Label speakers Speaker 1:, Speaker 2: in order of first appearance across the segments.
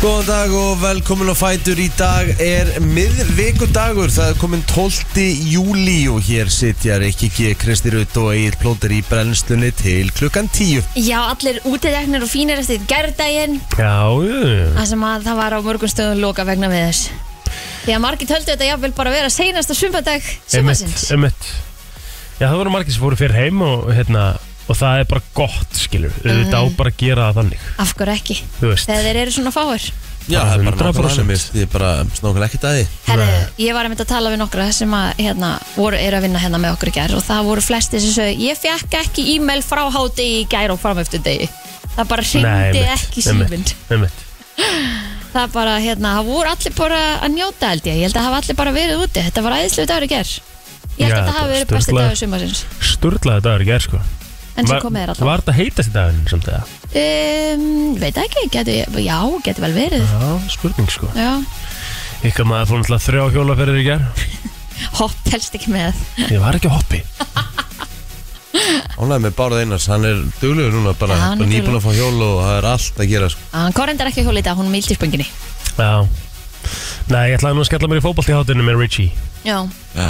Speaker 1: Góðan dag og velkomin á Fætur Í dag er miðvikudagur Það er komin 12. júli og hér sitja Rikki G. Kristirut og Egil Plóter í brennslunni til klukkan 10
Speaker 2: Já, allir útideknir og fínir eftir gerðdægin
Speaker 3: Já, jú.
Speaker 2: Það sem að það var á morgunstöðun loka vegna við þess Því að margir töldu þetta jafnvel bara vera seinasta sumadag sumasins
Speaker 3: Einmitt, einmitt. Já, það voru margir sem fóru fyrir heim og, hérna, og það er bara gott, skilur. Auðvitað á
Speaker 2: Mm.
Speaker 3: bara að gera það þannig,
Speaker 2: Af hverju ekki?
Speaker 3: þú veist.
Speaker 2: Þegar þeir eru svona fáir
Speaker 1: Já, það er bara
Speaker 3: 100%.
Speaker 1: nákvæmlega þannig, Ég er bara snákvæmlega ekkert að því
Speaker 2: Herri, ég var einmitt að tala við nokkra sem að, hérna, voru, eru að vinna hérna með okkur í gær og það voru flesti sem sögðu ég fekk ekki e-mail frá hádegi í gær og fram eftir degi það bara hringdi ekki símund
Speaker 3: Einmitt, einmitt.
Speaker 2: það bara, hérna, það voru allir bara að njóta held ég, ég held að hafa allir bara verið úti þetta var æðislega dagur í gær ég held að þetta
Speaker 3: Já, þetta
Speaker 2: hafi
Speaker 3: var
Speaker 2: verið besti
Speaker 3: sturlað.
Speaker 2: dagur sumarsins
Speaker 3: Sturlaði dagur í gerð, sko.
Speaker 2: en sem
Speaker 3: Var-
Speaker 2: komið er alltaf
Speaker 3: Var þetta heitast í daginn, samt eða?
Speaker 2: um, veit ekki, getu, já, getur vel verið
Speaker 3: Já, spurning, sko.
Speaker 2: já,
Speaker 3: Ykkar maður fór náttúrulega þrjá hjólaferðir í gerð.
Speaker 2: hopp helst ekki með
Speaker 3: Ég var ekki á hoppi.
Speaker 1: Ánægði með Bárð Einars, hann er duglegur núna bara,
Speaker 2: Já,
Speaker 1: ja,
Speaker 2: hann er
Speaker 1: bara nýbúin að fá hjól og það er allt að gera sko.
Speaker 2: hann korrendar ekki hjólið þetta, hún Ah, er mildi í spönginni
Speaker 3: Já. Nei, ég ætlaði nú að skella mér í fótballt í hátinu með Richie.
Speaker 2: já,
Speaker 1: Já,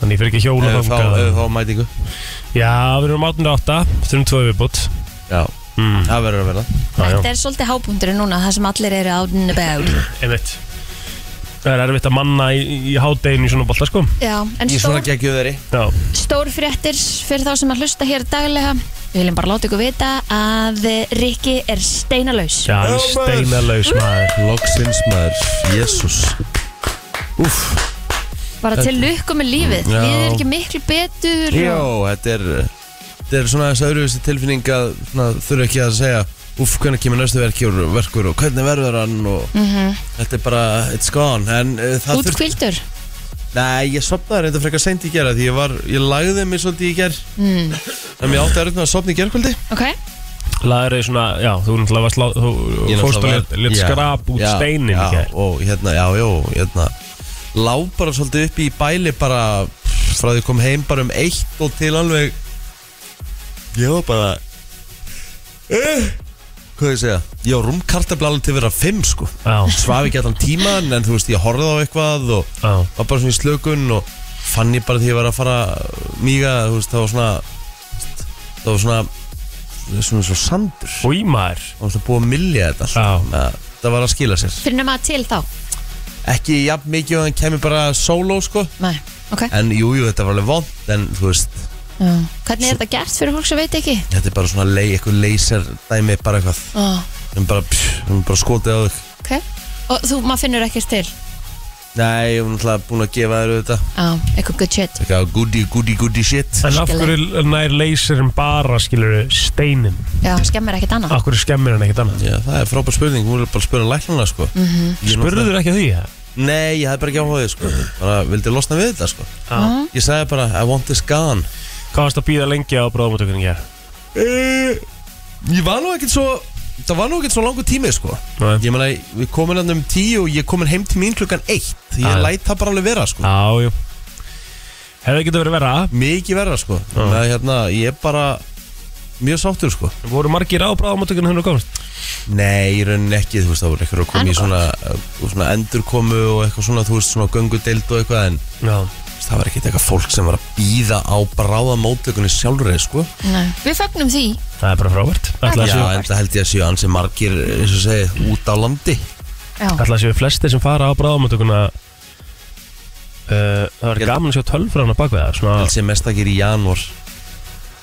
Speaker 3: Þannig ég fyrir ekki að hjóla
Speaker 1: ef við fá,
Speaker 3: þangað.
Speaker 1: ef við fá mætingu
Speaker 3: Já, við erum 18.8, þurfum tvö viðbútt.
Speaker 1: Já,
Speaker 3: Mm.
Speaker 1: það verður að verða
Speaker 3: Já, já.
Speaker 2: þetta er svolítið hábúndurinn núna það sem allir eru out and about
Speaker 3: Einmitt Það er erfitt að manna í, í hádeginu í svona bolta sko
Speaker 2: já, en
Speaker 1: Í svona
Speaker 2: stór,
Speaker 1: geggjöðari
Speaker 3: Já,
Speaker 2: stór fréttir fyrir þá sem að hlusta hér daglega við viljum bara láta ykkur vita að Rikki er steinalaus
Speaker 3: já hann er
Speaker 1: Já, maður.
Speaker 3: steinalaus maður
Speaker 1: Loksins maður, jésús Úff
Speaker 2: bara til lukku með lífið
Speaker 1: Já.
Speaker 2: við erum ekki miklu betur
Speaker 1: Já,
Speaker 2: og-
Speaker 1: þetta er Þetta er svona þess að öruvísi tilfinning að svona, þurfa ekki að segja Úff, hvernig kemur næstu verkjur, verkur og hvernig verður hann og
Speaker 2: Mm. Mhm.
Speaker 1: Þetta er bara, it's gone En uh, það þurft
Speaker 2: útkvildur
Speaker 1: Nei, ég sopnaði reynda frekar seint í gera Því ég var, ég lagði mig svolítið í ger
Speaker 2: mm.
Speaker 1: En ég átti að reynda að sopna í gerkvöldi
Speaker 2: ok,
Speaker 3: Laður er svona, já, þú náttúrulega varst lá- þú fórst og lét- lét skrap út steinin í
Speaker 1: Já,
Speaker 3: gær
Speaker 1: og hérna, já, já, hérna Lá bara svolítið upp í bæli bara Frá því ég kom heim bara um eitt og til alveg Ég var bara eh, Hvað ég segja? Ég var rúmkartabla alveg til að vera fimm sko
Speaker 3: Já,
Speaker 1: Svaf ekki allan tíman en þú veist ég horfði á eitthvað og
Speaker 3: já,
Speaker 1: var bara svona í slökun og fann ég bara því ég var að fara mýga, þú veist, það var svona það var svona svona svo sandur
Speaker 3: og í maður
Speaker 1: það var svona búið að millja þetta allt.
Speaker 3: Já.
Speaker 1: Þannig að það var að skila sér
Speaker 2: fyrir nema til þá
Speaker 1: ekki jafn mikið og hann kemur bara solo sko
Speaker 2: Nei. ok,
Speaker 1: en jújú, jú, þetta var alveg vond en þú veist,
Speaker 2: já. hvernig er þetta gert fyrir fólk sem veit ekki
Speaker 1: þetta er bara svona lei, eitthvað laser dæmi bara eitthvað
Speaker 2: oh.
Speaker 1: hún bara, pff, hún bara skotið á þig
Speaker 2: ok, og þú, maður finnur ekkert til
Speaker 1: nei, hún er alltaf búin að gefa þér þetta
Speaker 2: já, eitthvað good shit
Speaker 1: eitthvað goody, goody, goody shit
Speaker 3: En af hverju nær leysirin bara, skilur steinin?
Speaker 2: já, skemmir ekkert annað
Speaker 3: Af hverju skemmir hann ekkert annað?
Speaker 1: já, það er frábær spurning, hún er bara að spura læknana sko
Speaker 3: Mhm.
Speaker 2: Mhm.
Speaker 1: mm
Speaker 3: Spurður ekki að því, það?
Speaker 1: Nei, ég hafði bara ekki áhugað sko. bara vildi losna við þetta sko.
Speaker 3: Já
Speaker 1: ég sagði bara, I want this gone
Speaker 3: Hvað varst að býða lengi á bráðumótökunni hér?
Speaker 1: uh, ég var nú ekkert svo það var nú ekkert svo langur tími sko.
Speaker 3: Nei.
Speaker 1: ég meina, við komin hann um tíu og ég komin heim til mín klukkan eitt ég
Speaker 3: Já.
Speaker 1: læt það bara alveg vera sko.
Speaker 3: Já, jú Hefði getið verið verra
Speaker 1: mikið vera sko.
Speaker 3: Já.
Speaker 1: Með, hérna, ég er bara mjög sáttur sko.
Speaker 3: Voru margir á bráðumótökunni hennar komst?
Speaker 1: nei, í rauninni ekki, þú veist, það voru eitthvað að koma í svona, uh, svona endurkomu og eitthvað svona, þú veist, svona göngudeild og eitthvað en
Speaker 3: Já
Speaker 1: þú veist, það var ekkert eitthvað fólk sem var að býða á bráðamótökunni sjálfur sko.
Speaker 2: Nei. við fögnum því
Speaker 3: Það er bara frávært Ætla að
Speaker 1: Já,
Speaker 3: séu-
Speaker 1: en það held ég að séu ansi margir eins og segi, út á landi
Speaker 2: já.
Speaker 3: Alltaf séu flestir sem fara á bráðamönduguna uh, Það var
Speaker 1: Ég-
Speaker 3: gaman að sjá tölfræðan á bakvið það svona,
Speaker 1: held sem mest að gera í janúar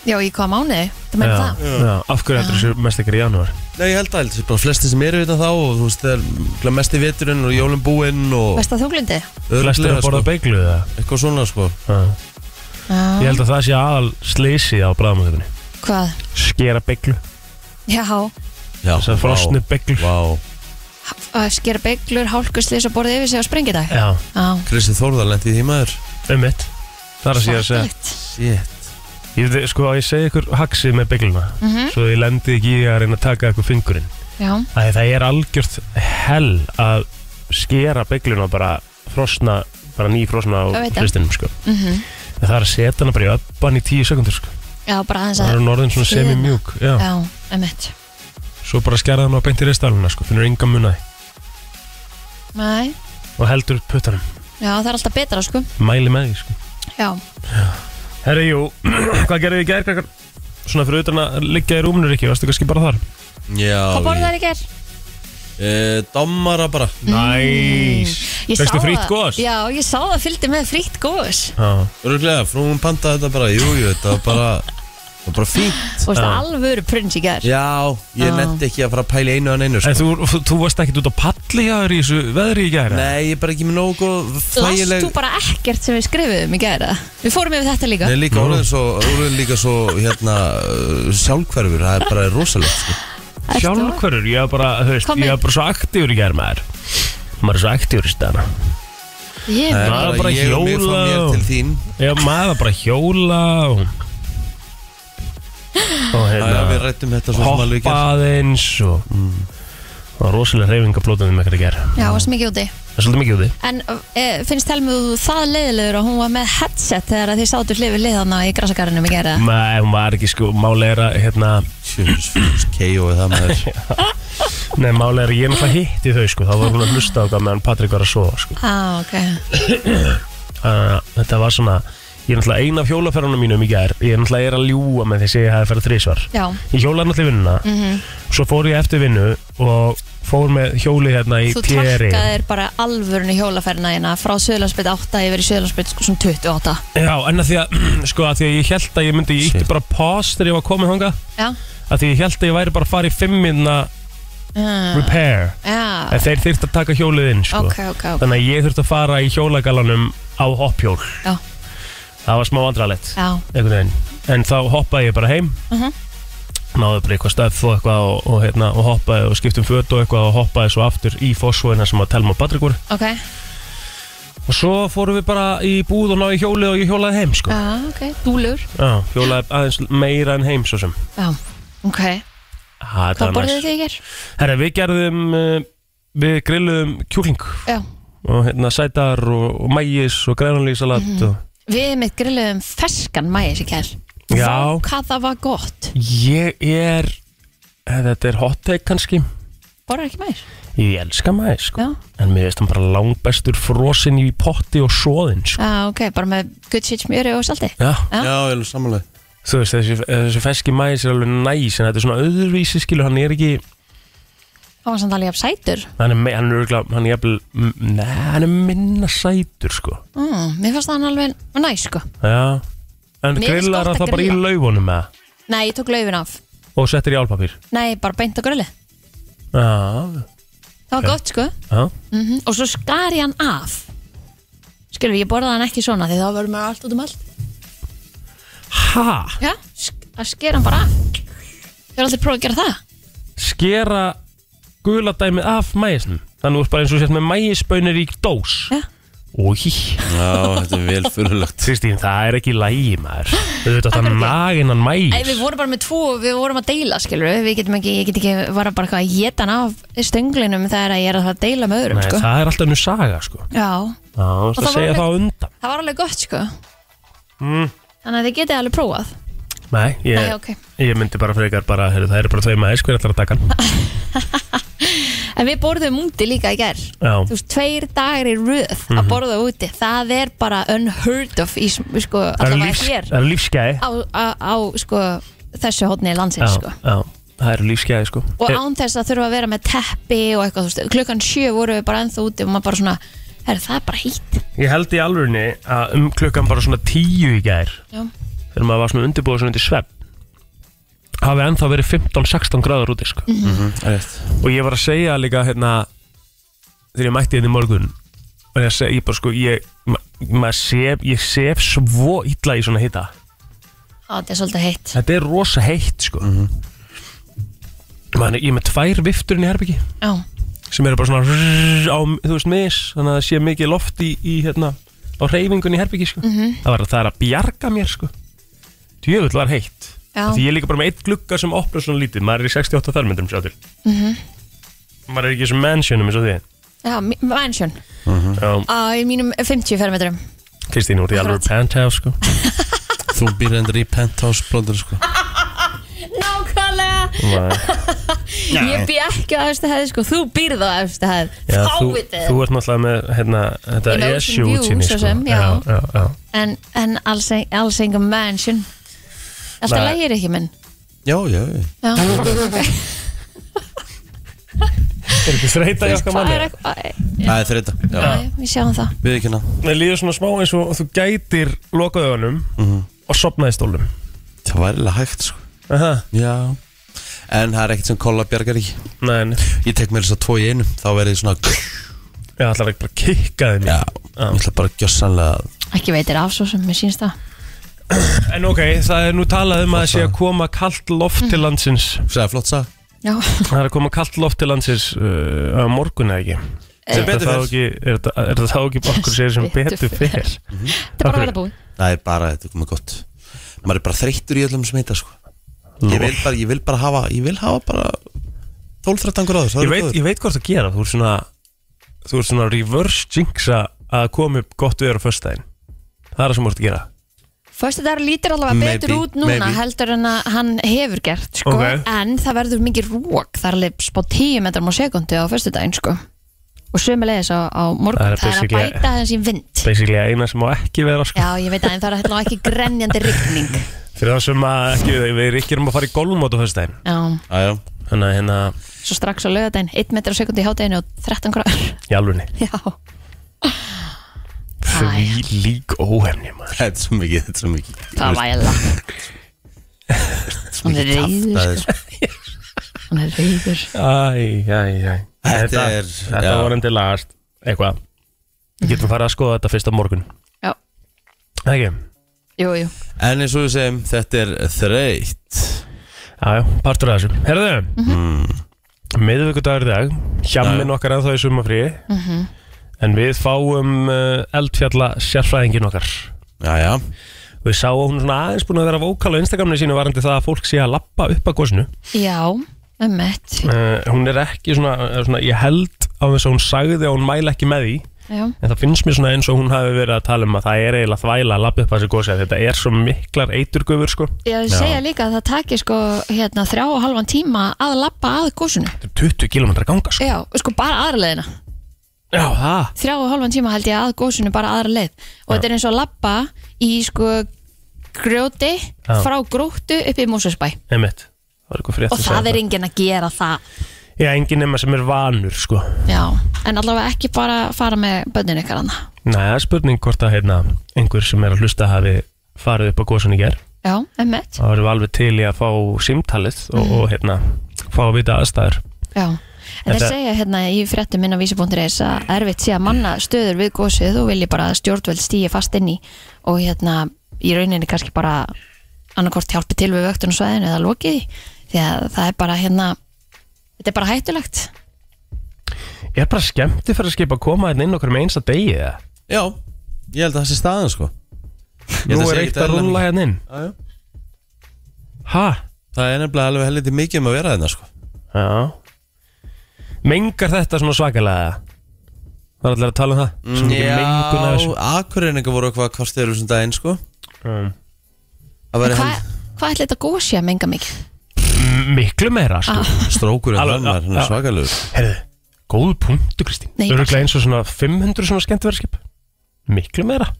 Speaker 2: já, í hvaða mánuði, það meina það
Speaker 3: já, já, Af hverju heldur þessu mest ekkert í janúar
Speaker 1: Nei, ég held að held, sé bara flesti sem eru utan þá og þú veist, það er mest í veturinn og jólum búinn og
Speaker 2: Vesta þunglundi?
Speaker 3: Flestir að borða
Speaker 1: sko,
Speaker 3: beiglu það
Speaker 1: eitthvað svona sko
Speaker 3: já. Ég
Speaker 2: Já.
Speaker 3: held að það sé aðal sleysi á bráðamöndugunni
Speaker 2: Hvað?
Speaker 3: Skera beiglu,
Speaker 2: Já,
Speaker 1: Já,
Speaker 3: þess að frosnu beiglu
Speaker 1: Vá,
Speaker 2: að skera bygglur, hálkuslis og borðið yfir sig á sprengidag?
Speaker 3: Já,
Speaker 2: Já,
Speaker 1: Kristi Þórðar lendi því maður
Speaker 3: um mitt Það er að sé að segja
Speaker 2: svakalegt.
Speaker 1: Shit
Speaker 3: ég, veit- Sko, ég segi ykkur haxið með beigluna
Speaker 2: Mhm.
Speaker 3: Svo ég lendi ekki í að reyna að taka ykkur fingurinn
Speaker 2: Já,
Speaker 3: Æ, Það er algjört hell að skera beigluna og bara frosna, bara nýfrosna á
Speaker 2: Ég veit það.
Speaker 3: fristinum sko
Speaker 2: mhm
Speaker 3: En það er að setja hana bara í öppan í tíu sekundur sko.
Speaker 2: Já, bara aðeins
Speaker 3: Það
Speaker 2: að
Speaker 3: er hún orðin svona
Speaker 2: Hliðina.
Speaker 3: semi-mjúk Já.
Speaker 2: Já, emitt
Speaker 3: Svo bara skerða hana og beint í reistalina sko. Finnur enga munaði
Speaker 2: Nei,
Speaker 3: og heldur puttanum
Speaker 2: já, það er alltaf betra sko
Speaker 3: mæli með því sko.
Speaker 2: Já,
Speaker 3: Herri, jú, hvað gerðu í gær, krakkar? Svona fyrir utan að liggja í rúminu, Rikki, varstu kannski bara þar?
Speaker 1: Já
Speaker 2: hvað borðið þær í ger?
Speaker 1: Uh, Dammara bara
Speaker 2: Mm.
Speaker 3: Næs! Fegstu frýtt gos?
Speaker 2: Já, ég sá það fylgdi með frýtt gós
Speaker 3: Já.
Speaker 1: Öruglega, frún panta þetta bara Jú, jú, þetta var bara Það var bara fínt
Speaker 2: Og það
Speaker 3: Já.
Speaker 2: alvöru prins í ger
Speaker 1: Já, ég
Speaker 2: Já.
Speaker 1: nefndi ekki að fara að pæla í einu en einu
Speaker 3: En
Speaker 1: sko.
Speaker 3: þú, þú, þú varst ekkert út á palli hjá þér í þessu veðri í gær? eða?
Speaker 1: Nei, ég er bara ekki með nógu góð
Speaker 2: Last
Speaker 1: Þægileg
Speaker 2: þú bara ekkert sem við skrifuðum í gera Við fórum yfir þetta líka
Speaker 1: Nei, líka
Speaker 3: Nú.
Speaker 1: orðin svo, orðin líka svo hérna, uh, sjálfhverfur, það er bara rosalegt sko.
Speaker 2: Ertu-
Speaker 3: Sjálfhverfur, ég var bara, þú veist,
Speaker 2: Kom
Speaker 3: ég
Speaker 2: inn.
Speaker 3: var bara svo aktífur í gær maður Maður er svo aktífur í staðana
Speaker 2: Ég
Speaker 1: Það
Speaker 2: er
Speaker 1: er
Speaker 3: bara
Speaker 1: bara ég og mig frá
Speaker 3: hjóla
Speaker 1: mér
Speaker 3: og-
Speaker 1: til þín
Speaker 3: Já, maður var bara að hjóla og Og
Speaker 1: Æja, Við
Speaker 3: hérna,
Speaker 1: rættum þetta svo sem alveg Mm.
Speaker 3: hoppa
Speaker 1: gerð
Speaker 3: aðeins og Það var rosalega reyfing að blóta þeim ekkert í gær
Speaker 2: Já, varst mikið úti
Speaker 3: Það er svolítið mikið úti
Speaker 2: En e, finnst Helmu þú það leiðilegur að hún var með headset þegar að þið sátu hlifið liðana í grasakarinu í gera
Speaker 3: Nei, hún var ekki sko, máleira, hérna
Speaker 1: Sjöfus, KO eða það maður
Speaker 3: Nei, máleira, ég er náttúrulega hitti þau sko Þá var hún að hlusta á hvað meðan Patrik var að sofa sko
Speaker 2: ah, ok
Speaker 3: Þannig að Þetta var svona, ég er náttúrulega eina af hjólaferðunum mínum í gær Ég er náttúrulega er að ljúga með þess að ég hafi ferð þrísvar
Speaker 2: Já, Mhm.
Speaker 3: Ég hjólaði náttúrulega í vinnuna Svo fór ég eftir vinnu og fór með hjóli hérna í
Speaker 2: þú
Speaker 3: Peri
Speaker 2: takkaðir bara alvörunni hjólaferna hérna frá Söðlandsbytt 8 yfir í Söðlandsbytt sko svona 28
Speaker 3: Já, en að því að, sko, að því að ég held að ég myndi, ég ítti
Speaker 1: Shit.
Speaker 3: bara pause þegar ég var komið þanga
Speaker 2: Já,
Speaker 3: að því ég held að ég væri bara að fara í fimmina
Speaker 2: uh,
Speaker 3: repair
Speaker 2: já
Speaker 3: en þeir þurfti að taka hjólið inn, sko
Speaker 2: Ok, ok, ok
Speaker 3: Þannig að ég þurfti að fara í hjólagallanum á hoppjól
Speaker 2: Já.
Speaker 3: Það var smá vandralett
Speaker 2: Já,
Speaker 3: einhvern veginn En þá hoppaði ég bara heim
Speaker 2: Mhm.
Speaker 3: Náðu bara eitthvað stöð og eitthvað og, og, hérna, og hoppaði og skiptum föt og eitthvað og hoppaði svo aftur í fósvöðina sem að telma Patrikur
Speaker 2: ok
Speaker 3: Og svo fórum við bara í búð og náðu í hjólið og ég hjólaði heim sko
Speaker 2: Já, Ah, ok, dúlur
Speaker 3: Já, hjólaði aðeins meira en heim svo sem
Speaker 2: Já, ok
Speaker 3: Ha, þetta
Speaker 2: Hvað
Speaker 3: var
Speaker 2: borðið
Speaker 3: næs.
Speaker 2: þið í ger?
Speaker 3: Herra, við gerðum, uh, við grilluðum kjúkling
Speaker 2: Já
Speaker 3: og hérna sætar og, og mægis og grænulísalat
Speaker 2: Mhm.
Speaker 3: og
Speaker 2: Mm. Við mitt grilluðum ferskan mæs í kær
Speaker 3: Já.
Speaker 2: Vá, Hvað það var gott
Speaker 3: Ég er, eh, þetta er hot take kannski
Speaker 2: Borðar ekki mæs?
Speaker 3: Ég elska mæs sko
Speaker 2: Já,
Speaker 3: En mér veist hann bara langbestur frosinn í potti og svoðinn sko.
Speaker 2: já Ah, ok, bara með good shit smjöri og salti
Speaker 3: Já,
Speaker 2: Já.
Speaker 1: Já, ég er samanlega
Speaker 3: þú veist þessi, þessi feski mæs er alveg næs en þetta er svona öðruvísi skilur hann er ekki
Speaker 2: Það var samt alveg jafn sætur
Speaker 3: hann er, me- hann er, örugglega- hann er, jafnvel- m- nei, hann er minna sætur sko
Speaker 2: mm, Mér fannst það alveg næ sko
Speaker 3: Já
Speaker 2: Mér
Speaker 3: En
Speaker 2: finnst
Speaker 3: grillar
Speaker 2: gott
Speaker 3: hann
Speaker 2: að
Speaker 3: það bara í
Speaker 2: grilla.
Speaker 3: laufunum með það
Speaker 2: Nei, ég tók laufin af
Speaker 3: og settir í álpapír
Speaker 2: Nei, bara beint á grilli
Speaker 3: Já,
Speaker 2: Það var
Speaker 3: Ok.
Speaker 2: gott sko
Speaker 3: já
Speaker 2: mm Og svo skar ég hann af Skilur, ég borðaði hann ekki svona Því það verður með allt út um allt
Speaker 3: Ha?
Speaker 2: Já, sk að skera hann bara af Ég er aldrei prófað að gera það
Speaker 3: Skera guladæmið af mæsnum Þannig þú ert bara eins og sett með mæsbönir í dós
Speaker 2: Já.
Speaker 3: Új
Speaker 1: Já, þetta er vel fyrirlegt
Speaker 3: Kristín, það er ekki lægi maður Þú veit að
Speaker 2: Af
Speaker 3: það
Speaker 2: hverju ekki?
Speaker 3: naginan
Speaker 2: Æ,
Speaker 3: mæs
Speaker 2: við vorum bara með tvo og við vorum að deila skilur við, við getum ekki, ég get ekki var bara eitthvað að geta hann af stönglinum þegar að ég er að fara að deila með öðrum
Speaker 3: Nei,
Speaker 2: sko.
Speaker 3: það er alltaf nú saga sko
Speaker 2: Já,
Speaker 3: Já, þú veist
Speaker 2: það
Speaker 3: að
Speaker 2: var
Speaker 3: segja
Speaker 2: alveg-
Speaker 3: það á undan
Speaker 2: það var alveg gott sko
Speaker 3: Mm.
Speaker 2: Þannig að þið getið alveg prófað
Speaker 3: Nei, ég,
Speaker 2: Nei, ok
Speaker 3: ég myndi bara frekar bara heru, Það eru bara tvei mæs, hver ætlar að taka hann
Speaker 2: En við borðum úti líka í gerð Þú
Speaker 3: Já, Mhm.
Speaker 2: veist, tveir dagar í röð að borða úti Það er bara unheard of í, sm- sko,
Speaker 3: það eru
Speaker 2: allavega
Speaker 3: lífs,
Speaker 2: hér
Speaker 3: er lífsgæði
Speaker 2: á, á, á sko, þessu hodni landsins sko.
Speaker 3: já, það eru lífsgæði sko
Speaker 2: og
Speaker 3: Eh,
Speaker 2: án þess að þurfa að vera með teppi og eitthvað, þú veist, klukkan sjö vorum við bara ennþá úti og maður bara svona, herri, það er bara hýtt
Speaker 3: Ég held í alvörinni að um klukkan bara svona tíu í gær
Speaker 2: Já.
Speaker 3: Þegar maður var svona undirbúið svona undir svepp Hafi ennþá verið 15-16 gráður úti sko og ég var að segja líka hérna þegar ég mætti hérna í morgun og ég, seg, ég bara sko ég, ma, ma sef, ég sef svo illa í svona hita
Speaker 2: Já, þetta er svolítið heitt
Speaker 3: þetta er rosa heitt sko mm ég er með tvær vifturinn í herbyggi
Speaker 2: Já,
Speaker 3: sem eru bara svona rrrr á, þú veist, mis þannig að það sé mikið loft í, í hérna á reyfingunni í herbyggi sko
Speaker 2: Mhm.
Speaker 3: það, var, það er að bjarga mér sko djöfull var heitt
Speaker 2: Já.
Speaker 3: því ég er líka bara með eitt glugga sem opnar svona lítið maður er í 68 fermetrum sjá til -hmm. maður er ekki í þessum mansionum eins og þið
Speaker 2: Mhm. já, mannsjön
Speaker 3: Já,
Speaker 2: Á, í mínum 50 fermetrum
Speaker 3: Kristín, út í alveg
Speaker 2: Akkurat.
Speaker 3: penthouse sko
Speaker 1: Þú býr endur í penthouse blóndur sko
Speaker 2: Nákvæmlega
Speaker 3: Nei.
Speaker 2: Ég bý ekki á efstu hæð sko, þú býrð á efstu hæð
Speaker 3: Já, þú,
Speaker 2: Fávitið
Speaker 3: þú ert náttúrulega með hérna, þetta
Speaker 2: Ég með Ocean
Speaker 3: esju
Speaker 2: View,
Speaker 3: útsýni
Speaker 2: svo sem, já.
Speaker 3: já, já.
Speaker 2: En, en alls, ein- alls engum mansion Alltaf
Speaker 3: Nei.
Speaker 2: lægir ekki minn
Speaker 1: Já, já, já
Speaker 2: Já.
Speaker 3: Er ekki þreita í okkar
Speaker 2: Hvað er
Speaker 3: manni?
Speaker 2: ekki
Speaker 1: Það er þreita Já,
Speaker 2: Við sjáum það
Speaker 1: við ekki hérna
Speaker 3: Mér líður svona smá eins og þú gætir lokaðuðunum og sopnaði stólum
Speaker 1: Mhm. Það var eiginlega hægt sko
Speaker 3: Aha,
Speaker 1: Já En það er ekkert sem kolla bjargar í
Speaker 3: nei, nei.
Speaker 1: Ég tek mér þess að tvo í einu Þá verði ég svona
Speaker 3: Ég ætlar ekki bara að kikka þeim
Speaker 1: Já, ég ætla bara að gjössanlega
Speaker 2: Ekki veitir af svo sem mér sínst það
Speaker 3: En ok, það er nú talað um að það sé að koma kalt loft til landsins
Speaker 1: Sæða flott sag
Speaker 2: Já,
Speaker 3: Það er að koma kalt loft til landsins uh, á morgun eða ekki
Speaker 1: Sem
Speaker 3: Er
Speaker 1: betur
Speaker 3: það
Speaker 1: fer.
Speaker 3: ekki, er þetta- er þetta þá ekki okkur sér
Speaker 2: Sem
Speaker 3: sem
Speaker 2: Eh. betur
Speaker 3: betur
Speaker 2: fer.
Speaker 3: fer
Speaker 2: þetta er bara verða búið
Speaker 1: Það er bara, þetta er komið gott Maður er bara þreyttur í öllum smita sko Ég vil bara, ég vil bara hafa Ég vil hafa bara 12-13 gráður það
Speaker 3: ég
Speaker 1: er
Speaker 3: veit,
Speaker 1: góður.
Speaker 3: ég veit hvað það gera Þú er svona, þú er svona reverse jinxa að koma upp gott veður á föstudaginn Það er það sem þú ert að gera
Speaker 2: Föstu dagar lítir allavega
Speaker 1: Maybe,
Speaker 2: betur út núna
Speaker 1: maybe.
Speaker 2: heldur en að hann hefur gert sko.
Speaker 3: Ok.
Speaker 2: en það verður mikið rók það er alveg spá 10 metrum á sekundi á föstu daginn sko. og sömulegis á, á morgun það
Speaker 3: Það er
Speaker 2: er, að
Speaker 3: basically-
Speaker 2: bæta þessi vind
Speaker 3: Basically eina sem má ekki vera sko.
Speaker 2: Já, ég veit að en það er hérna ekki grenjandi rigning
Speaker 3: Fyrir það sem að ekki, við erum ekki um að fara í golfmót á föstudaginn
Speaker 2: Já,
Speaker 1: Æjá,
Speaker 3: Þannig að hérna,
Speaker 2: svo strax á lögadaginn 1 metrum á sekundi í hádeginu og 13 gráður
Speaker 3: í alvunni
Speaker 2: Já, Æ.
Speaker 3: Því lík óhefni maður
Speaker 1: þetta er svo mikið, þetta er svo mikið
Speaker 2: það var ég Hún er reyður
Speaker 1: Það er
Speaker 2: sko. Hún er reyður
Speaker 3: Æ, æ, æ
Speaker 1: Þetta er-
Speaker 3: Þetta
Speaker 1: já.
Speaker 3: var endur lagast Eitthvað Við getum farið að skoða þetta fyrst á morgun
Speaker 2: Já,
Speaker 3: Það ekki?
Speaker 2: jú, jú
Speaker 1: En eins og við segjum, þetta er þreytt
Speaker 3: Já, já, partur af þessu Herðu mm
Speaker 1: Mhm.
Speaker 3: -hmm. Miðvikudagur í dag Hjammin okkar ennþá í sumafríi En við fáum uh, eldfjalla sérfræðingin okkar
Speaker 1: Jæja,
Speaker 3: Við sáum hún svona aðeins búin að vera vókal á Instagraminu sínu varandi það að fólk sé að lappa upp að gósinu
Speaker 2: Já, um mitt
Speaker 3: uh, Hún er ekki svona, eh, svona Ég held á þess að hún sagði að hún mæla ekki með því
Speaker 2: Já,
Speaker 3: En það finnst mér svona eins og hún hafi verið að tala um að það er eiginlega þvæla að lappa upp að þessi gósi að Þetta er svo miklar eiturgöfur sko
Speaker 2: ég segja líka að það taki sko hérna þrjá og halvan tíma að lappa að gósinu
Speaker 3: Þetta er 20 km ganga sko
Speaker 2: Já, sko bara aðra leiðina
Speaker 3: Já, það
Speaker 2: Þrjá og halvan tíma held ég að gósinu bara aðra leið Og þetta er eins og að lappa í sko grjóti
Speaker 3: Já.
Speaker 2: frá gróttu upp í Músusbæ
Speaker 3: Einmitt Það var eitthvað frétt
Speaker 2: Og
Speaker 3: sem
Speaker 2: það
Speaker 3: sagði
Speaker 2: er enginn að gera það
Speaker 3: það Já, engin nema sem er vanur sko
Speaker 2: Já, en allavega ekki bara fara með bönnin ykkar hana
Speaker 3: Næ, það er spurning hvort að hérna einhver sem er að hlusta hafi farið upp að gósun í ger
Speaker 2: Já, um mitt
Speaker 3: Það verðum við alveg til í að fá símtalið og,
Speaker 2: Mhm.
Speaker 3: og hérna, fá að vita aðstæður
Speaker 2: Já, en þeir
Speaker 3: Þetta-
Speaker 2: segja hérna í fréttum minna vísi.is að erfitt sé að manna stöður við gósið og vilji bara að stjórnvöld stíi fast inn í og hérna í rauninni kannski bara annarkort hjálpi til við vöktun og sveðinu eða lokið því. því að það er bara hérna þetta er bara hættulegt
Speaker 3: Ég er bara skemmti fyrir að skipa að koma hérna inn okkur með einsta degi eða?
Speaker 1: já, ég held að það sé staðan sko Ég held
Speaker 3: Nú
Speaker 1: sé
Speaker 3: er
Speaker 1: ekkert
Speaker 3: eitt að
Speaker 1: eðlilega
Speaker 3: rúla hérna inn
Speaker 1: mikið. Já, já.
Speaker 3: Hæ?
Speaker 1: Það er nefnilega alveg helviti mikið um að vera þeirna sko
Speaker 3: Já Mengar þetta svona svakalega eða? Það er allir að tala um það
Speaker 1: Mm.
Speaker 3: Svo mikið mengun að þessu
Speaker 1: akkurreiningar voru eitthvað kvartir þessum daginn sko
Speaker 3: Mm.
Speaker 1: Það væri
Speaker 2: Hvað hva ætla þetta gósi að menga mikið?
Speaker 3: M- Miklu meira sko
Speaker 1: hel- strókurinn
Speaker 3: Alveg,
Speaker 1: hann var, hann
Speaker 3: já.
Speaker 1: er svakalegur
Speaker 3: Herðu, góð punktu Kristín
Speaker 2: Nei,
Speaker 3: Öruglega eins og svona 500 svona skemmtiverðskip Miklu meira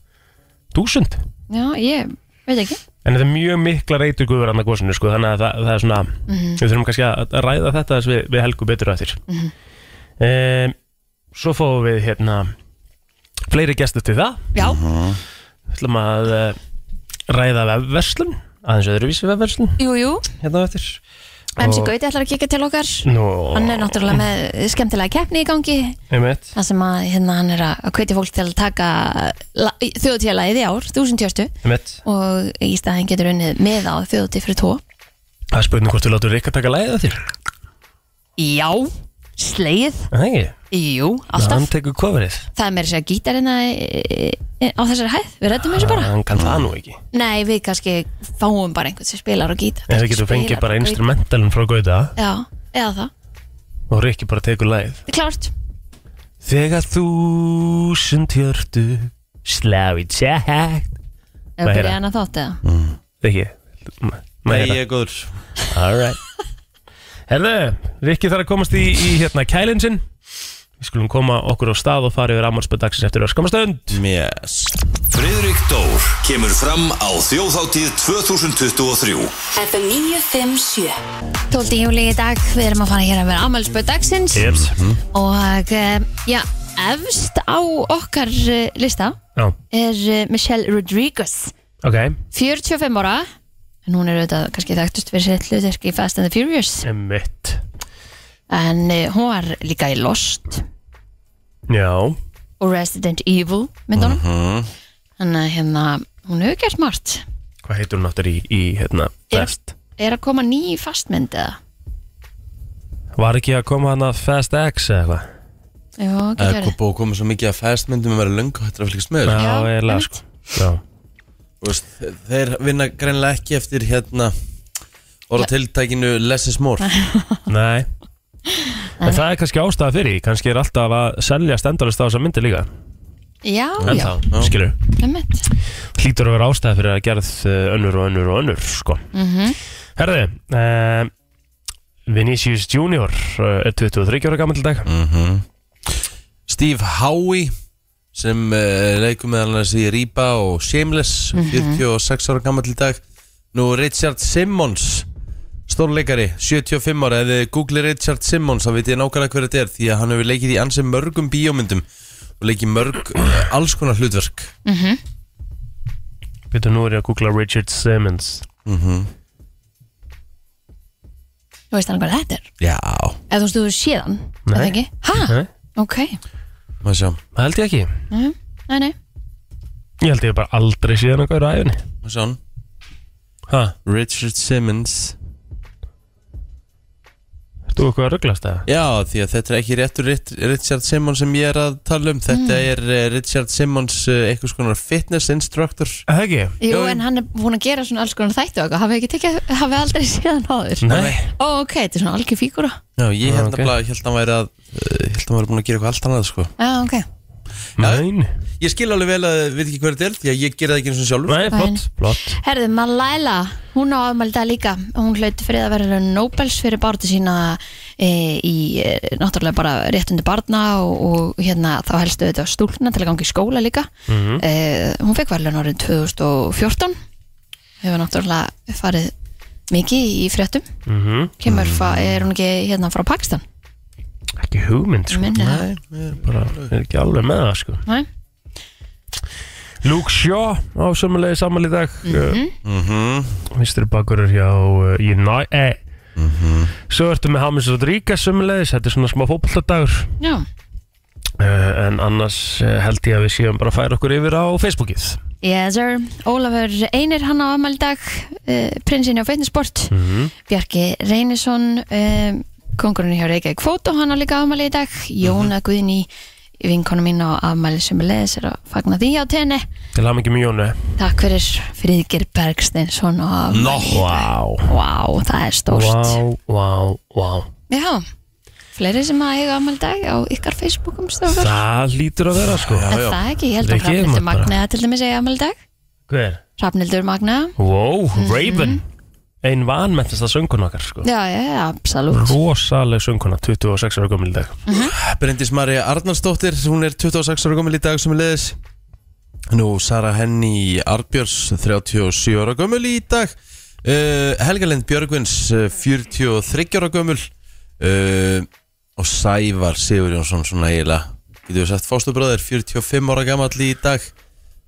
Speaker 3: 1000
Speaker 2: Já, ég veit ekki
Speaker 3: En þetta er mjög mikla reytur guður annað góðsunu sko, þannig að það, það er svona
Speaker 2: Mhm.
Speaker 3: við þurfum kannski að að ræða þetta þess við, við helgu betur að þér Svo fáum við hérna fleiri gestur til það
Speaker 2: Já,
Speaker 3: Við ætlum að uh, ræða vefverslun aðeins öðruvísi vefverslun
Speaker 2: jú, jú
Speaker 3: hérna á eftir
Speaker 2: MC
Speaker 3: Og-
Speaker 2: Gauti ætlar að kika til okkar
Speaker 3: Nú,
Speaker 2: Hann er náttúrulega með skemmtilega keppni í gangi
Speaker 3: einmitt
Speaker 2: Það sem að hérna, hann er að hvetja fólk til að taka þjóðtíðalagið í ár, 1020
Speaker 3: einmitt
Speaker 2: og í staðin getur unnið með á þjóðtíð fyrir tvo.
Speaker 3: Það er spurning hvort við látum Rikka taka læðið að þér
Speaker 2: Já, sleið,
Speaker 3: Það ekki,
Speaker 2: jú,
Speaker 3: hann
Speaker 2: alltaf.
Speaker 3: tekur coverið
Speaker 2: Það er meira að segja gítarina e, e, á þessari hæð, við rættum þessu bara.
Speaker 3: Hann kann það nú ekki
Speaker 2: Nei, við kannski fáum bara einhvern sem spilar og gítar.
Speaker 3: En við getum fengið
Speaker 2: Spilar
Speaker 3: bara
Speaker 2: og gítar.
Speaker 3: instrumentalin frá Gauta
Speaker 2: Já, eða það.
Speaker 3: og Rikki bara tekur læðið
Speaker 2: Það er klárt.
Speaker 3: Þegar þúsund hjörtu slá í tjækt
Speaker 2: Ef
Speaker 3: Maður
Speaker 2: við
Speaker 3: heyra.
Speaker 2: byrja hana þátt eða.
Speaker 3: Ekki
Speaker 1: Nei,
Speaker 3: Nei,
Speaker 1: ég er góður
Speaker 3: Alright Herðu, Rikki þarf að komast í, í hérna kælinn sinn Við skulum koma okkur á stað og fara yfir ammálspöð dagsins eftir öskamastönd
Speaker 1: Yes
Speaker 4: Friðrik Dór kemur fram á þjóðháttíð 2023
Speaker 5: FM 957
Speaker 2: 12. júli í dag, við erum að fara hér að vera afmælspöð dagsins
Speaker 3: Jeps
Speaker 2: og eh, já, efst á okkar eh, lista
Speaker 3: Já,
Speaker 2: er eh, Michelle Rodriguez
Speaker 3: ok
Speaker 2: 45 ára en hún er auðvitað kannski þekktust fyrir sitt hlutverk í Fast and the Furious
Speaker 3: Emmitt
Speaker 2: en eh, hún var líka í Lost
Speaker 3: Já
Speaker 2: og Resident Evil myndunum
Speaker 3: Mm.
Speaker 1: Mhm.
Speaker 2: þannig að hérna, hún hefur gert margt
Speaker 3: Hvað heitur hún áttur í, í hérna best?
Speaker 2: er að koma ný fastmynd eða
Speaker 3: Var ekki að koma hann að Fast X eða eitthvað?
Speaker 2: Jó, ekki
Speaker 1: Það er
Speaker 2: verið
Speaker 1: búið að koma svo mikið að festmyndum að vera löngu hættir að fylgjast með þessu.
Speaker 2: Já,
Speaker 3: eiginlega
Speaker 2: einmitt.
Speaker 3: sko Já
Speaker 1: Þú veist, Þeir vinna greinlega ekki eftir hérna orðatiltækinu less is more
Speaker 3: Nei En það er kannski ástæða fyrir, því. kannski er alltaf að selja stendalist á þessa myndi líka
Speaker 2: Já,
Speaker 3: En
Speaker 2: já,
Speaker 3: þá, skilur
Speaker 2: einmitt
Speaker 3: hlýtur að vera ástæða fyrir að gerð eh, önnur og önnur og önnur sko.
Speaker 2: Mhm.
Speaker 3: Herði uh, Vinicius Junior eh, er 23 ára gammal dag
Speaker 1: Mhm. Steve Howie sem uh, leikum meðal annars í Rýpa og Shameless
Speaker 2: Mhm.
Speaker 1: 46 ára gammal í dag nú Richard Simmons stórleikari, 75 ára eða googli Richard Simmons þá veit ég nákvæmlega hver þetta er því að hann hefur leikið í ansi mörgum bíómyndum og leikið mörg eh, alls konar hlutverk
Speaker 3: Býtu nú er ég að googla Richard Simmons
Speaker 1: Mhm.
Speaker 2: Þú veist hann hvað þetta er?
Speaker 1: Já,
Speaker 2: Eða þú veist þú hefur séð hann? er það
Speaker 3: Nei.
Speaker 2: ekki? Hæ?
Speaker 3: Nei,
Speaker 2: Ok,
Speaker 1: maður sjá
Speaker 3: það held ég ekki
Speaker 2: nei, nei
Speaker 3: Ég held ég bara aldrei síðan eitthvað á æfinni
Speaker 1: maður sjá hann
Speaker 3: Hæ,
Speaker 1: Richard Simmons
Speaker 3: ertu eitthvað að rugglast það?
Speaker 1: Já, því að þetta er ekki réttur Rit- Richard Simmons sem ég er að tala um Þetta
Speaker 2: Mm.
Speaker 1: er eh, Richard Simmons eh, einhvers konar fitness instructor
Speaker 3: Það ekki?
Speaker 2: Jú,
Speaker 1: Jú, jú.
Speaker 2: en hann er búin að gera svona alls konar þættu og eitthvað. hafið ekki tekið, hafið aldrei séð hann áður
Speaker 3: Nei,
Speaker 2: Ó, ok, þetta er svona algjör fígura
Speaker 1: Já, ég
Speaker 3: Ah,
Speaker 1: held
Speaker 3: ok.
Speaker 1: okay. að held að hann væri að eh, held að hann væri búin að gera eitthvað allt annað sko.
Speaker 2: Já, ok,
Speaker 3: nein
Speaker 1: Ég skil alveg vel að, veit ekki hver þetta er Því að ég gera það ekki eins og sjálfur
Speaker 3: Nei, flott, flott
Speaker 2: Herðu, Malaila, hún á afmæli í dag líka hún hlaut fyrir að vera Nobels fyrir barðu sína e, í e, náttúrulega bara réttundi barna og, og hérna þá helstu þetta stúlna til að ganga í skóla líka e, hún fekk verðlun árið 2014 hefur náttúrulega farið mikið í fréttum
Speaker 3: mm
Speaker 2: kemur,
Speaker 1: Mhm.
Speaker 2: mm er hún ekki hérna frá Pakistan
Speaker 3: Ekki hugmynd sko
Speaker 2: minni það,
Speaker 3: bara, Er ekki alveg með það sko
Speaker 2: næ?
Speaker 3: Luke Shaw á sömulegi samal í dag
Speaker 2: Mhm.
Speaker 3: Eh, Mhm. Vinstri bakurur hjá uh, United eh. Svo ertu með Hamis Rodríguez sömulegis Þetta er svona smá fótballtadagur
Speaker 2: Já,
Speaker 3: uh, En annars uh, held ég að við séum bara að færa okkur yfir á Facebookið
Speaker 2: Yes sir, Ólafur Einir hann á afmæli í dag, uh, prinsinni á fitnessport,
Speaker 3: Mhm.
Speaker 2: Bjarki Reynisson, uh, kongurinn hjá Reykjavík Fótó hann á líka afmæli í dag,
Speaker 3: Mhm.
Speaker 2: Jóna Guðni, vinkonu mín á afmæli sem er leðis er að fagna því á tenni.
Speaker 3: Til hafa mikið mjónu
Speaker 2: Takk fyrir Friðgir Bergsteinsson og afmæli.
Speaker 1: Nó,
Speaker 3: Vá,
Speaker 2: Vá, það er stórt.
Speaker 3: vá, vá, vá
Speaker 2: Já, fleiri sem að eiga afmæli í dag á ykkar Facebookum stofur. Það,
Speaker 3: Það lítur að vera sko
Speaker 2: það, það ekki, ég held að
Speaker 3: Rikki,
Speaker 2: Rafnildur
Speaker 3: maður bara-
Speaker 2: Magnaða til dæmis eiga afmæli í dag.
Speaker 3: Hver?
Speaker 2: Rafnildur Magnaða,
Speaker 3: Wow, Raven Ein vanmettasta söngun okkar sko
Speaker 2: já, já, já, absolutt.
Speaker 3: Rosaleg sönguna, 26 ára gömul í dag
Speaker 1: Bryndis Marja Arnarsdóttir Hún er 26 ára gömul í dag sem er leðis Nú, Sara Henny Arbjörns 37 ára gömul í dag uh, Helgalind Björgvins uh, 43 ára gömul uh, Og Sævar Sigurjónsson svona eiginlega Getur við sagt fósturbróðir 45 ára gamall í dag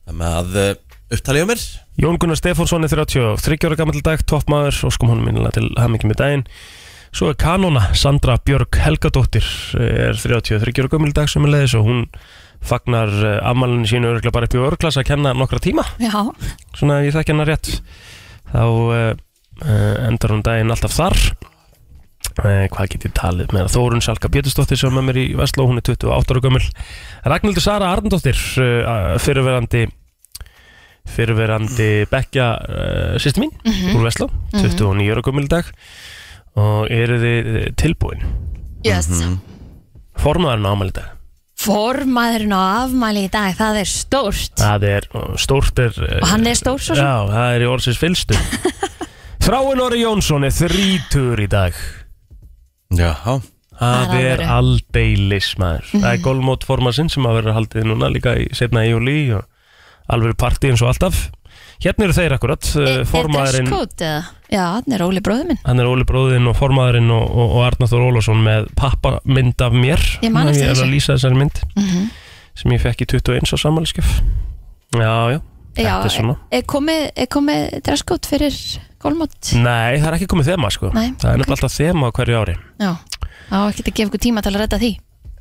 Speaker 1: Það með að uh, upptalið á mér
Speaker 3: Jón Gunnar Stefánsson er 33 ára gammal dag, toppmaður, óskum honum minnilega til hamingi með daginn. Svo er kanona Sandra Björg Helgadóttir er 33 ára gammal dag sem er leiðis og hún fagnar uh, ammælinu sínu örgla bara upp í örglas að kenna nokkra tíma,
Speaker 2: Já,
Speaker 3: svona ef ég þekki hennar rétt. Þá uh, uh, endar hún daginn alltaf þar. Uh, hvað get ég talið með það? Þórun Salka Bjötusdóttir sem er með mér í Vestló, hún er 28 ára gammal. Ragnhildur Sara Arndóttir, uh, fyrirverandi fyrirverandi Beckja uh, sýstu mín
Speaker 2: Mhm.
Speaker 3: úr Vestló 29 ára gömul í dag og eru þið tilbúin
Speaker 2: yes.
Speaker 3: formaðurinn ámæli í dag
Speaker 2: Formaðurinn á afmæli í dag, það er stórt
Speaker 3: það er uh, stórt er
Speaker 2: Og hann er stór svo sem
Speaker 3: já, það er í orðsins fylstu Þráin Orri Jónsson er þrítur í dag
Speaker 1: Já,
Speaker 3: Það
Speaker 2: Það er
Speaker 3: er
Speaker 2: alvöru. Mhm.
Speaker 3: aldeilis maður Það er golfmót formasinn sem að vera haldið núna líka í setna í júli og alveg partí eins og alltaf Hérna eru þeir akkurat
Speaker 2: Er- sko
Speaker 3: eh,
Speaker 2: Er
Speaker 3: Formaðurinn,
Speaker 2: dresscode eða? Já, þannig er Óli bróður minn
Speaker 3: hann er Óli bróðinn og formaðurinn og, og, og Arnar Þór Ólafsson með pappamynd af mér
Speaker 2: Ég man eftir
Speaker 3: Ég er
Speaker 2: þessu.
Speaker 3: að lýsa þessari mynd
Speaker 2: Mhm.
Speaker 3: sem ég fekk í 21 á sammæliskef Já, já,
Speaker 2: Já,
Speaker 3: þetta er svona
Speaker 2: er komið, er komið dresscode fyrir gólmót?
Speaker 3: Nei, það er ekki komið þema sko
Speaker 2: Nei,
Speaker 3: Það er nefnilega alltaf þema á hverju ári
Speaker 2: Já, þá ekki að gefa ykkur tíma til að redda því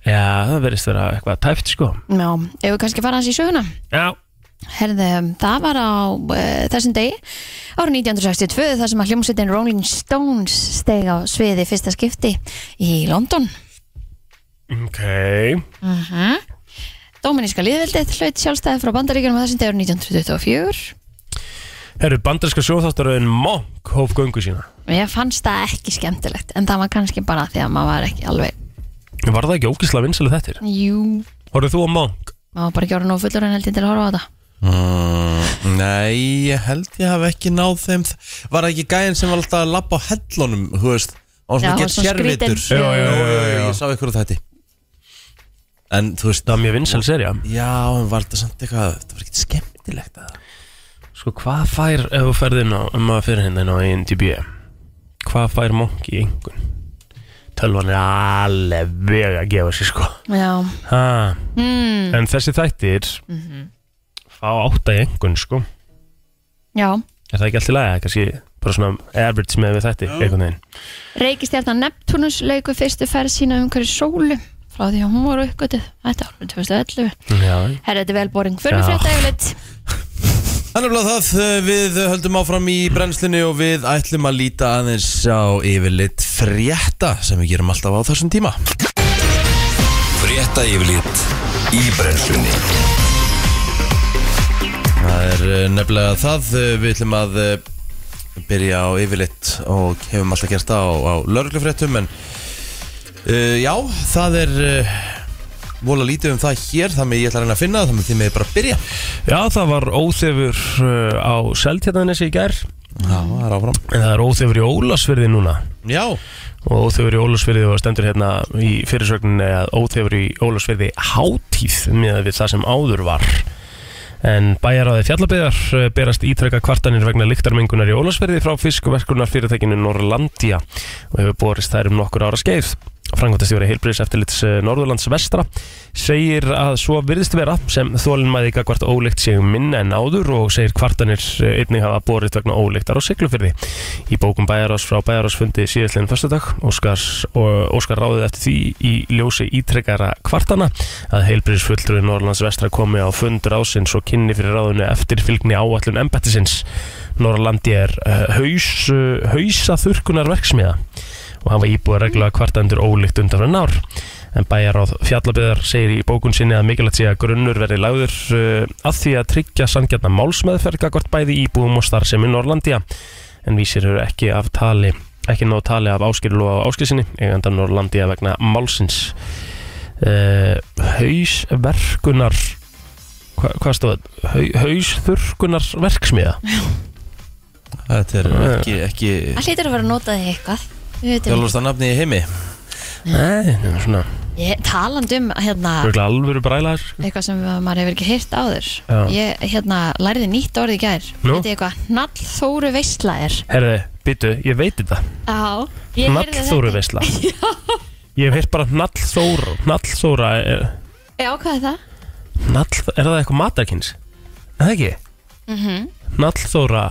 Speaker 3: Já, það verðist vera eitthvað tæft sko
Speaker 2: Já, ef við kannski fara hans í söguna
Speaker 3: Já,
Speaker 2: Herði, það var á uh, þessum degi árið 1962 þar sem að hljómsveitin Rolling Stones steg á sviði í fyrsta skipti í London
Speaker 3: ok
Speaker 2: Mhm. Dóminíska liðveldið hlaut sjálfstæði frá bandaríkjunum á þessum degi árið 1924
Speaker 3: Herru, bandarska sjóþáttaröðin Monk hóf göngu sína
Speaker 2: Ég fannst það ekki skemmtilegt en það var kannski bara því að maður var ekki alveg
Speaker 3: Var það ekki ógislega vinsælu þettir?
Speaker 2: Jú,
Speaker 3: Horfðu þú á Monk?
Speaker 2: maður var bara ekki orðin og fullur en heldur til að horfa á þetta
Speaker 1: Mm, nei, ég held ég haf ekki náð þeim Var það ekki gæðin sem var alltaf að labba á hellunum, þú veist Og
Speaker 2: Já,
Speaker 1: svona
Speaker 2: hann var
Speaker 1: gett
Speaker 2: svona
Speaker 1: sérvitur
Speaker 2: skrýtinn. Já, já,
Speaker 1: Jú, jú,
Speaker 3: já,
Speaker 1: jú,
Speaker 3: já.
Speaker 1: Ég sá ykkur á þetta En þú veist
Speaker 3: Það var mjög vinsæl serja
Speaker 1: Já, en var þetta samt eitthvað Það var ekkert skemmtilegt að
Speaker 3: Sko, hvað fær ef þú ferð inn á ef maður fyrir hérna inn á INTB Hvað fær Monk í engun? Tölvan er alveg að gefa sér sko
Speaker 2: Já,
Speaker 3: ha. mm. En þessi þættir fá átta í engun sko
Speaker 2: já
Speaker 3: Er það ekki allt í lagi? Það er Kannski bara svona average með við þætti einhvern veginn
Speaker 2: Reykistjarnan Neptunus lauku fyrstu ferð sína umhverju sólu frá því að hún var uppgötuð Þetta var árið 2011
Speaker 3: Já,
Speaker 2: Herra, þetta er velboring fyrir
Speaker 3: Já.
Speaker 2: frétta yfirleitt
Speaker 1: Þannig að það, eh, við höldum áfram í brennslunni og við ætlum að líta aðeins á yfirleitt frétta sem við gerum alltaf á þessum tíma
Speaker 4: Frétta yfirlit í brennslunni
Speaker 1: Það er eh, nefnilega það, eh, við ætlum að eh, byrja á yfirleitt og hefum alltaf gert það á, á lörglufréttum en uh, já, það er uh, vola lítið um það hér, þannig ég ætla að reyna að finna það, þannig þið meði bara að byrja
Speaker 3: Já, það var óþefur uh, á Seltjarnanessi í gær
Speaker 1: Já, það er áfram
Speaker 3: en það er óþefur í Ólasfyrði núna
Speaker 1: Já,
Speaker 3: og óþefur í Ólasfyrði og stendur hérna í fyrirsögninni að óþefur í Ólasfyrði hátíð með við það sem áður var en bæjaráði fjallabiðar uh, berast ítrekka kvartanir vegna lyktarmengunar í Ólasfyrði frá fiskverkunar fyrirtækinu Norrlandia og hefur borist þær um nokkur ára skeið Frangvandastjóri heilbriðis eftirlits eh, Norðurlands vestra segir að svo virðist vera sem þólinnmæði gagvart óleikt séu minna en áður og segir kvartanir eh, einnig hafa borist vegna óleiktar á siglufyrði. Í bókum bæjarás frá bæjarásfundi síðastleginn föstudag Óskar, Óskar ráðið eftir því í ljósi ítrekkara kvartana að heilbriðis fulltrúi Norðurlands vestra komi á fund rásins og kynni fyrir ráðinu eftir fylgni áallun embættisins. Norrlandi er uh, haus, uh, hausa og hafa íbúið reglulega kvartandur ólíkt undanfærin ár. En bæjaráð fjallabiðar segir í bókun sinni að mikilvægt sé að grunnur verði lagður uh, að því að tryggja sangjarna málsmeðferð gagvart bæði íbúum og starfsemi Norrlandia en vísir eru ekki af tali ekki nóg tali af áskillu og áskilsinni eiganda Norrlandia vegna málsins uh, hausverkunar hva, hvað stóð þetta? Hau, hausþurkunar verksmiða
Speaker 1: þetta er ekki, ekki
Speaker 2: Það hlýtur að vera að nota þig eitthvað Við vitum-
Speaker 1: þjálfursta nafni í heimi
Speaker 3: Nei, svona,
Speaker 2: Ég, talandi um hérna,
Speaker 3: örugglega alvöru brælaðar
Speaker 2: eitthvað sem maður hefur ekki heyrt áður
Speaker 3: Já.
Speaker 2: Ég hérna, læriði nýtt orðið í gær
Speaker 3: Nú?
Speaker 2: Þetta er eitthvað Nallþóru veistla er
Speaker 3: Herði, byttu, ég veit þetta
Speaker 2: Já, ég heyrði þetta.
Speaker 3: Nallþóru veisla Ég hef heilt bara Nallþóra Nallþóra er,
Speaker 2: Já, hvað er það?
Speaker 3: nall, er það eitthvað matarkins? Er það ekki? Mm -hmm. Nallþóra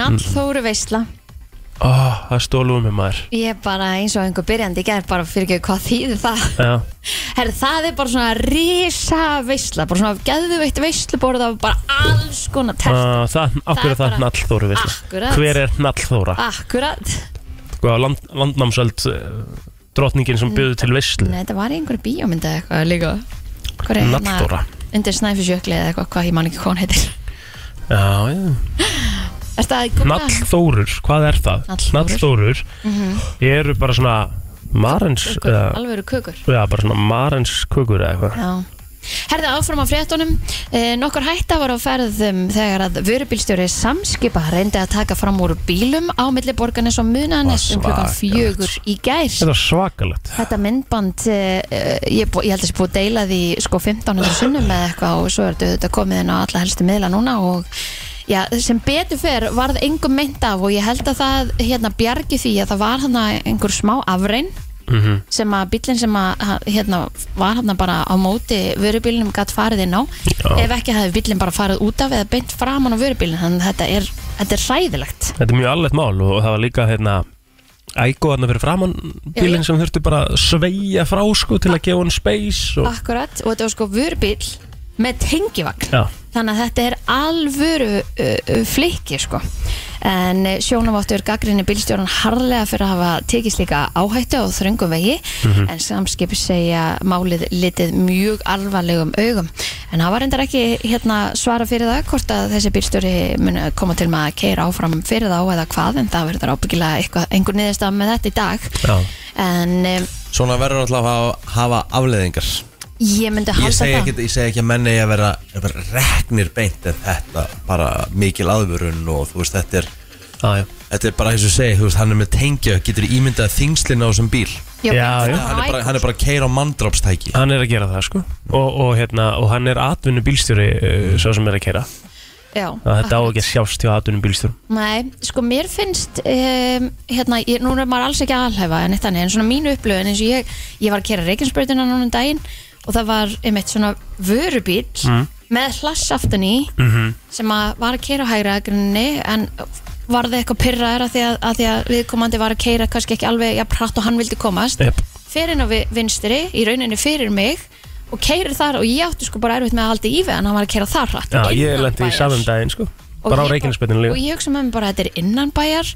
Speaker 2: Nallþóru veistla
Speaker 3: Ó, ah, það stólum við maður
Speaker 2: Ég bara eins og einhver byrjandi í gær bara fyrir ekki hvað þýðir það
Speaker 3: Já,
Speaker 2: Herri, það er bara svona risa veistla bara svona geðveitt veistluborð af bara alls konar tert
Speaker 3: uh, það,
Speaker 2: Það
Speaker 3: akkur
Speaker 2: er
Speaker 3: er það
Speaker 2: bara-
Speaker 3: Nallþóru veisla
Speaker 2: Akkurat. Ah.
Speaker 3: Hver er Nallþóra?
Speaker 2: Akkurat
Speaker 3: Sko, á land, landnámsöld uh, Drotningin sem bjöðu til veislu
Speaker 2: Nei, þetta var í einhverju bíómynda eitthvað líka Hver er hérna
Speaker 3: Nallþóra
Speaker 2: undir snæfisjökli eða eitthvað hvað ég man ekki hvað hún heitir
Speaker 3: Já, já
Speaker 2: Er það að googla?
Speaker 3: Nallþórur, hvað er það?
Speaker 2: Nallþórur. Mm.
Speaker 3: Nallþórur Eru bara svona Marens
Speaker 2: Kökur,
Speaker 3: eða,
Speaker 2: Mhm. alvöru kökur
Speaker 3: Já, bara svona marens kukur eða eitthvað
Speaker 2: Já, Herði áfram á fréttunum eh, Nokkur hætta var á ferðum þegar að vörubílstjóri samskipa reyndi að taka fram úr bílum á milli borgarnes og munanes
Speaker 1: Var
Speaker 2: um klukkan
Speaker 1: svakalegt.
Speaker 2: fjögur í gær
Speaker 3: Þetta er svakalegt
Speaker 2: Þetta myndband eh, eh, ég, er bú- ég held að sé búið að deila því sko 1500 sunnum eða eitthvað og svo er þetta auðvitað komið inn á alla helstu miðla núna og já, sem betur fer varð engum mynd af og ég held að það hérna bjargi því að það var hann einhver smá afrein
Speaker 3: Mhm.
Speaker 2: sem að bílinn sem að ha- hérna, var hann bara á móti vörubílinum gætt farið inn á
Speaker 3: Já.
Speaker 2: ef ekki hefði bílinn bara farið út af eða beint framan á vörubílinn þannig að þetta er, þetta er hræðilegt
Speaker 3: Þetta er mjög alveg mál og það var líka hérna ægó þarna fyrir framann
Speaker 2: Já,
Speaker 3: bílinn sem þurfti bara að sveigja frá sko til að gefa hann space og
Speaker 2: akkurat og þetta var sko vörubíl með tengivagn
Speaker 3: Já,
Speaker 2: Þannig að þetta er alvöru uh, uh, flikki sko. En uh, sjónaváttur gaggrinni bílstjóran harlega fyrir að hafa tekið slíka áhættu á þröngum vegi
Speaker 3: Mhm.
Speaker 2: en samskipi segja málið litið mjög alvarlegum augum. En það var reyndar ekki hérna, svara fyrir það hvort að þessi bílstjóri mun koma til með að keira áfram fyrir þá eða hvað en það verður ábyggilega eitthvað, einhver niðurstaf með þetta í dag.
Speaker 3: já,
Speaker 2: En um,
Speaker 1: Svona verður alltaf að hafa- hafa afleðingar
Speaker 2: ég myndi halda
Speaker 1: ég segi,
Speaker 2: það.
Speaker 1: ekki, ég segi ekki að menni að vera, að vera reknir beint en þetta bara mikil aðvörun og þú veist þetta er
Speaker 3: já, já.
Speaker 1: Þetta er bara eins og ég segi, þú veist, hann er með tengja getur ímyndað þingslinn á þessum bíl
Speaker 3: Já, já.
Speaker 1: hann er, bara, hann er bara að keira á manndrápstæki
Speaker 3: Hann er að gera það sko og, og, hérna, og hann er atvinnu bílstjóri uh, svo sem er að keira
Speaker 2: Já,
Speaker 3: að þetta á
Speaker 2: akkurat.
Speaker 3: ekki að sjást hjá atvinnu bílstjórum
Speaker 2: Nei, sko mér finnst um, hérna, ég, núna er maður alls ekki að alhæfa en, eitt þannig, en svona mínu upplöðin eins og ég ég var að kera reikinsbreytina núna um daginn og það var einmitt svona vörubíl
Speaker 3: Mm. Mhm.
Speaker 2: með hlassaftun í -hmm. sem að var að kera á hægra agrinni en var það eitthvað pyrraður að því að, að því að viðkomandi var að keira kannski ekki alveg jafn hratt og hann vildi komast
Speaker 3: yep.
Speaker 2: fer inn á vi- vinstri, í rauninni fyrir mig og keirir þar og ég átti sko bara erfitt með að halda í við en hann var að keira þar hratt
Speaker 3: Já, ég
Speaker 2: Innan
Speaker 3: lendi í
Speaker 2: bæjar
Speaker 3: samum daginn sko
Speaker 2: og
Speaker 3: bara á
Speaker 2: ég
Speaker 3: reikinsbyrðinu
Speaker 2: og
Speaker 3: líka
Speaker 2: ég hugsa með mér bara að þetta er innan bæjar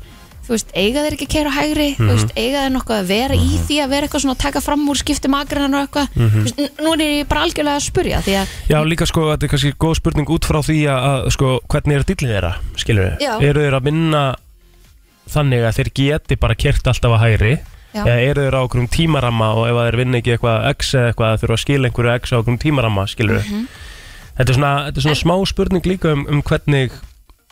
Speaker 2: þú veist, eiga þeir ekki að keira á hægri þú veist,
Speaker 3: Mhm.
Speaker 2: eiga þeir nokkuð að vera í því að vera eitthvað svona að taka fram úr skiptum agrann og eitthvað
Speaker 3: Mhm.
Speaker 2: þú veist, n- nú er ég bara algjörlega að spurja því að
Speaker 3: Já, líka sko, þetta er kannski góð spurning út frá því að, að sko, hvernig er dillin þeirra, skilur við?
Speaker 2: Já.
Speaker 3: Eru þeir að vinna þannig að þeir geti bara kert alltaf að hægri?
Speaker 2: Já.
Speaker 3: Eða eru þeir á okkur um tímaramma og ef að þeir vinna ekki eitthvað x eða eitthvað þurfa að skila einhverju x á okkur um tímaramma, skilur við?
Speaker 2: Mhm.
Speaker 3: Þetta er svona, þetta er svona smá spurning líka um, um hvernig,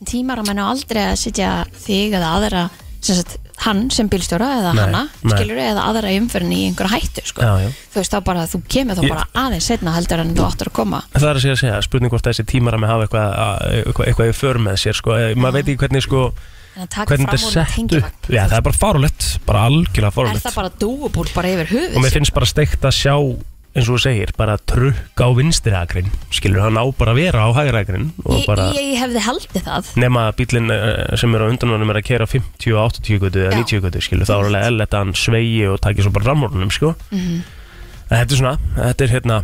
Speaker 2: tímar að menna aldrei að sitja þig eða aðra sem sagt, hann sem bílstjóra eða
Speaker 3: Nei,
Speaker 2: hanna
Speaker 3: nei.
Speaker 2: skilur eða aðra í umferðinni í einhverja hættu sko.
Speaker 3: Já, já.
Speaker 2: þú veist þá bara að þú kemur þá
Speaker 3: Ég-
Speaker 2: bara aðeins setna heldur en þú áttur að koma
Speaker 3: það er að segja að segja, spurning hvort þessi tímarammi hafa eitthvað, að- eitthvað, eitthvað í för með sér, sko, Eh, maður veit ekki hvernig, sko,
Speaker 2: en að taka
Speaker 3: hvernig
Speaker 2: fram
Speaker 3: þetta
Speaker 2: úr
Speaker 3: er sett
Speaker 2: tengivagn
Speaker 3: upp. Já, það er bara farulegt, bara algjörlega
Speaker 2: er
Speaker 3: farulegt.
Speaker 2: það bara dúubúl bara yfir höfuð
Speaker 3: og mér
Speaker 2: sér?
Speaker 3: finnst bara steikt að sjá eins og þú segir, bara trukk á vinstriakrin skilur, hann á bara að vera á hægrakrin og
Speaker 2: ég,
Speaker 3: bara
Speaker 2: ég hefði haldið það
Speaker 3: nema að bílinn eh, sem er á undanvænum er að kera 50, 80 gutu eða
Speaker 2: Já.
Speaker 3: 90 gutu skilur, þá er alveg ell að hann sveigi og taki svo bara rammorunum sko.
Speaker 2: Mhm.
Speaker 3: en þetta er svona, þetta er hérna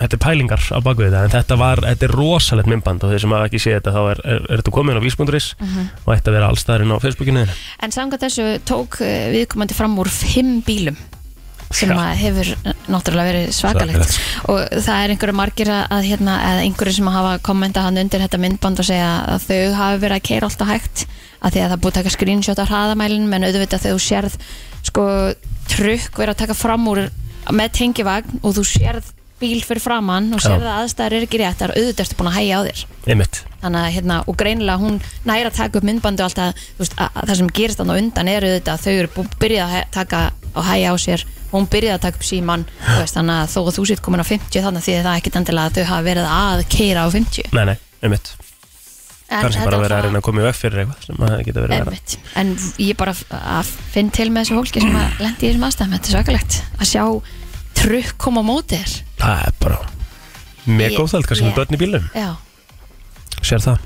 Speaker 3: þetta er pælingar á baku þetta en þetta var, þetta er rosalegt myndband og þeir sem hafa ekki séð þetta þá er, er, er þetta komin á vísbunduris
Speaker 2: Mhm.
Speaker 3: og þetta vera allstæðurinn á Facebookinu þínu.
Speaker 2: En samkvæmt þessu tók eh, viðkomandi fram úr fimm bílum sem
Speaker 3: Já. sko.
Speaker 2: að hefur eh, náttúrulega verið svakalegt og það er einhverju margir að, að hérna, eða einhverju sem hafa kommenta hann undir þetta myndband og segja að þau hafi verið að keira alltaf hægt að því að það er búið að taka screenshot á hraðamælin menn auðvitað þegar þú sérð sko trukk verið að taka fram úr með tengivagn og þú sérð bíl fyrir framann og
Speaker 3: Já.
Speaker 2: sérð að aðstæður er ekki réttar auðvitað ertu búin að hægja á þér
Speaker 3: einmitt,
Speaker 2: þannig að hérna, og greinilega hún næra að taka upp myndbandi og alltaf þú veist, að, að það sem gerist þannig undan er auðvitað að þau eru bú- byrjað að he- taka og hæja á sér og hún byrjaði að taka upp síman veist, þannig að þó að þú sitt komin á 50 þannig að því að það ekkit endilega að þau hafa verið að keira á 50
Speaker 3: nei nei, einmitt
Speaker 2: En
Speaker 3: kannski
Speaker 2: þetta er
Speaker 3: bara verið að
Speaker 2: svona-
Speaker 3: reyna að koma í veg fyrir eitthvað sem að geta verið að vera
Speaker 2: Einmitt. En ég bara f- að finn til með þessu fólki sem að lendi í þessum aðstæðum þetta er svakalegt að sjá trukk koma á móti þér
Speaker 3: Það er bara
Speaker 2: Ég-
Speaker 3: mega óþæld, kannski
Speaker 2: ég-
Speaker 3: með börn í bílum
Speaker 2: Já,
Speaker 3: Sér það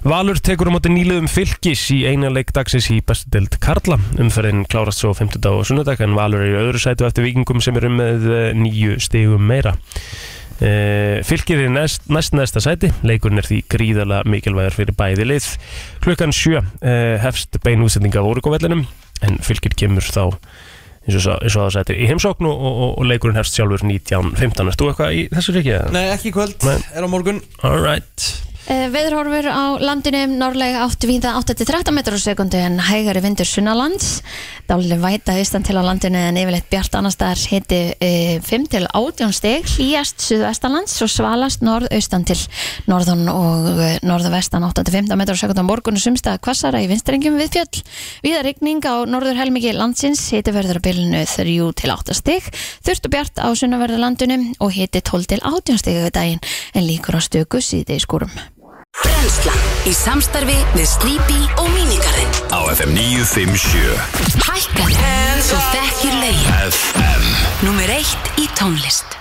Speaker 3: Valur tekur á móti nýliðum fylgis í eina leik dagsins í bestu deild Karla umferðin klárast svo 50 og sunnudag en Valur er í öðru sætu eftir vikingum sem eru með eh, nýju stigum meira Uh, fylgir er næst, næst næsta sæti leikurinn er því gríðala mikilvægur fyrir bæði lið klukkan 7 uh, hefst bein útsending af órukovellinum en fylgir kemur þá eins og, sa- eins og það sætir í heimsókn og, og, og leikurinn hefst sjálfur 19.15 Erst þú eitthvað í þessu reikið?
Speaker 1: Nei, ekki í kvöld,
Speaker 3: Nei.
Speaker 1: er á morgun
Speaker 3: Alright
Speaker 2: Eh, Veðurhorfur á landinu um norðlega átt víða 8-13 metrar á sekundu en hægari vindur sunnalands dálileg væta austan til á landinu en yfirleitt bjart annars staðar hiti eh, 5-18 steg hlýjast suðvestanlands og svalast norðaustan til norðan og eh, norðvestan 8-15 metrar á sekundu á morgunu sumstaða kvassara í vinstrengjum við fjöll viða rigning á norður helmingi landsins hiti verður á bylunu 3-8 steg þurft og bjart á sunnaverðu landinu og hiti 12-18 steg við daginn en líkur á stöku síðið
Speaker 5: Brennslan í samstarfi við Sleepy og Minigarinn
Speaker 4: Á FM 957
Speaker 5: Hækkar Svo þekkir legin
Speaker 4: FM
Speaker 5: Númer eitt í tónlist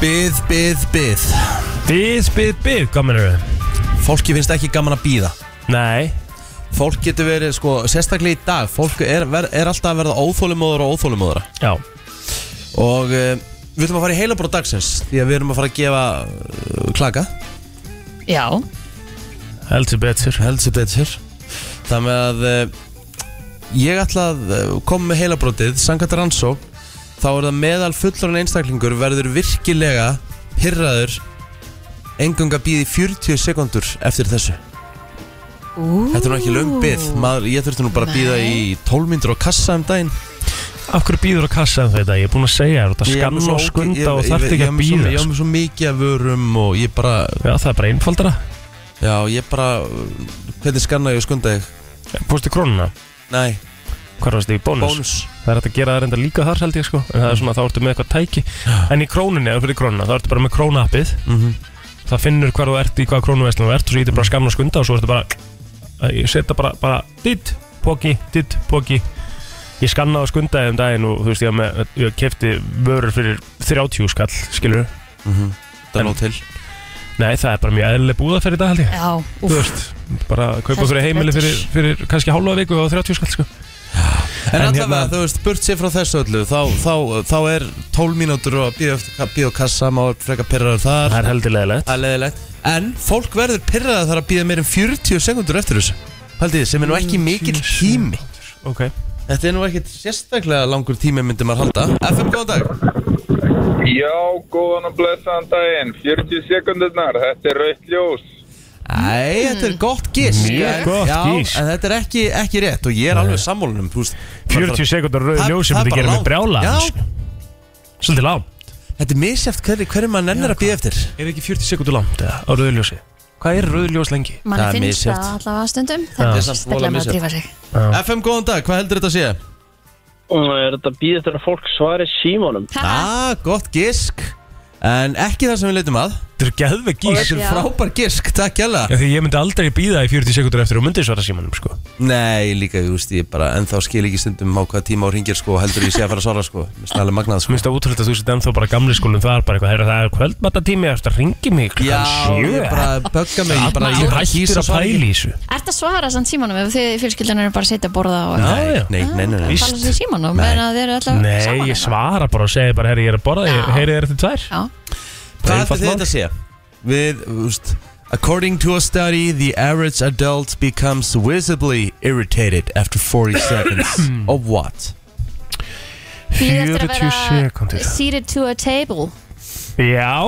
Speaker 1: Bið, bið, bið
Speaker 3: Bið, bið, bið, hvað mennur við?
Speaker 1: Fólki finnst ekki gaman að býða
Speaker 3: Nei,
Speaker 1: Fólk getur verið, sko, sérstaklega í dag Fólk er, ver, er alltaf að verða óþólumóður og óþólumóðura
Speaker 3: já,
Speaker 1: Og uh, við ætlum að fara í heilabrót dagsins Því að við erum að fara að gefa uh, klaka
Speaker 2: Já,
Speaker 3: heldur betur
Speaker 1: Heldur betur Þannig að uh, ég ætla að uh, koma með heilabrótið Sankat rannsók Þá er það meðal fullorinn einstaklingur Verður virkilega pyrraður Engunga býði 40 sekundur eftir þessu Þetta er nú ekki löng bið Maður, Ég þurfti nú bara að býða í 12 myndur og kassa um daginn
Speaker 3: Af hverju býður á kassa en þetta? Ég er búin að segja þér, þú ert að
Speaker 1: Ég er
Speaker 3: skanna
Speaker 1: með svo
Speaker 3: og
Speaker 1: ógeð-
Speaker 3: skunda
Speaker 1: ég-
Speaker 3: og
Speaker 1: ég-
Speaker 3: þarft
Speaker 1: ég
Speaker 3: ekki
Speaker 1: er
Speaker 3: að
Speaker 1: með svo-
Speaker 3: býða
Speaker 1: Ég hef
Speaker 3: sko.
Speaker 1: með svo mikið af vörum og ég bara
Speaker 3: Já, það er bara einfaldara
Speaker 1: Já, ég bara Hvernig skanna ég og skunda ég?
Speaker 3: Fórstu í krónuna?
Speaker 1: Nei,
Speaker 3: Hvað varstu í bónus?
Speaker 1: bónus
Speaker 3: Það er hægt að gera það reynda líka þar held ég sko En það er svona, þá ertu með eitthvað tæki En í krónunni, eða fyrir krónuna, þá ertu bara með krónappið
Speaker 1: Mhm.
Speaker 3: Það finnur hvar þú ert í hvaða krónuveslun þú ert Og svo getur bara að skamna og skunda og svo ertu bara að Ég setja bara, bara, ditt, póki, ditt, póki Ég skannaði og skundaði um daginn og þú veist ég var með, ég kefti vörur fyrir 30 skall, skilur
Speaker 1: Mhm. Það er nóg til
Speaker 3: Nei, það er bara mjög eðlileg búðaferð í dag held ég
Speaker 2: já,
Speaker 3: Þú
Speaker 2: úf,
Speaker 3: veist, bara að kaupa
Speaker 2: Heldur
Speaker 3: fyrir heimili
Speaker 2: betur.
Speaker 3: fyrir, fyrir kannski hálfa viku og 30 skall sko
Speaker 1: En
Speaker 3: En
Speaker 1: allavega,
Speaker 3: hérna-
Speaker 1: þú veist, burt sér frá þessu öllu Þá, þá, þá er 12 mínútur og býða eftir býða á kassa Má freka pyrraður þar
Speaker 3: Það er heldur leðilegt
Speaker 1: Það er leðilegt En fólk verður pyrraður þar að býða meir en 40 sekundur eftir þessu Haldið, þið, sem er nú ekki mikill tími
Speaker 3: Ok,
Speaker 1: Þetta er nú ekkit sérstaklega langur tími myndi maður halda FM, góðan dag
Speaker 6: Já, góðan og blessaðan daginn, 40 sekundurnar, þetta er rautt ljós.
Speaker 1: Æ, þetta er gott gísk
Speaker 3: Mjög gott
Speaker 1: Já,
Speaker 3: gísk.
Speaker 1: en þetta er ekki, ekki rétt Og ég er alveg sammálunum
Speaker 3: 40 sekundar rauð
Speaker 1: Það-
Speaker 3: ljósi
Speaker 1: það er
Speaker 3: myndi
Speaker 1: bara
Speaker 3: gera mig
Speaker 1: langt.
Speaker 3: brjála
Speaker 1: Já.
Speaker 3: Svolítið langt
Speaker 1: Þetta er misjæft hverju hver maður nennir að býða eftir
Speaker 3: Er ekki 40 sekundur langt eða, á rauð ljósi? Hvað er rauð ljós lengi?
Speaker 2: mann
Speaker 1: Það er
Speaker 2: finnst
Speaker 1: misjafnt.
Speaker 2: það allavega stundum
Speaker 3: Já.
Speaker 2: Það
Speaker 1: Þetta
Speaker 2: er
Speaker 1: er samt voðalega
Speaker 2: staklega með að
Speaker 1: misjafnt.
Speaker 2: drífa sig
Speaker 1: FM, góðan dag, hvað heldur þetta að sé?
Speaker 7: Og er þetta býð eftir að fólk svari símónum?
Speaker 1: Ah, gott gisk En ekki það sem við leitum að
Speaker 3: Þetta er geðveg gís
Speaker 1: Þetta er frábær gisk, takk jæla
Speaker 3: Já, því ég myndi aldrei býða í 40 sekundur eftir og myndi svara símanum sko
Speaker 1: Nei, líka, þú veist, ég bara En þá skil ekki stundum á hvaða tíma á ringir sko og Heldur ég sé að fara að svara sko Mér snæðlega magnað
Speaker 3: Mér
Speaker 1: sko
Speaker 3: finnst það útrúlega að þú sett ennþá bara gamli skólum það er bara eitthvað, heyrðu, það er kvöldmattatími eftir að ringi mig
Speaker 1: Já,
Speaker 3: klukkan sjö
Speaker 1: ég bara bögga mig Ég bara,
Speaker 3: Þarna,
Speaker 1: ég
Speaker 3: Þú
Speaker 1: bara
Speaker 3: hættir
Speaker 1: kýs
Speaker 3: að
Speaker 1: svara
Speaker 3: pæla í
Speaker 1: ekki.
Speaker 3: þessu
Speaker 2: Ert að svara samt símanum ef þið fjölskyldan eru bara að sitja að borða og
Speaker 3: Já,
Speaker 1: Nei,
Speaker 3: já.
Speaker 1: nei, nei, nei, nei.
Speaker 3: víst.
Speaker 2: tala sér símanum meðan að þið eru allavega
Speaker 3: Nei,
Speaker 2: saman
Speaker 3: ég
Speaker 2: hérna.
Speaker 3: svara bara og segi bara, herri, ég er að borða, ég
Speaker 2: Já.
Speaker 3: heyri þér eftir tvær
Speaker 2: Já,
Speaker 1: Hvað
Speaker 3: Einfalt
Speaker 1: heldur þið
Speaker 3: mál.
Speaker 1: þetta að sé? Við, þú veist According to a study, the average adult becomes visibly irritated after 40 seconds of what?
Speaker 2: Bíða eftir að
Speaker 3: 40
Speaker 2: vera
Speaker 3: sekundur
Speaker 2: Seated to a table
Speaker 3: Já,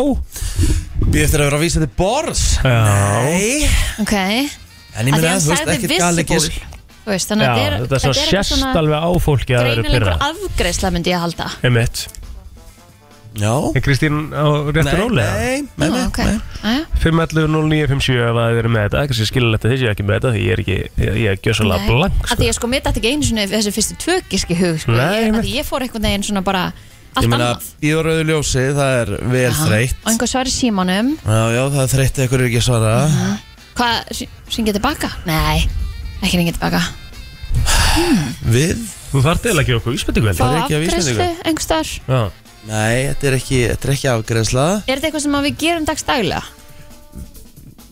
Speaker 1: Við eftir að vera að vísa þið borðs?
Speaker 3: Já.
Speaker 1: Nei
Speaker 2: Ok,
Speaker 1: En
Speaker 2: að því
Speaker 1: ég meina,
Speaker 2: hann
Speaker 1: þú veist,
Speaker 2: sagði
Speaker 1: ekkert gali
Speaker 2: visible
Speaker 1: gisk
Speaker 2: Þú veist, þannig
Speaker 3: já
Speaker 2: að þetta er-
Speaker 3: þetta er svona
Speaker 2: eitthvað
Speaker 3: sérst alveg á fólki að það eru
Speaker 2: Greinilega
Speaker 3: pyrrað
Speaker 2: einhver afgreisla myndi ég halda
Speaker 3: Einmitt
Speaker 1: Já
Speaker 3: Er Kristín á réttu róli?
Speaker 1: Nei, nei, nei,
Speaker 2: Já, ok.
Speaker 1: nei.
Speaker 2: Jæja.
Speaker 3: 5.11.09.57 ef að þið eru með þetta Það er kannski skililegt að þið séu ekki með þetta Því ég er ekki, ég, ég er gjössalega
Speaker 2: Nei.
Speaker 3: blank
Speaker 2: Af Því
Speaker 3: sko.
Speaker 2: ég sko mitt að ekki einu svona þessi fyrstu tvökiski hug sko.
Speaker 3: Nei,
Speaker 2: Ég- af
Speaker 3: nei.
Speaker 2: Því ég fór einhvern veginn svona bara allt
Speaker 1: Ég meina,
Speaker 2: annað
Speaker 1: í rauðu ljósi, það er vel
Speaker 2: Já.
Speaker 1: þreytt
Speaker 2: Og einhver svar í símanum
Speaker 1: Já, já, það er þreytt ef ykkur er ekki að svara
Speaker 2: Mhm. Hvað, syngja tilbaka? Nei, ekki ringja tilbaka
Speaker 1: Við?
Speaker 3: Þú þarf til að gefa okkur íspendingu
Speaker 2: Fá
Speaker 3: heldur
Speaker 1: er ekki að vísa
Speaker 2: afgreiðslu
Speaker 1: neikur.
Speaker 2: einhvers staðar
Speaker 3: Já.
Speaker 1: Nei, þetta er ekki, þetta er ekki afgreðsla
Speaker 2: Er þetta eitthvað sem að við gerum dagstæglega?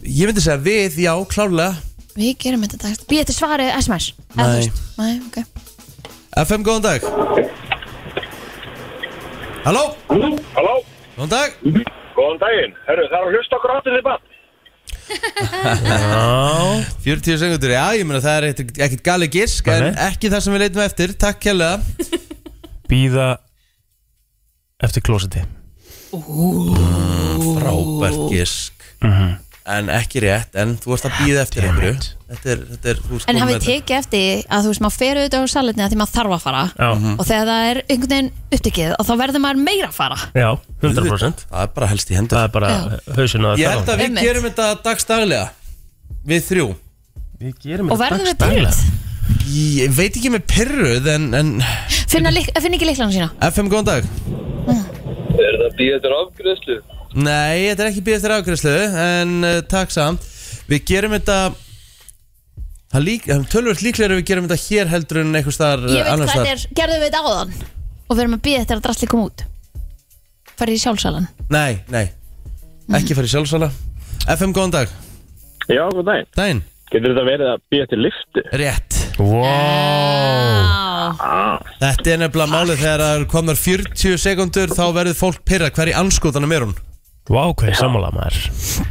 Speaker 1: Ég myndi segja við, já, klárlega
Speaker 2: Við gerum þetta dagstæglega Býð þetta svarið SMS Eða
Speaker 1: Nei.
Speaker 2: þú veist. Nei,
Speaker 1: Sko,
Speaker 2: ok
Speaker 1: FM, góðan dag Halló,
Speaker 6: Halló,
Speaker 1: góðan dag
Speaker 6: góðan daginn, herru, það er að hlusta okkur áttir þið bann.
Speaker 3: Já,
Speaker 1: 40 sekundur, já, ég meina það er ekkert- ekkert gali gisk En
Speaker 3: Nei, nei.
Speaker 1: ekki það sem við leitum eftir, takk kjærlega
Speaker 3: býða eftir klósiti
Speaker 1: Frábært gisk
Speaker 3: Mhm.
Speaker 1: En ekki rétt, en þú ert að býða eftir einhverju Þetta er, þetta er þú
Speaker 2: En
Speaker 1: ert komin
Speaker 2: hafið
Speaker 1: með
Speaker 2: tekið eftir að þú veist maður fer auðvitað á salinni að því maður þarf að fara
Speaker 3: Já,
Speaker 2: Mhm.
Speaker 1: Mm.
Speaker 2: og þegar það er einhvern veginn upptekið og þá verður maður meira að fara
Speaker 3: já,
Speaker 1: þetta.
Speaker 3: 100%
Speaker 1: Það er bara helst í hendur
Speaker 3: Það er bara hausin að
Speaker 1: Ég held að við
Speaker 2: Einmitt.
Speaker 1: gerum þetta dagstaglega Við þrjú
Speaker 3: Við gerum
Speaker 2: og
Speaker 3: þetta
Speaker 2: verður við
Speaker 3: dagsdaglega.
Speaker 2: byrjuð
Speaker 1: Ég veit ekki með pyrruð en, en
Speaker 2: finna, lyk- finna ekki líklarna sína
Speaker 1: FM góðan dag
Speaker 6: Er það býð eftir afgreðslu?
Speaker 1: Nei, þetta er ekki býð eftir afgræslu En uh, takk samt Við gerum þetta Það lík, það er tölvöld líklega við gerum þetta hér heldur en einhvers uh, þar
Speaker 2: Ég veit hvað þetta er, gerðum við þetta áðan og við erum að býða eftir að drastli koma út farið í sjálfsalan
Speaker 1: Nei, nei, ekki fara í sjálfsala FM góðan dag,
Speaker 7: Já, góð daginn.
Speaker 1: daginn
Speaker 7: Getur þetta verið að býja til liftu?
Speaker 1: Rétt
Speaker 3: Wow
Speaker 2: ah.
Speaker 1: Þetta er nefnilega málið þegar það komar 40 sekundur þá verður fólk pyrra hverju anskotanum er hún
Speaker 3: Wow, hvað er sammála maður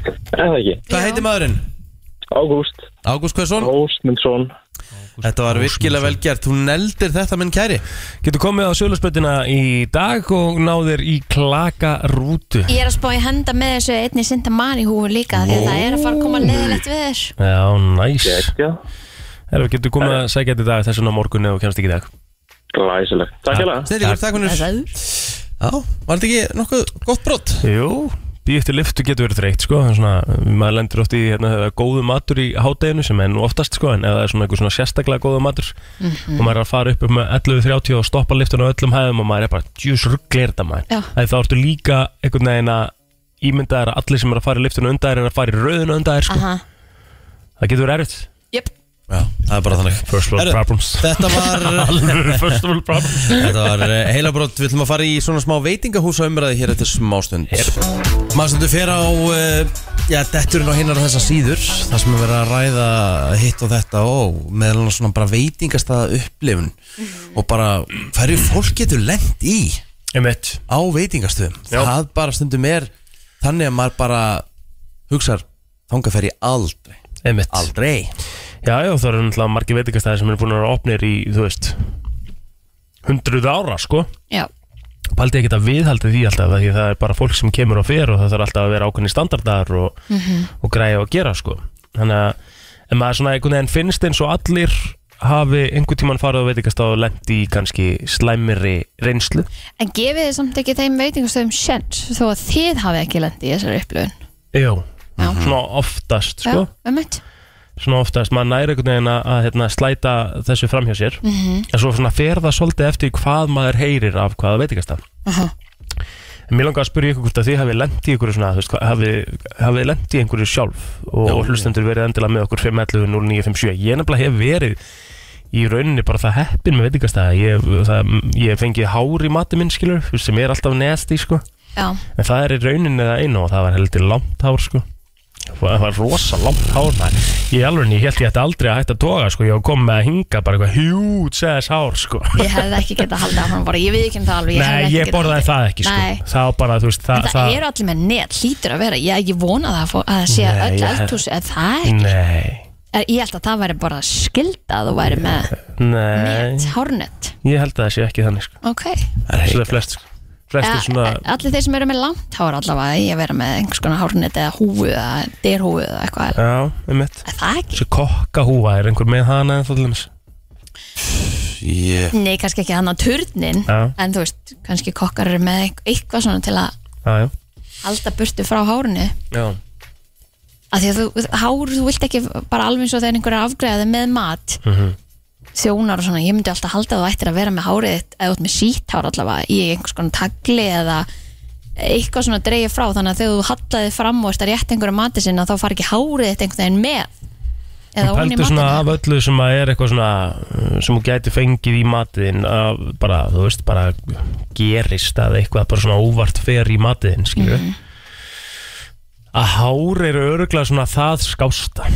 Speaker 7: Er það ekki?
Speaker 1: Hvað heitir maðurinn?
Speaker 7: Ágúst,
Speaker 1: Ágúst Kvæsson?
Speaker 7: Ósmundsson.
Speaker 1: Þetta var virkilega vel gert, hún neldir þetta minn kæri
Speaker 3: Getur komið á söluspötina í dag og náðir í klaka rútu
Speaker 2: Ég er að spá í henda með þessu einni sinda mann í húfu líka því að það er að fara að koma leðilegt við þér
Speaker 3: Já, næs nice.
Speaker 7: Já.
Speaker 3: Erum getur komið að segja þetta í dag þessum á morgun eða kemst ekki í dag
Speaker 7: Glæsilegt. Takk hella.
Speaker 1: Snillingur, takk húnur Já, var þetta ekki nokkuð gott brott?
Speaker 3: Jú, býð eftir liftu getur verið þreytt sko, en svona, maður lendur oft í hérna, þegar það er góðu matur í hádeginu sem er nú oftast sko, en ef það er svona einhver svona sérstaklega góðu matur
Speaker 2: Mhm.
Speaker 3: og maður er að fara upp um 11.30 og stoppa liftun á öllum hæðum og maður er bara djús rugglir þetta maður
Speaker 2: Já.
Speaker 3: Það er þá ertu líka einhvern veginn að ímyndaðir að allir sem er að fara í liftun undaðir er að fara í rauðinu undaðir sko.
Speaker 2: Aha,
Speaker 3: það getur verið erfitt
Speaker 2: jöp
Speaker 1: Já, það er bara þannig
Speaker 3: First world
Speaker 1: Herru,
Speaker 3: problems
Speaker 1: Þetta var,
Speaker 3: Alvöru first world problems
Speaker 1: þetta var eh, heila brott, við ætlum að fara í svona smá veitingahúsa umræði hér eftir smástund Maður stundu fer á, eh, já, detturinn á hinnar og þessa síður Það sem er verið að ræða hitt og þetta og meðal annars svona bara veitingastæða upplifun Og bara, hverju fólk getur lent í
Speaker 3: Einmitt.
Speaker 1: á veitingastöðum
Speaker 3: Já.
Speaker 1: það bara stundum er þannig að maður bara hugsar þanga fer ég aldrei
Speaker 3: Einmitt.
Speaker 1: aldrei
Speaker 3: Já, já, það eru náttúrulega margir veitingastæðir sem eru búin að vera opnir í, þú veist, hundruð ára, sko.
Speaker 2: Já,
Speaker 3: Paldi ekkert að viðhaldi því alltaf af því að það er bara fólk sem kemur og fer og það þarf alltaf að vera ákveðni standardar og,
Speaker 2: Mhm.
Speaker 3: og græja að gera sko þannig að en maður svona einhvern veginn finnst eins og allir hafi einhvern tíman farið á veitingast og lendi í kannski slæmiri reynslu
Speaker 2: en gefið þið samt ekki þeim veitingustöðum sjens þó að þið hafið ekki lendi í þessari upplöfun
Speaker 3: Jó,
Speaker 2: Já.
Speaker 3: svona oftast sko
Speaker 2: Já, ömmit
Speaker 3: svona oftast, maður næri einhvern veginn að, að hérna, slæta þessu framhjá sér en svo svona fer það svolítið eftir hvað maður heyrir af hvaða veitingast en mér langar að spyrja ykkur hvort að þið hafið lent í einhverju svona, þú veist, hvað- hafið hafi lent í einhverju sjálf og
Speaker 1: Já.
Speaker 3: hlustendur verið endilega með okkur 511 0957 ég nefnilega hef verið í rauninni bara það heppin með veitingast að ég, það, ég hef fengið hár í mati minn skilur, þú veist, sem er alltaf nesti sko.
Speaker 2: Já,
Speaker 3: En það er í rauninni það einu og það var heldur langt hár sko Það var rosa langt hár maður Ég alveg ég held ég ætti aldrei að hætta að toga sko Ég var komið með að hinga bara eitthvað hjút sæðis hár sko
Speaker 2: ég hefði ekki getað að halda áfram bara, ég við ekki um það alveg hefði
Speaker 3: Nei,
Speaker 2: ekki
Speaker 3: ég
Speaker 2: getað
Speaker 3: borðaði
Speaker 2: haldið.
Speaker 3: það ekki sko
Speaker 2: Nei.
Speaker 3: Það var bara, þú veist,
Speaker 2: En
Speaker 3: það,
Speaker 2: það, eru allir með net, hlýtur að vera Ég, ég vona það að, fó- að það sé
Speaker 3: Nei,
Speaker 2: öll
Speaker 3: ég-
Speaker 2: eldhús Ef það ekki,
Speaker 3: Nei,
Speaker 2: er, ég held að það væri bara skilda að þú væri með
Speaker 3: nei
Speaker 2: net, hárnet
Speaker 3: Ég held að það sé ekki þannig sko
Speaker 2: Ok,
Speaker 3: Það er flest sko Flestir
Speaker 2: svona...
Speaker 3: svona
Speaker 2: allir þeir sem eru með langt hár allavega Ég vera með einhvers konar hárnet eða húfu eða derhúfu eða eitthvað
Speaker 3: Já, um mitt
Speaker 2: Er það ekki?
Speaker 3: Svo kokkahúfa, er einhver með hana en það til dæmis
Speaker 1: yeah.
Speaker 2: Nei, kannski ekki hann á turnin
Speaker 3: Já.
Speaker 2: En þú veist, kannski kokkar eru með eit- eitthvað svona til að
Speaker 3: Já, já
Speaker 2: halda burtu frá hárinu
Speaker 3: Já,
Speaker 2: að því að þú, hár, þú vilt ekki bara alveg eins og þegar einhver er afgræðið með mat
Speaker 3: Mhm.
Speaker 2: þjónar og svona, ég myndi alltaf halda að þú ættir að vera með hárið þitt eða út með sítt hár allavega í einhvers konar tagli eða eitthvað svona dreigir frá þannig að þegar þú hallaði fram og ert að rétt einhverju mati sinna þá far ekki hárið þitt einhvern veginn með eða hún í
Speaker 3: Pældu svona af
Speaker 2: matinu
Speaker 3: öllu sem að er eitthvað svona uh, sem þú gæti fengið í matiðin að bara, þú veist, bara gerist að eitthvað bara svona óvart fer í matiðin, skilju
Speaker 2: Mm.
Speaker 3: að hár eru öruglega svona það skásta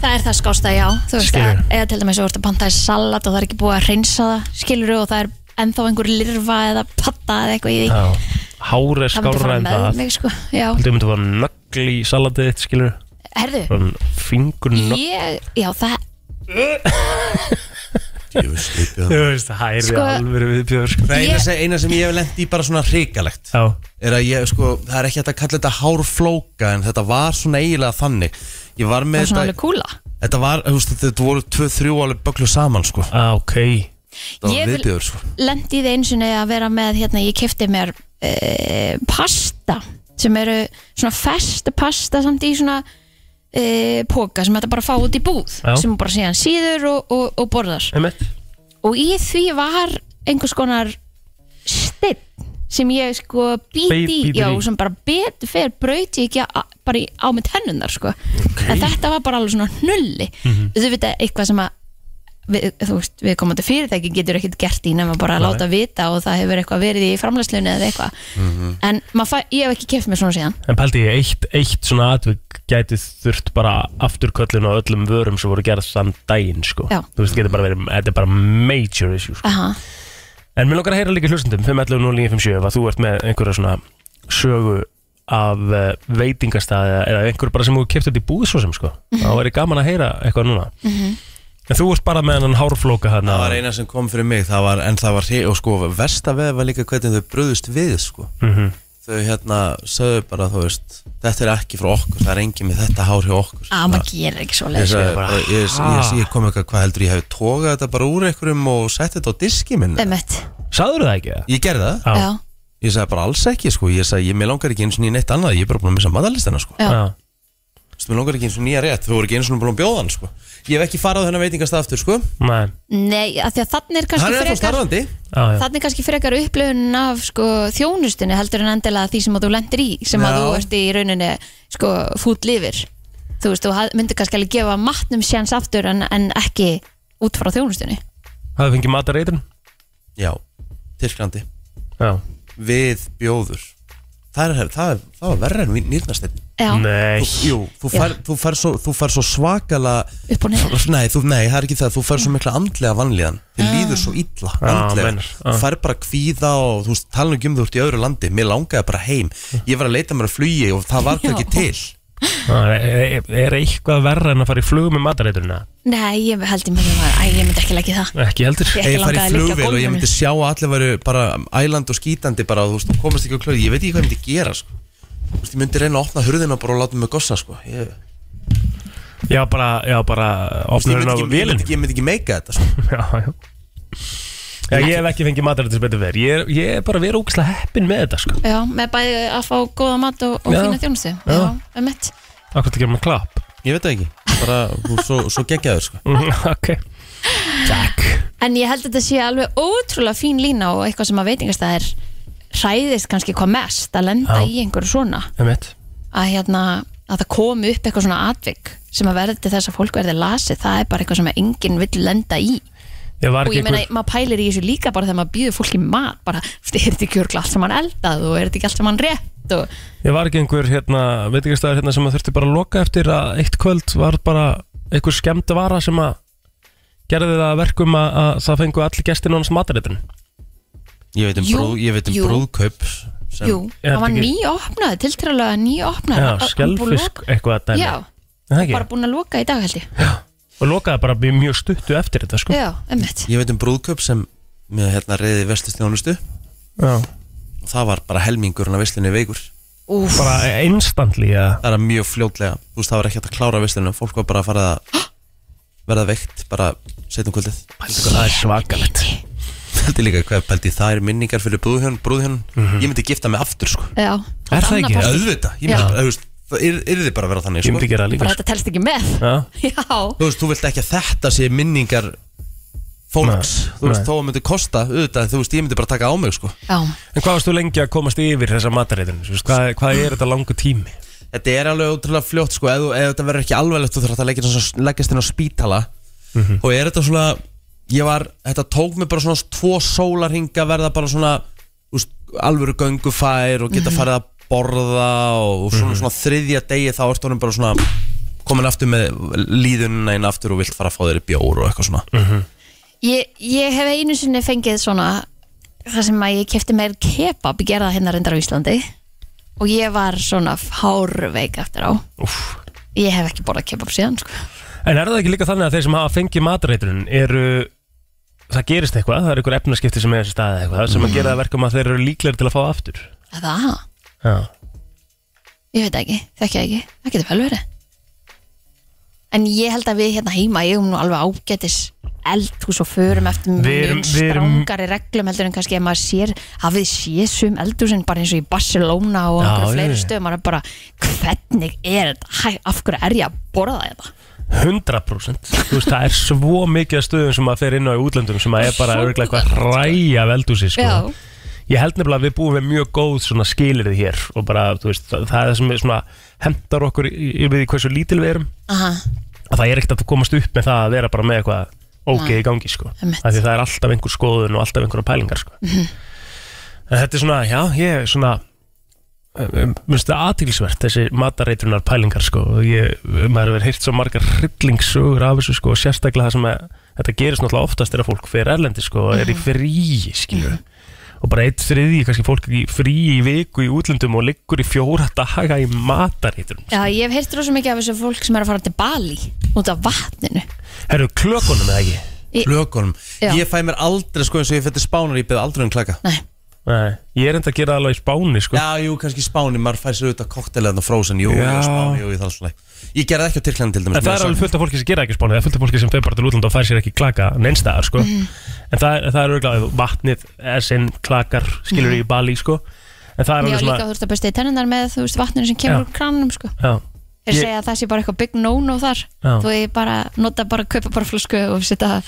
Speaker 2: það er það skásta, já, þú veist
Speaker 3: Skilurðu.
Speaker 2: að, eða til dæmis þú ert að panta í salat og það er ekki búið að reynsa það skilur og það er ennþá einhver lirfa eða patta eða eitthvað í því
Speaker 3: Já, hár er
Speaker 2: það myndi
Speaker 3: skárra
Speaker 2: fara
Speaker 3: en
Speaker 2: með
Speaker 3: það
Speaker 2: mig sko, já,
Speaker 3: Þú myndir að fara nögl í salatið þitt, skilju
Speaker 2: herðu,
Speaker 3: Fingur nokk
Speaker 2: ég, já það
Speaker 1: Ég veist, ég
Speaker 3: Þú veist, það er
Speaker 2: Sko-
Speaker 3: alveg viðbjör sko.
Speaker 1: Það eina,
Speaker 2: Ég-
Speaker 1: sem, eina sem ég hef lent í bara svona hrikalegt
Speaker 3: Já,
Speaker 1: er að ég, sko, það er ekki hægt að kalla þetta hárflóka en þetta var svona eiginlega þannig Ég var
Speaker 2: var
Speaker 1: með
Speaker 2: svona alveg
Speaker 1: þetta,
Speaker 2: kúla
Speaker 1: þetta var, þú veist, þetta, þetta voru tvö, þrjú alveg böglu saman, sko
Speaker 3: ah, ok
Speaker 1: Það var
Speaker 2: Ég vil-
Speaker 1: viðbjöður, sko
Speaker 2: lendi í það eins og að vera með hérna, ég kefti mér e, pasta sem eru svona fest pasta samt í svona e, póka sem þetta bara fá út í búð
Speaker 3: Já.
Speaker 2: sem þú bara síðan síður og, og, og borðar
Speaker 3: Emmett
Speaker 2: og í því var einhvers konar steinn sem ég sko býti
Speaker 3: Beit-
Speaker 2: í,
Speaker 3: bítur
Speaker 2: já,
Speaker 3: í.
Speaker 2: sem bara betur fer brauti ekki a, bara í, á með tennunar sko. en þetta var bara alveg svona hnulli
Speaker 3: Mhm.
Speaker 2: þú veit að eitthvað sem að við, þú veist, við komandi fyrirtæki getur ekkert gert í nema bara að láta vita og það hefur eitthvað verið í framlæslunni eða eitthvað en maður fæ, ég hef ekki keft mér svona síðan
Speaker 3: En pældi ég, eitt, eitt svona atvik gæti þurft bara afturköllun á öllum vörum sem voru gerð þann daginn, sko.
Speaker 2: Já.
Speaker 3: Þú veist, getur bara verið, þetta er bara major issue, sko.
Speaker 2: Aha.
Speaker 3: En mér langar að heyra líka hlustendum, 511 0957, ef að þú ert með einhverja svona sögu af eh, veitingastæði eða einhver bara sem þú keypt þetta í búð svo sem, sko. Það væri gaman að heyra eitthvað núna.
Speaker 2: Mhm.
Speaker 3: En þú ert bara með hennan hárflóka hérna.
Speaker 1: Það var eina sem kom fyrir mig, það var, en það var hri- og sko, versta veð var líka hvernig þau bröðust við, sko
Speaker 3: Mhm.
Speaker 1: Þau hérna sögðu bara, þú veist, þetta er ekki frá okkur, það er engin með þetta hár hjá
Speaker 2: að
Speaker 1: okkur
Speaker 2: Ah, maður gerir ekki sko, svo
Speaker 1: Ég,
Speaker 2: leið
Speaker 3: bara,
Speaker 1: sagði, bara, ég, ég,
Speaker 3: ha?
Speaker 1: ég, ég kom eitthvað, hvað heldur ég hef tókað þetta bara úr einhverjum og sett þetta á diski minn
Speaker 3: Sáður það ekki það?
Speaker 1: Ég gerði það,
Speaker 2: já,
Speaker 1: ég sagði bara alls ekki sko. Ég sagði, ég, mér langar ekki eins og nýja neitt annað Ég er bara búin að missa matalistana sko.
Speaker 2: Já.
Speaker 3: Já.
Speaker 1: Veistu, Mér langar ekki eins og nýja rétt, þú voru ekki eins og búin að bjóða hann sko. Ég hef ekki farað á þennan veitingast aftur sko.
Speaker 3: Nei.
Speaker 2: nei, af því að þannig er kannski
Speaker 1: Hann er þá
Speaker 2: frekar-
Speaker 1: starfandi
Speaker 3: Já, já.
Speaker 2: Þannig kannski frekar upplöfun af sko, þjónustunni heldur en endilega því sem að þú lendir í sem að
Speaker 1: Já.
Speaker 2: þú ert í rauninni sko, fút lifir þú veist, þú haf- myndir kannski alveg gefa matnum sjans aftur en, en ekki út frá þjónustunni
Speaker 3: Hafið fengið matareitrun?
Speaker 1: Já, Tyrklandi
Speaker 3: Já.
Speaker 1: Við bjóður Það, er, það, er, það var verra en nýrnasteinn
Speaker 2: Já,
Speaker 3: Nei.
Speaker 1: Jú, þú fær, þú fær, svo, þú fær svo svakala
Speaker 2: Upp og niður.
Speaker 1: Nei, þú, nei, það er ekki það, þú fær svo mikla andlega vanlíðan Þið líður svo illa, andlega
Speaker 3: meinar, já.
Speaker 1: Þú fær bara kvíða og þú veist, tala ekki um þú ert í öðru landi Mér langaði bara heim Ég var að leita mér að flugi og það var það ekki til
Speaker 3: Það Er, er eitthvað verra en að fara í flug með matareitrunna?
Speaker 2: nei, ég held ég myndi að æ, ég myndi ekki leggja í það
Speaker 3: Ekki heldur
Speaker 2: Ég-
Speaker 1: Ef ég
Speaker 2: langaði
Speaker 1: fari í
Speaker 2: að liggja á
Speaker 1: flugvél og ég
Speaker 2: gólfinu.
Speaker 1: myndi sjá að allir væru bara æland og skítandi bara og þú veist, þú komast ekki á klöð Ég veit ekki hvað ég myndi gera, sko Þú veist, ég myndi reyna að opna hurðina bara og láta mig gossa, sko Ég,
Speaker 3: Já, bara, já, bara
Speaker 1: þú veist, ég,
Speaker 3: Opnur
Speaker 1: myndi,
Speaker 3: henn á
Speaker 1: ekki, ég, myndi,
Speaker 3: vélinn
Speaker 1: ekki- ég myndi ekki meika þetta, sko
Speaker 3: Já, já Já, ég hef ekki fengið matarættur sem betur verið ég, er- ég er bara verið ógæslega heppin með þetta, sko
Speaker 2: Já, með bæði að fá góða mat og, og
Speaker 3: Já.
Speaker 2: fína þjónustu Já,
Speaker 3: Já.
Speaker 2: um
Speaker 3: Akkur til að gera með klapp
Speaker 1: Ég veit það ekki, bara, þú, svo, svo geggjaður, sko
Speaker 3: Mm, Ok Takk
Speaker 2: En ég held að þetta sé alveg ótrúlega fín lína og eitthvað sem að veitingastæðir hræðist kannski hvað mest að lenda
Speaker 3: Já.
Speaker 2: í einhverju svona
Speaker 3: Það mitt
Speaker 2: að, hérna, að það komi upp eitthvað svona atvik sem að verði til þess að fólk verði lasið það er bara eitthvað sem að enginn vill lenda í
Speaker 3: Ég var
Speaker 2: og
Speaker 3: ekki
Speaker 2: ég meina,
Speaker 3: einhver
Speaker 2: maður pælir í þessu líka bara þegar maður býður fólki mat bara, þú veist, er þetta ekki örgla allt sem hann eldað og er þetta ekki allt sem hann rétt og
Speaker 3: Ég var ekki einhver, hérna Veitingastæður hérna sem að þurfti bara að loka eftir að eitt kvöld var bara einhver skemmta vara sem að gerði það að verkum að, að það fengu allir gestin hans matarætturinn
Speaker 1: Ég veit um,
Speaker 2: Jú,
Speaker 1: brúð, ég veit um
Speaker 2: jú.
Speaker 1: brúðkaup sem,
Speaker 2: jú,
Speaker 3: Er þetta
Speaker 2: það var
Speaker 3: ekki-
Speaker 2: nýopnað, tiltræðlega nýopnað
Speaker 3: Já, skelfisk eitthvað að dæmi
Speaker 2: Já,
Speaker 3: Er það ekki?
Speaker 2: bara búin að loka í dag held ég
Speaker 3: Og lokaði bara mjög stuttu eftir þetta, sko
Speaker 2: Já, emmitt
Speaker 1: Ég veit um brúðköp sem með hérna reyði vestustjónustu
Speaker 3: Já.
Speaker 1: og það var bara helmingurinn að veslinni veikur
Speaker 2: Úf,
Speaker 3: Bara instantly, já
Speaker 1: það er mjög fljótlega, þú veist það var ekki hægt að klára veslinni, fólk var bara að fara að verða veikt bara setjum kvöldið
Speaker 3: Það er svakalegt
Speaker 1: Pældi líka hvað pældi það er minningar fyrir brúðhjón, brúðhjón ég myndi gifta mig aftur sko
Speaker 2: já
Speaker 3: Mhm. Er það ekki?
Speaker 2: Annað partí.
Speaker 1: auðvitað, ég myndi
Speaker 2: Já.
Speaker 1: bara, þú veist, það er, er þið bara að vera þannig
Speaker 3: Ég myndi
Speaker 1: sko.
Speaker 3: gera það líka
Speaker 2: Bara
Speaker 3: sko.
Speaker 2: þetta telst ekki með
Speaker 3: Já,
Speaker 2: Já,
Speaker 1: þú veist, þú vilt ekki að þetta sé minningar fólks,
Speaker 3: Nei.
Speaker 1: þú veist,
Speaker 3: Nei.
Speaker 1: þó að myndi kosta auðvitað, þú veist, ég myndi bara taka á mig sko
Speaker 2: já,
Speaker 3: En hvað varst þú lengi að komast yfir þessa matareitrun? Hvað, hvað er þetta langu tími?
Speaker 1: Þetta er alveg ótrúlega fljótt sko Ef, þú- ef þetta verður ekki alveglegt þú þarf að leggjast, leggjast inn á spítala
Speaker 3: Mhm.
Speaker 1: Og er þetta svona Ég var, þetta tók mig bara svona Tvo sólarhinga verða bara svona úst, Alvöru göngufær Og
Speaker 3: Mhm.
Speaker 1: geta farið að borða Og, og svona, svona þriðja degi þá ertu honum bara svona Komin aftur með líðunina einn aftur Og vilt fara að fá þér í bjór og eitthvað svona
Speaker 3: Mhm.
Speaker 2: ég, ég hef einu sinni fengið svona Það sem að ég kefti meir kebab Ég gerði það hérna reyndar á Íslandi Og ég var svona hárveik eftir á
Speaker 3: Úf,
Speaker 2: Ég hef ekki borðað kebab síðan sko.
Speaker 3: En er það ekki líka þannig að þeir sem hafa fengið matreitrun eru það gerist eitthvað, það eru einhver efnaskipti sem er þessi staðið eitthvað sem að gera það verkum að þeir eru líklegir til að fá aftur
Speaker 2: Er Það,
Speaker 3: Já,
Speaker 2: ég veit það ekki, þekki það ekki Það getur vel verið En ég held að við hérna heima eigum nú alveg ágætis eldhús og förum eftir
Speaker 3: Við erum-
Speaker 2: mjög
Speaker 3: við erum-
Speaker 2: strangari reglum heldur en kannski ef maður sér hafið séð sum eldhúsin bara eins og í Barcelona og
Speaker 3: Já,
Speaker 2: einhverjum
Speaker 3: já,
Speaker 2: fleiri
Speaker 3: já.
Speaker 2: stöðum maður er bara hvernig er þetta, Hæ, af hverju er ég að borða þetta
Speaker 3: 100% Þú veist, það er svo mikið af stöðum sem að fer inn á í útlöndum sem að er bara
Speaker 2: Svo
Speaker 3: örglega eitthvað ræja veldúsi sko.
Speaker 2: Já.
Speaker 3: Ég held nefnilega að við búum við mjög góð svona skilirði hér og bara, þú veist, það það er það sem við svona hendar okkur í- yfir því hversu lítil við erum
Speaker 2: Aha,
Speaker 3: að það er ekkert að komast upp með það að vera bara með eitthvað ógeð í gangi sko.
Speaker 2: Einmitt.
Speaker 3: af því það er alltaf einhver skoðun og alltaf einhverja pælingar sko. en þetta er svona, já, ég er svona eh, minnst það aðtilsvert þessi matareitrunar pælingar sko. Og ég, maður hefur heyrt svo margar hryllingssögur af þessu sko, og sérstaklega það sem að, þetta gerist náttúrulega oftast er að fólk fer erlendi sko, og er í fríi skilur og bara eitt þriði, kannski fólk er í fríi í viku í útlöndum og liggur í fjóra daga í matareitrun
Speaker 2: já ég hef heyrt rosa mikið af þessu fólk sem er að fara til Bali út af vatninu
Speaker 3: herru klökunum eða ekki
Speaker 1: Lögunum
Speaker 2: Já.
Speaker 1: Ég fæ mér aldrei sko eins og ég fætti spánar Ég beði aldrei um klaka
Speaker 2: Nei,
Speaker 3: Nei, ég er enda að gera það alveg í Spáni sko.
Speaker 1: Já, jú, kannski spáni, maður fær sér auðvitað kokteleðan og frozen, jú,
Speaker 3: Já.
Speaker 1: jú, spáni, jú, ég þarf svona Ég gerði það ekki á Tyrklandi til dæmis
Speaker 3: En það
Speaker 1: mér
Speaker 3: er
Speaker 1: sagt.
Speaker 3: alveg fullt af fólki sem gera ekki í Spáni Það er fullt af fólki sem fer bara til útlanda og fær sér ekki klaka neinstæðar sko.
Speaker 2: Mhm.
Speaker 3: En það er, það er örgulega vatnið, essin, klakar skilur í Bali sko. En það er
Speaker 2: Mhm. já
Speaker 3: alveg
Speaker 2: líka
Speaker 3: svona
Speaker 2: þú ert að besta í tenninar með þú veist vatninu sem
Speaker 3: Já.
Speaker 2: kemur úr kranum sko
Speaker 3: já,
Speaker 2: Þeir
Speaker 3: Ég-
Speaker 2: segja að það sé bara eitthvað big no-no þar
Speaker 3: Já.
Speaker 2: Þú er bara, nota bara, kaupa bara flösku og setja það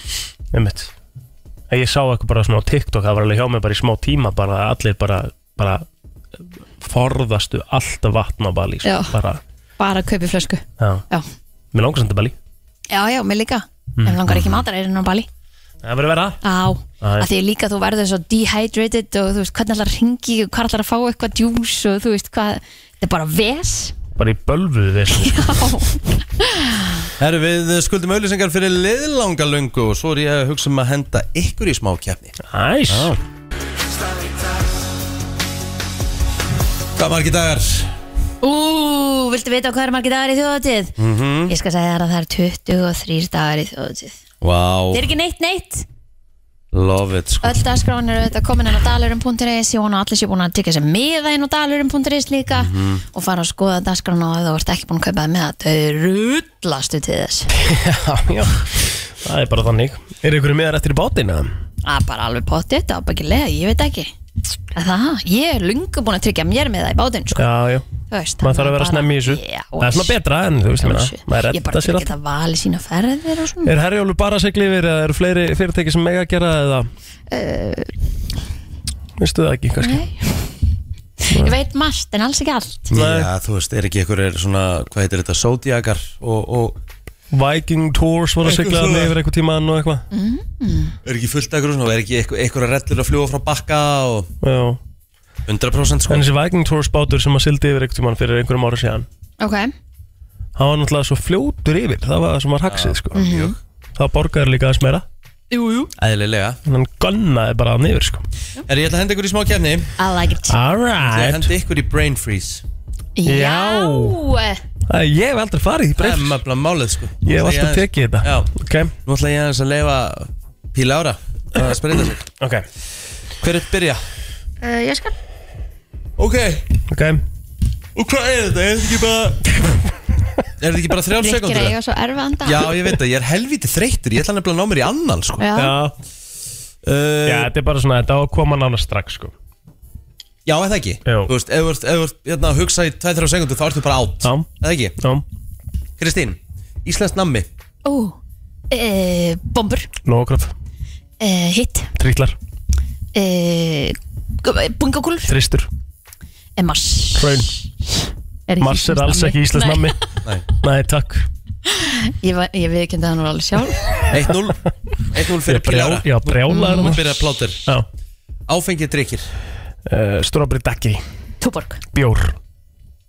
Speaker 3: einmitt En ég sá eitthvað bara svona á TikTok Það var alveg hjá mig bara í smá tíma bara að allir bara, bara forðastu alltaf vatn á Bali sko.
Speaker 2: Já.
Speaker 3: bara,
Speaker 2: Bara kaupi flösku
Speaker 3: já.
Speaker 2: Já,
Speaker 3: Mér langar samt til Bali
Speaker 2: já, já mér líka mm. Ef langar ekki matareirinn á Bali
Speaker 3: Það verður að vera
Speaker 2: Á,
Speaker 3: Hmm. Æ.
Speaker 2: að því líka þú verður svo dehydrated og þú veist hvernig allar ringi og hvað allar að fá eitthvað djús og þú veist hvað Þetta er bara ves
Speaker 3: bara í bölvuðu þessu
Speaker 1: Herru, við skuldum auðlýsingar fyrir liðlanga löngu og svo er ég að hugsa um að henda ykkur í smá keppni.
Speaker 3: Æs
Speaker 1: Hvað margir dagar?
Speaker 2: Ú, viltu vita hvað er margir dagar í þjóðatíð?
Speaker 1: Mhm.
Speaker 2: -hmm. Ég skal segja þér að það er 23 dagar í þjóðatíð
Speaker 1: Vá,
Speaker 2: Þetta er ekki neitt neitt
Speaker 1: love it sko.
Speaker 2: Öll dagskráin eru auðvitað komin inn á dalurum.is Ég vona að allir sé búin að tikka sér miða inn á dalurum.is líka og fara að skoða dagskráin og ef þú ert ekki búin að kaupa það með að þau rullastu til þess
Speaker 3: Já, já, það er bara þannig Er ykkur meðar eftir í bátinn eða?
Speaker 2: Það er Ah, bara alveg pottið, það er bara ekki leið, ég veit ekki Að Það, ég er lungu búin að tryggja mér með það í bátinn sko.
Speaker 3: Já, já,
Speaker 2: Þú veist,
Speaker 3: maður þarf að
Speaker 2: þannig
Speaker 3: vera
Speaker 2: bara-
Speaker 3: snemmi í þessu
Speaker 2: Já,
Speaker 3: Það er svona betra en þú veist, ég meina,
Speaker 2: sjö. Ég
Speaker 3: maður
Speaker 2: bara
Speaker 3: redda sér
Speaker 2: fyrir
Speaker 3: allt
Speaker 2: geta valið sína ferðir og svona
Speaker 3: Er Herjólu bara að segla yfir eða eru fleiri fyrirtæki sem mega að gera það eða? Vistu það ekki, kannski?
Speaker 2: Eh. Nei. Ég veit margt en alls ekki allt
Speaker 3: Nei.
Speaker 1: Já, þú veist, er ekki ykkur er svona, hvað heitir þetta, Zodiacar og, og
Speaker 3: Viking Tours var að
Speaker 1: Eitthvað
Speaker 3: segla
Speaker 1: svona.
Speaker 3: yfir eitthvað tíman og eitthvað
Speaker 2: Mhm.
Speaker 1: er ekki fullt akkur og svona, og er ekki ykkur, ykkur að rellur að fljúa frá bakka og
Speaker 3: Já,
Speaker 1: 100% sko.
Speaker 3: en þessi Viking Tours bátur sem að sildi yfir eitthvað tíman fyrir einhverjum ára síðan
Speaker 2: Ok,
Speaker 3: Það var náttúrulega svo fljótur yfir, það var það sem var haxið, sko
Speaker 2: Mhm.
Speaker 3: Það borgaði líka aðeins meira,
Speaker 2: jú, jú
Speaker 1: Æðilega.
Speaker 3: en hann gunnaði bara að niður, sko
Speaker 1: Er ég ætla að henda ykkur í smá keppni?
Speaker 2: I like it
Speaker 1: Ég
Speaker 3: Alright,
Speaker 1: hendi ykkur í brain freeze.
Speaker 2: Já.
Speaker 3: Æ, ég hef aldrei farið í
Speaker 1: Það er
Speaker 3: breyfs
Speaker 1: mafnilega málið sko. Nú
Speaker 3: Ég hef
Speaker 1: ætla
Speaker 3: alltaf
Speaker 1: aðeins-
Speaker 3: tekið þetta
Speaker 1: Já,
Speaker 3: Ok,
Speaker 1: nú ætla ég aðeins að leifa píla ára að spreita sig.
Speaker 3: ok,
Speaker 1: Hver er byrja?
Speaker 2: Uh, ég skal
Speaker 1: Ok,
Speaker 3: ok
Speaker 1: Og hvað er þetta? Er þetta ekki bara Er þetta ekki bara þrjálf
Speaker 2: Rikki
Speaker 1: sekundur?
Speaker 2: reyja svo erfið anda
Speaker 1: Já, ég veit það, ég er helvítið þreyttur Ég ætla nefnilega að ná mér í annan sko.
Speaker 2: Já.
Speaker 3: Já,
Speaker 1: uh,
Speaker 3: já þetta er bara svona, þetta á að koma nána strax sko
Speaker 1: Já, er það ekki?
Speaker 3: Jú.
Speaker 1: Þú veist, ef þú ert- ef þú ert hérna, að hugsa í 2-3 sekundur þá ertu bara átt
Speaker 3: Já.
Speaker 1: Er það ekki?
Speaker 3: Já,
Speaker 1: Kristín, Íslands nammi
Speaker 2: Ó, uh, bombur
Speaker 3: nógraf,
Speaker 2: uh, Hitt
Speaker 3: trítlar,
Speaker 2: uh, Bungakúlur
Speaker 3: tristur,
Speaker 2: eh, Mars
Speaker 3: hraun
Speaker 2: Er ekki
Speaker 3: Mars er
Speaker 2: íslenskt
Speaker 3: alls
Speaker 2: nammi?
Speaker 3: ekki íslensk
Speaker 2: Nei.
Speaker 3: nammi
Speaker 1: Nei.
Speaker 3: Nei, takk
Speaker 2: Ég, var- ég viðkynna það nú alveg sjálf
Speaker 1: 1-0 1-0
Speaker 3: Ég er
Speaker 1: fyrir
Speaker 3: brjál,
Speaker 1: Pilara
Speaker 3: já, brjálaður
Speaker 1: Nú
Speaker 3: maður.
Speaker 1: byrjar plátur
Speaker 3: Já,
Speaker 1: Áfengið drikkir
Speaker 3: uh, strawberry daiquiri,
Speaker 2: Túborg
Speaker 3: bjór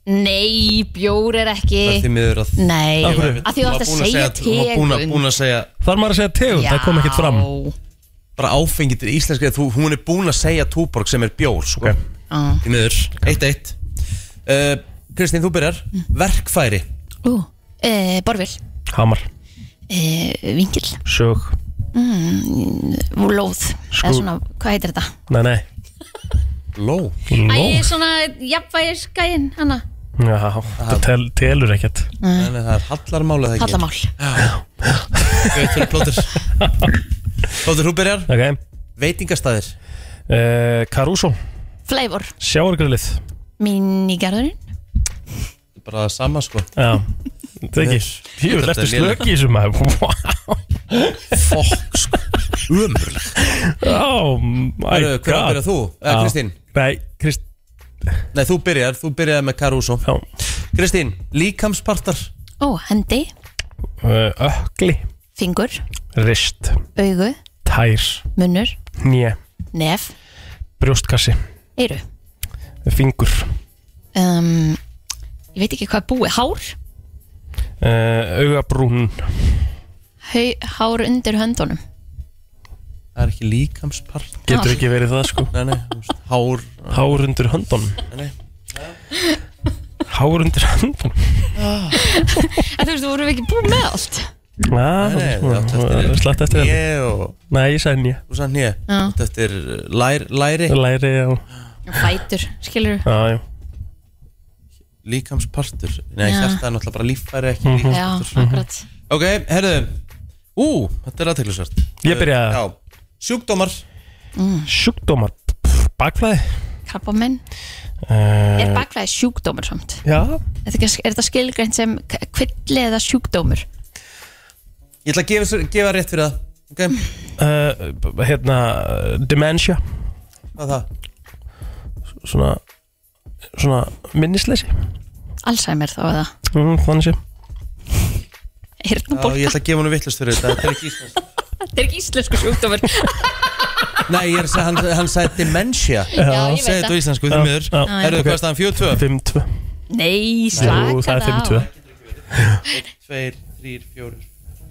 Speaker 2: Nei, bjór er
Speaker 1: Það er
Speaker 2: ekki
Speaker 1: því miður að
Speaker 2: Nei,
Speaker 3: Af hverju?
Speaker 2: að því þú ætti að segja
Speaker 1: Hún var
Speaker 2: tegund
Speaker 1: búin að segja
Speaker 3: Þar maður að segja tegum, það kom ekkert fram
Speaker 1: bara áfengið til íslenska þú, Hún er búin að segja túborg sem er bjór sko.
Speaker 3: Ok.
Speaker 2: Já.
Speaker 1: Eh,
Speaker 2: Mm.
Speaker 1: Í miður, 1-1 uh, Kristín, þú byrjar Verkfæri
Speaker 2: Ú, e, Borvil,
Speaker 3: Hamar,
Speaker 2: e, Vingil
Speaker 3: sög,
Speaker 2: mm, Lóð, eða
Speaker 3: Sko-
Speaker 2: svona, hvað heitir þetta?
Speaker 3: nei nei
Speaker 1: Ló
Speaker 2: Æ,
Speaker 3: Ló,
Speaker 2: svona jafnvægiskæin hana
Speaker 3: já, það tel, telur ekkert
Speaker 1: Þannig að það er hallarmálið ekki
Speaker 2: Hallamál
Speaker 1: Gauð fyrir plóður Plóður, þú byrjar
Speaker 3: Ok,
Speaker 1: Veitingastæðir
Speaker 3: uh, Caruso,
Speaker 2: Flavor,
Speaker 3: sjáargrillið
Speaker 2: mínigarðurinn
Speaker 1: Bara sama sko
Speaker 3: Já, það ekki Jú,
Speaker 1: Þetta
Speaker 3: ertu
Speaker 1: er lélegt.
Speaker 3: slök í þessu maður Vá,
Speaker 1: Fokk sko Umurlega
Speaker 3: oh my
Speaker 1: Hver
Speaker 3: god Ah,
Speaker 1: byrjar þú? Eða
Speaker 3: Já.
Speaker 1: Kristín?
Speaker 3: Nei, Krist,
Speaker 1: Nei, þú byrjar Þú byrjar með Caruso
Speaker 3: já
Speaker 1: Kristín, líkamspartar
Speaker 2: Ó, hendi,
Speaker 3: Uh, Ökli,
Speaker 2: fingur,
Speaker 3: rist,
Speaker 2: augu,
Speaker 3: tær,
Speaker 2: munnur,
Speaker 3: njö,
Speaker 2: nef,
Speaker 3: brjóstkassi,
Speaker 2: eyru
Speaker 3: fingur
Speaker 2: um, Ég veit ekki hvað er búið, hár
Speaker 3: uh, Augabrún,
Speaker 2: Hau, Hár undir höndunum
Speaker 1: Það er ekki líkamspart
Speaker 3: getur ekki verið það sko
Speaker 1: Nei, nei, þú veist, hár uh,
Speaker 3: Hár undir höndunum
Speaker 1: Nei.
Speaker 3: Hár undir höndunum
Speaker 2: Ah. En þú veist, þú vorum við ekki búið með allt
Speaker 3: Já,
Speaker 1: Nei, nei, átt eftir
Speaker 3: Ah, það
Speaker 1: þér.
Speaker 3: er slætt eftir það
Speaker 1: Né og
Speaker 3: Nei, ég sagði njö,
Speaker 1: Þú sann hér Þetta eftir uh, lær, læri
Speaker 3: læri á
Speaker 2: Fætur, skilur
Speaker 3: Já, já,
Speaker 1: Líkamspartur Nei,
Speaker 2: Já.
Speaker 1: hjarta er náttúrulega bara líffæri ekki
Speaker 3: Mhm.
Speaker 1: líkamspartur
Speaker 2: Já, akkurat
Speaker 1: Ok, herðu Ú, þetta er aðteklisvert
Speaker 3: Ég byrja.
Speaker 1: Já, sjúkdómar
Speaker 2: Mm.
Speaker 3: sjúkdómar pff, Bakflæði
Speaker 2: Krabbamenn
Speaker 3: uh,
Speaker 2: Er bakflæði sjúkdómur samt?
Speaker 3: Já,
Speaker 2: Er þetta, ekki- er þetta skilgreint sem k- kvilli eða sjúkdómur?
Speaker 1: Ég ætla að gefa, gefa rétt fyrir það Ok,
Speaker 3: uh, b- hérna dementia
Speaker 1: hvað er það?
Speaker 3: svona, svona minnisleysi
Speaker 2: Alzheimer þá eða
Speaker 3: mm, þannig sé
Speaker 1: Já, ég
Speaker 2: Hirnabólka?
Speaker 1: ætla að gefa honum vittlust fyrir þetta Þetta er ekki íslensk
Speaker 2: Þetta er ekki íslensku sjúkdómur
Speaker 1: Nei, ég er að segja, hann, hann sagði dementia
Speaker 2: Já, ég veit
Speaker 1: Segði þetta á
Speaker 2: það
Speaker 1: íslensku, því miður
Speaker 3: Já, já.
Speaker 1: Herðu,
Speaker 3: Ok.
Speaker 1: hvað er staðan? 42
Speaker 3: 5-2
Speaker 2: Nei,
Speaker 3: Jú, það
Speaker 2: slaka
Speaker 3: er 5-2
Speaker 1: 2, 3, 4,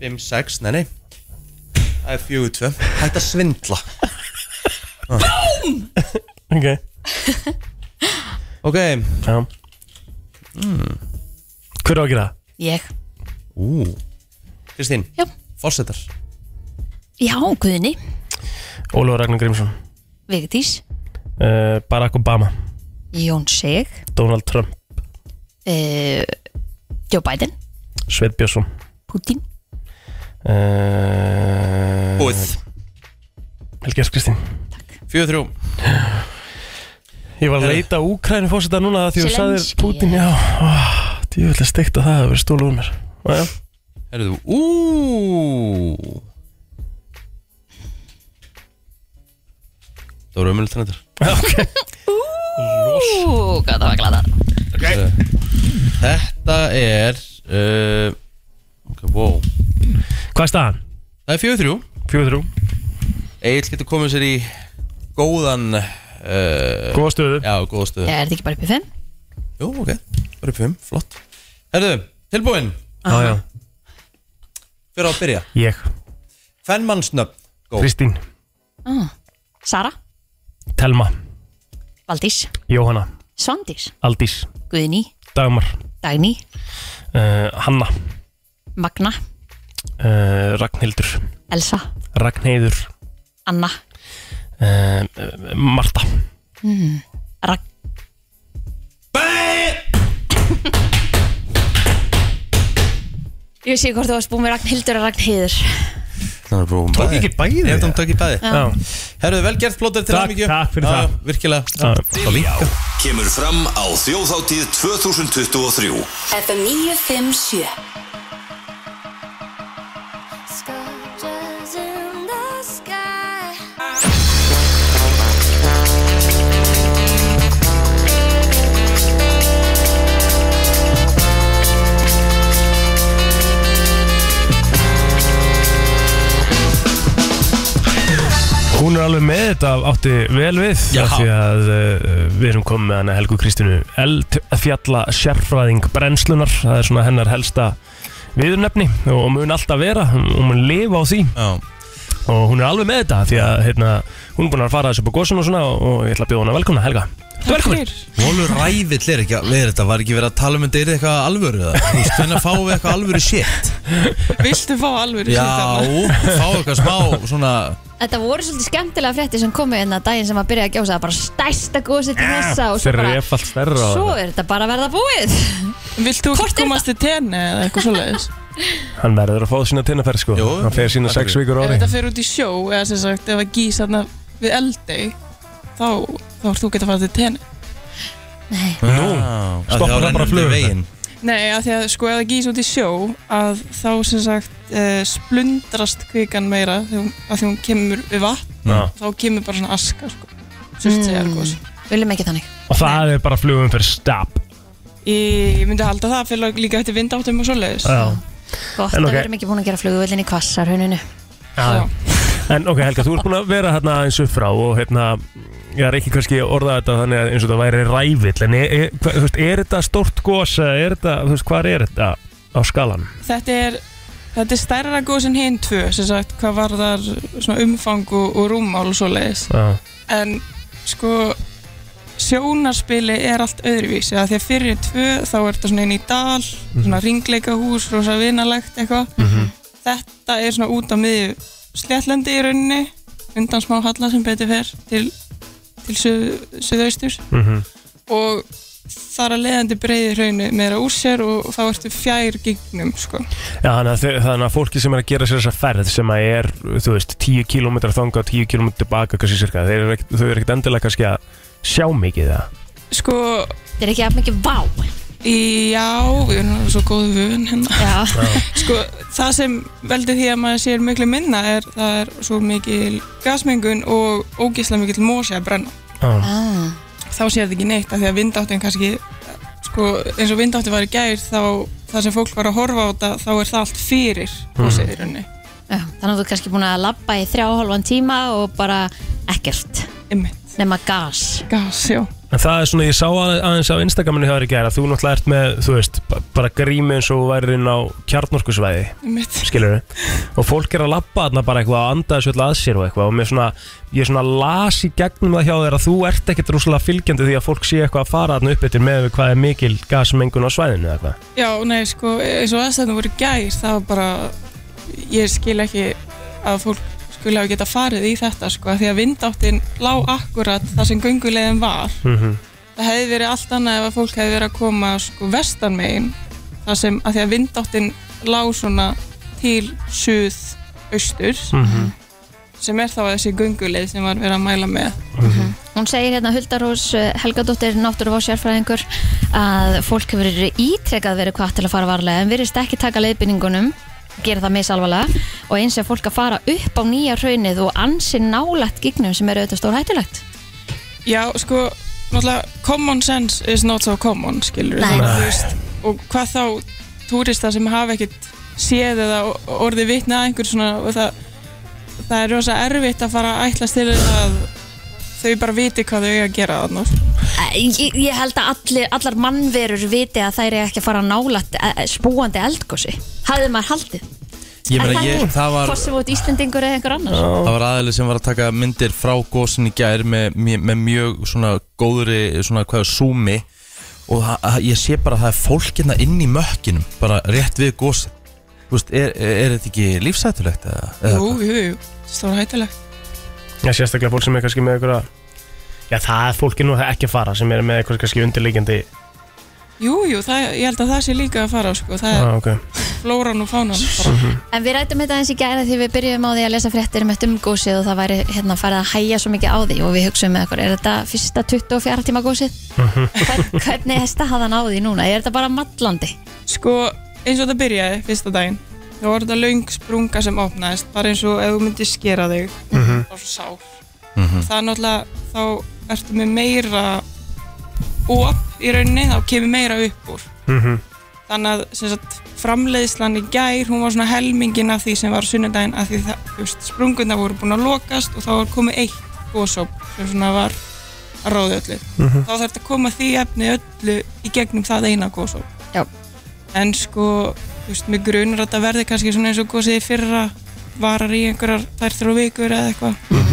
Speaker 1: 5, 6 Nei, nei Það er 4, 2 Hætt að svindla Ah.
Speaker 3: ok
Speaker 1: Ok Hmm.
Speaker 3: já hver á að gera það?
Speaker 2: Ég,
Speaker 1: Ú Kristín
Speaker 2: já,
Speaker 1: Fossetar
Speaker 2: já, Guðni
Speaker 3: Ólafur Ragnar Grímsson
Speaker 2: Vigdís,
Speaker 3: uh, Barack Obama
Speaker 2: Jón Sig
Speaker 3: Donald Trump
Speaker 2: uh, Joe Biden,
Speaker 3: Sveit Björnsson
Speaker 2: Putin
Speaker 3: uh,
Speaker 1: Búið
Speaker 3: Helgi S. Kristín
Speaker 1: 4, 3
Speaker 3: ég var að leita Úkræni fósita núna því þú sagðir
Speaker 2: Zelensky,
Speaker 3: Putin já Ah, ég vil að steikta það að vera stólu úr mér já, já
Speaker 1: Herðu, ú Það voru ömulegt hann þetta
Speaker 2: Ú, hvað það var glada
Speaker 1: Þetta er uh, Ok, wow
Speaker 3: hvað er staðan?
Speaker 1: Það er 4-3
Speaker 3: 4-3
Speaker 1: Egil getur komið sér í góðan uh,
Speaker 3: góða stöðu
Speaker 1: Já, góða stöðu
Speaker 2: Já, er þetta ekki bara upp í 5?
Speaker 1: Jú, ok, bara upp 5, flott Herðu, tilbúin,
Speaker 3: já, já
Speaker 1: fyrir á að byrja
Speaker 3: ég
Speaker 1: Fennmannsnöfn, góð
Speaker 3: Kristín
Speaker 2: Ah. Sara,
Speaker 3: Telma
Speaker 2: Valdís,
Speaker 3: Jóhanna
Speaker 2: Svandís
Speaker 3: Aldís
Speaker 2: Guðni,
Speaker 3: Dagmar
Speaker 2: Dagný,
Speaker 3: uh, Hanna
Speaker 2: Magna
Speaker 3: uh, Ragnhildur
Speaker 2: Elsa,
Speaker 3: Ragnheiður
Speaker 2: Anna
Speaker 3: uh, uh, Marta
Speaker 2: Hmm. Rag Ég sé hvort þú varst búið með Ragnhildur og Ragnheiður
Speaker 1: Það er búin bæði
Speaker 3: ekki bæði?
Speaker 1: Ég held að hún tók í bæði
Speaker 3: Já.
Speaker 1: Herðu, vel gert, flottar til
Speaker 3: Takk,
Speaker 1: hamingju.
Speaker 3: takk fyrir
Speaker 1: Já,
Speaker 3: það.
Speaker 1: já, Virkilega
Speaker 3: Já.
Speaker 1: Það líka
Speaker 4: Kemur fram á þjóðhátíð 2023
Speaker 5: FM 957
Speaker 3: Hún er alveg með þetta átti vel við
Speaker 1: Já.
Speaker 3: af því að uh, við erum komið með hana Helgu Kristínu Eldfjalla sérfræðing brennslunar það er svona hennar helsta viðurnefni og og mun alltaf vera hún hún mun lifa á því
Speaker 1: Já
Speaker 3: og hún er alveg með þetta því að hérna, hún er búin að fara þessu upp á gósun og svona og ég ætla að bjóða hana velkomna Helga Þú velkomin
Speaker 1: Mólur rævill er ekki alveg þetta Var ekki verið að tala um þetta er eitthvað alvöru eða? Þú veist, Hvernig fáum við eitthvað alvöru shit
Speaker 8: Viltu fá alveg
Speaker 1: Já, fá eitthvað smá svona
Speaker 2: Þetta voru svolítið skemmtilega frétti sem komu hérna daginn sem að byrja að gjósa það er bara stærsta gósið
Speaker 3: Eh,
Speaker 2: til þessa og svo
Speaker 3: Þeir eru
Speaker 2: bara,
Speaker 3: efallt stærra
Speaker 2: svo er þetta bara að verða búið
Speaker 8: Viltu
Speaker 2: Hvort er
Speaker 8: ekki komast í tenni eða eitthvað svoleiðis
Speaker 3: Hann verður að fá sína tinnaferð sko
Speaker 1: Jú.
Speaker 3: Hann fer sína sex vikur á
Speaker 8: Ef
Speaker 3: ári
Speaker 8: þetta fer út í sjó eða sem sagt ef að gís þarna við eldi þá, þá ert þú geta að fara til tenni
Speaker 3: Nú, stoppar það bara flugum
Speaker 1: veginn
Speaker 8: Nei, af því að sko ef það gís út í sjó að þá sem sagt uh, splundrast kvikan meira þegar hún- af því hún kemur við vatn
Speaker 3: Já.
Speaker 8: þá kemur bara svona aska sko. Surt segja ergós
Speaker 2: Mm. Viljum ekki þannig
Speaker 3: Og það er bara flugum fyrir stab
Speaker 8: Ég myndi halda það fyrir líka eftir vindáttum og svoleiðis
Speaker 3: Já.
Speaker 2: Gott
Speaker 3: En
Speaker 2: að
Speaker 3: ok.
Speaker 2: við erum ekki búin að gera flugvöldin í kvassarhuninu
Speaker 3: Já. En ok Helga, þú ert búin að vera hérna eins upp frá og hérna Ég er ekki kannski að orða þetta þannig að eins og þetta væri rævill En er, er, hva- þú veist, er þetta stórt gos eða er þetta, þú veist, hvað er þetta á skalan?
Speaker 8: Þetta er, þetta er stærra góðs en hinn tvö sem sagt hvað varðar svona umfang og, og rúmmál og svoleiðis
Speaker 3: Já,
Speaker 8: en sko sjónarspili er allt öðruvísi að því að fyrir tvö þá er þetta svona inn í dal svona ringleika hús, rosa vinalegt eitthvað þetta er svona út á miðju sléttlandi í rauninni undan smá halla sem betur fer til, til suð, suðausturs
Speaker 3: mm
Speaker 8: og þar að leiðandi breyði hraunni meira úr sér og þá ertu fjær gignum sko.
Speaker 3: Já, þannig að, þau- þannig að fólki sem er að gera sér þessa ferð sem að er, þú veist, 10 km þangað og 10 km tilbaka, kannski sirka þeir eru ekkit, þau eru ekkit endilega kannski að sjá mikið það
Speaker 8: sko,
Speaker 2: Þetta er ekki að mikið vá
Speaker 8: já við erum nú svo góð vun hérna
Speaker 2: Já,
Speaker 8: Sko, það sem veldur því að maður sér miklu minna er það er svo mikil gasmengun og ógislega mikil mósi að brenna.
Speaker 3: ah.
Speaker 2: ah,
Speaker 8: Þá sér þetta ekki neitt af því að vindáttin kannski, sko, eins og vindáttin var í gær þá það sem fólk var að horfa á þetta þá er það allt fyrir húsið í rauninni.
Speaker 2: já. Þannig að þú ert kannski búin að labba í þrjá og hálfan tíma og bara ekkert
Speaker 8: Ymmit.
Speaker 2: nema gas
Speaker 8: Gas, já.
Speaker 3: En það er svona, ég sá að- aðeins á Instagraminu hjá þér í gæra, þú náttúrulega ert með, þú veist, ba- bara grími eins og þú værir inn á kjarnorkusvæði
Speaker 8: Ymmit.
Speaker 3: skilur og fólk er að labba þarna bara eitthvað að anda þessu öll að sér og eitthvað og mér svona, ég svona las í gegnum það hjá þér að þú ert ekkert rosalega fylgjandi því að fólk sé eitthvað að fara þarna upp eftir með hvað er mikil gasmengun á svæðinu eða eitthvað
Speaker 8: Já, nei, sko, eins og aðstæðan voru í gær það var bara, ég skil ekki að fólk skulle hafa geta farið í þetta, sko, af því að vindáttin lág akkurat þar sem göngulegin var.
Speaker 3: mm
Speaker 8: það hefði verið allt annað ef að fólk hefði verið að koma sko vestan megin þar sem að því að vindáttin lág svona til suð austur
Speaker 3: Mhm.
Speaker 8: sem er þá þessi gunguleið sem var verið að mæla með
Speaker 2: Hún segir hérna Huldarós eh, Helgadóttir, náttúruvásjárfræðingur að fólk hefur verið ítrekað verið hvað til að fara varlega en virðist ekki taka leiðbynningunum gera það misalvarlega og eins er fólk að fara upp á nýja hraunið og ansi nálægt gignum sem eru auðvitað stór hættulegt
Speaker 8: Já, sko, náttúrulega common sense is not so common, skilur
Speaker 2: Nei.
Speaker 8: þú veist, og hvað þá túrista sem hafa ekkert séð eða orðið vitnað einhver svona og það, það er rosa erfitt að fara að ætlast til þess að þau bara viti hvað þau eiga að gera sko. þannig
Speaker 2: Ég, ég held að allir, allar mannverur viti að þær er ekki að fara nálægt eh, eh, spúandi eldgósi hafði maður haldið
Speaker 1: Ég
Speaker 2: Er
Speaker 1: meina,
Speaker 2: það
Speaker 1: ég,
Speaker 2: ekki?
Speaker 1: það var
Speaker 2: hvort sem út Íslendingur eða einhver annar
Speaker 1: Það var aðeins sem var að taka myndir frá gósin í gær með, með, með mjög svona góðri svona hvað er súmi og það, að- ég sé bara að það er fólk hérna inn í mökkinum bara rétt við gósin Þú veist, er, er, er þetta ekki lífsættulegt eða? eða
Speaker 8: Jú,
Speaker 1: hvað?
Speaker 8: jú, jú, stóra hættulegt
Speaker 3: Já, sérstaklega fólk sem er kannski með einhverja Já, það er fólki nú ekki að fara sem er með eitthvað kannski undirleikjandi
Speaker 8: Jú, jú, það, ég held að það sé líka að fara sko. það er
Speaker 3: ah, okay.
Speaker 8: flóran og fánan bara.
Speaker 2: En við rætum þetta eins í gæra því við byrjum á því að lesa fréttir um þetta um gósið og það væri hérna farið að hæja svo mikið á því og við hugsaum með okkur, er þetta fyrsta 24 tíma gósið?
Speaker 3: Mhm.
Speaker 2: Hvern, hvernig hesta hafði hann á því núna? Er þetta bara mallandi?
Speaker 8: Sko, eins og það byrjaði fyrsta daginn þá var þetta löng sprunga sem opnaðist bara eins og ef þú myndir skera þig mm -hmm. og svo sár það er náttúrulega, þá ertu með meira op í rauninni, þá kemur meira upp úr
Speaker 3: mm -hmm.
Speaker 8: þannig að sem sagt, framleiðslan í gær hún var svona helmingin af því sem var á sunnudaginn af því það, þú veist, sprungurna voru búin að lokast og þá var komið eitt góðsóp sem svona var að ráði öllu þá þarf þetta að koma því efni öllu í gegnum það eina góðsóp
Speaker 2: Já.
Speaker 8: en sko, þú veist, mig grunar að þetta verði kannski svona eins og góðsið í fyrra varar í einhverjar þær þrjá vikur eða eitthvað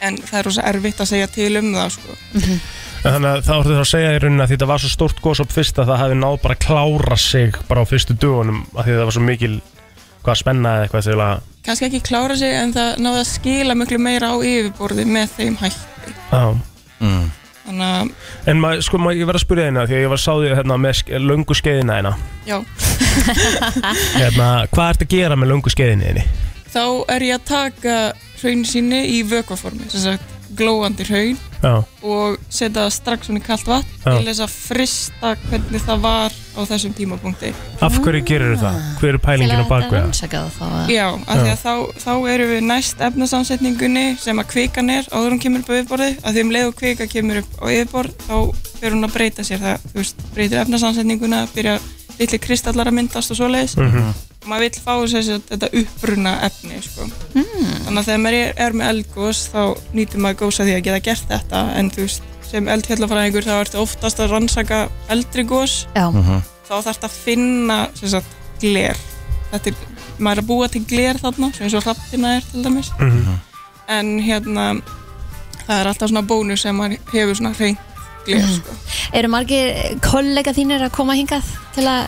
Speaker 8: en það er rosa erfitt að segja til um það sko.
Speaker 3: En Þannig að það voru þá að segja í rauninni að því þetta var svo stórt góðsop fyrst að það hafi náð bara að klára sig bara á fyrstu dugunum að því það var svo mikil hvað spenna eða eitthvað til að
Speaker 8: kannski ekki klára sig en það náði að skila miklu meira á yfirborði með þeim hætti
Speaker 3: á.
Speaker 8: þannig að,
Speaker 3: En mað, sko, mað, ég verð að spyrja þeina því að ég var sáðið hérna, með ske- löngu skeiðina þeina
Speaker 8: já,
Speaker 3: hérna, Hvað ertu að gera með löngu skeiðinni þinni?
Speaker 8: þá er ég að taka hraun síni í vökvaformi sem sagt glóandi hraun
Speaker 3: Já,
Speaker 8: og setja það strax svona í kalt vatn
Speaker 3: Já.
Speaker 8: til þess að frista hvernig það var á þessum tímapunkti
Speaker 3: af
Speaker 8: Ah.
Speaker 3: hverju gerir það? Hver er
Speaker 2: Til
Speaker 3: pælingin á
Speaker 2: að
Speaker 3: bakvega?
Speaker 2: rannsaka það þá að-
Speaker 8: já, af því að þá, þá erum við næst efnasamsetningunni sem að kvikan er áður hún kemur upp á yfirborði af því um leið og kvika kemur upp á yfirborð þá fer hún að breyta sér það þú veist, breytir efnasamsetninguna, byrja litli kristallar að myndast og svoleiðis og maður vill fá þess að þetta uppruna efni sko.
Speaker 2: Hmm.
Speaker 8: þannig að þegar maður er, er með eldgós þá nýtur maður gósa því að geta gert þetta en þú veist, sem eldfjallafræðingur þá ertu oftast að rannsaka eldri gós
Speaker 2: Já,
Speaker 8: þá þarf þetta að finna sem sagt, gler þetta er, maður er að búa til gler þarna sem eins og hrappina er til dæmis
Speaker 3: Mhm.
Speaker 8: en hérna það er alltaf svona bónus sem maður hefur svona hreint gler sko.
Speaker 2: eru margir kollega þínir að koma hingað til að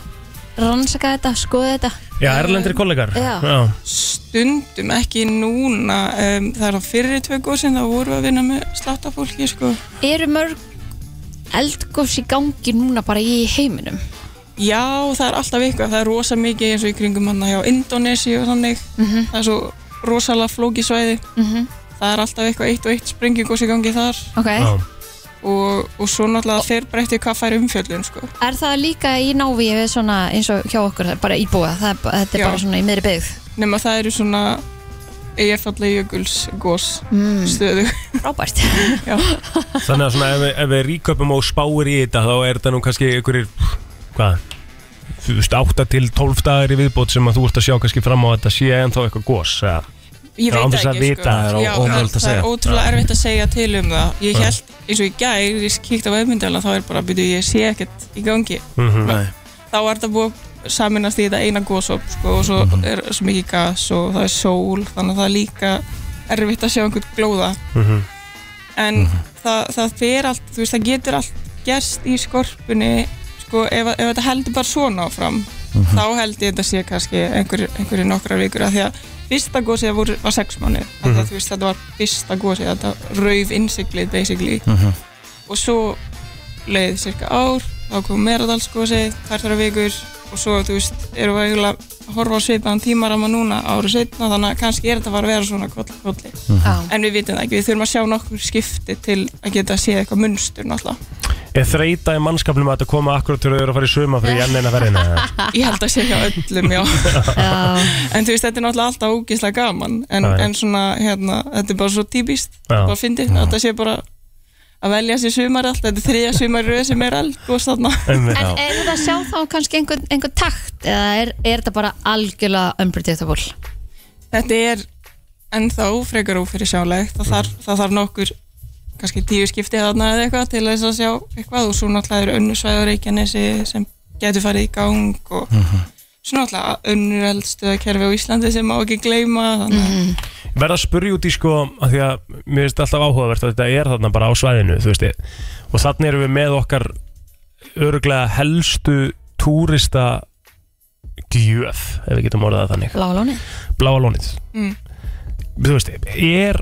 Speaker 2: rannsaka þetta, skoða þetta
Speaker 3: Já, erlendir kollegar
Speaker 2: Já.
Speaker 8: stundum ekki núna um, það er á fyrri tvö góðsinn þá vorum við að vinna með sláttafólki sko.
Speaker 2: Eru mörg eldgós í gangi núna bara í heiminum?
Speaker 8: já það er alltaf eitthvað það er rosa mikið eins og í kringum hann hjá Indonesi og þannig það er svo rosalega flóki svæði
Speaker 2: Mhm.
Speaker 8: það er alltaf eitthvað eitt og eitt springingos í gangi þar
Speaker 2: Ok,
Speaker 3: Já.
Speaker 8: og, og svo náttúrulega þeir breytti hvað fær umfjöldun sko.
Speaker 2: er það líka í návíi við svona eins og hjá okkur, bara íbúa, það er, ba- þetta er
Speaker 8: Já.
Speaker 2: bara svona í miðri byggð
Speaker 8: nema það eru svona eigarfallega jökuls gós
Speaker 2: mm.
Speaker 8: stöðu
Speaker 2: Frábært
Speaker 3: Þannig að svona ef, við- ef við ríköpum og spáir í þetta þá er þetta nú kannski einhverjir hvað, þú veist, 8 til 12 dagar í viðbót sem að þú ert að sjá kannski fram á að þetta sé ennþá eitthvað gos eða.
Speaker 8: ég
Speaker 3: Já, án
Speaker 8: veit
Speaker 3: þess
Speaker 8: ekki
Speaker 3: að vita, það er
Speaker 8: sko.
Speaker 1: ó-
Speaker 8: Já,
Speaker 1: ómögulegt að
Speaker 8: það
Speaker 1: segja.
Speaker 8: er ótrúlega erfitt að segja til um það ég held eins og í gær ég kíkt á vefmyndala þá er bara byrju ég sé ekkert í gangi
Speaker 3: Mhm.
Speaker 1: Nei.
Speaker 8: þá er þetta búið að saminast í þetta eina gósop sko, og svo
Speaker 3: Mhm.
Speaker 8: er svo mikið gas og það er sól þannig að það er líka erfitt að sjá einhvern glóða
Speaker 3: Mhm.
Speaker 8: en það, það fer allt þú veist það getur allt gerst í skorpunni sko ef, ef þetta heldur bara svona áfram
Speaker 3: Mhm.
Speaker 8: þá held ég þetta sé kannski einhverju einhver nokkra vikur af því að fyrsta gósið voru, var sex mánu mm -hmm. veist, þetta var fyrsta gósið þetta rauf innsiglið basically og svo leið cirka ár þá kom Meradalsgósið, hverfara vikur og svo þú veist, erum við eiginlega að horfa á svipaðan tímarama núna ári setna þannig að kannski er þetta bara að vera svona koll kolli
Speaker 2: Já,
Speaker 8: en við vitum það ekki, við þurfum að sjá nokkur skipti til að geta séð eitthvað munstur náttúrulega,
Speaker 3: Er þreita í mannskapnum að þetta koma akkurat til að þau eru að fara í suma fyrir enn eina ferðina eða?
Speaker 8: ég held að sé hjá öllum já,
Speaker 2: já,
Speaker 8: en þú veist þetta er náttúrulega alltaf ógislega gaman, en,
Speaker 3: Já, já.
Speaker 8: en svona hérna, þetta er bara svo típist,
Speaker 3: Já.
Speaker 8: bara fyndið þetta sé bara að velja sér sumar allt, þetta er þriðja sumar í röð sem er eldgós þarna,
Speaker 3: Einmitt.
Speaker 2: en eh, er þetta að sjá þá kannski einhvern, einhvern takt eða er, er þetta bara algjörlega unpredictable?
Speaker 8: þetta er ennþá frekar ófyrir sjálegt það þarf, það þarf nokkur kannski tíu skipti þarna eða eitthvað til þess að sjá eitthvað og svo náttúrulega eru önnu svæður Reykjanesi sem getur farið í gang og
Speaker 3: Mhm.
Speaker 8: svo náttúrulega önnu eldstöðakerfi á Íslandi sem má ekki gleyma þannig að
Speaker 3: Mhm. Verða að spurja út í sko að því að mér finnst alltaf áhugavert að þetta er þarna bara á svæðinu þú veist ég og þannig erum við með okkar örglega helstu túrista gjöf ef við getum orðað það þannig
Speaker 2: Lágalóni?
Speaker 3: bláa lónið
Speaker 8: Mm.
Speaker 3: þú veist, er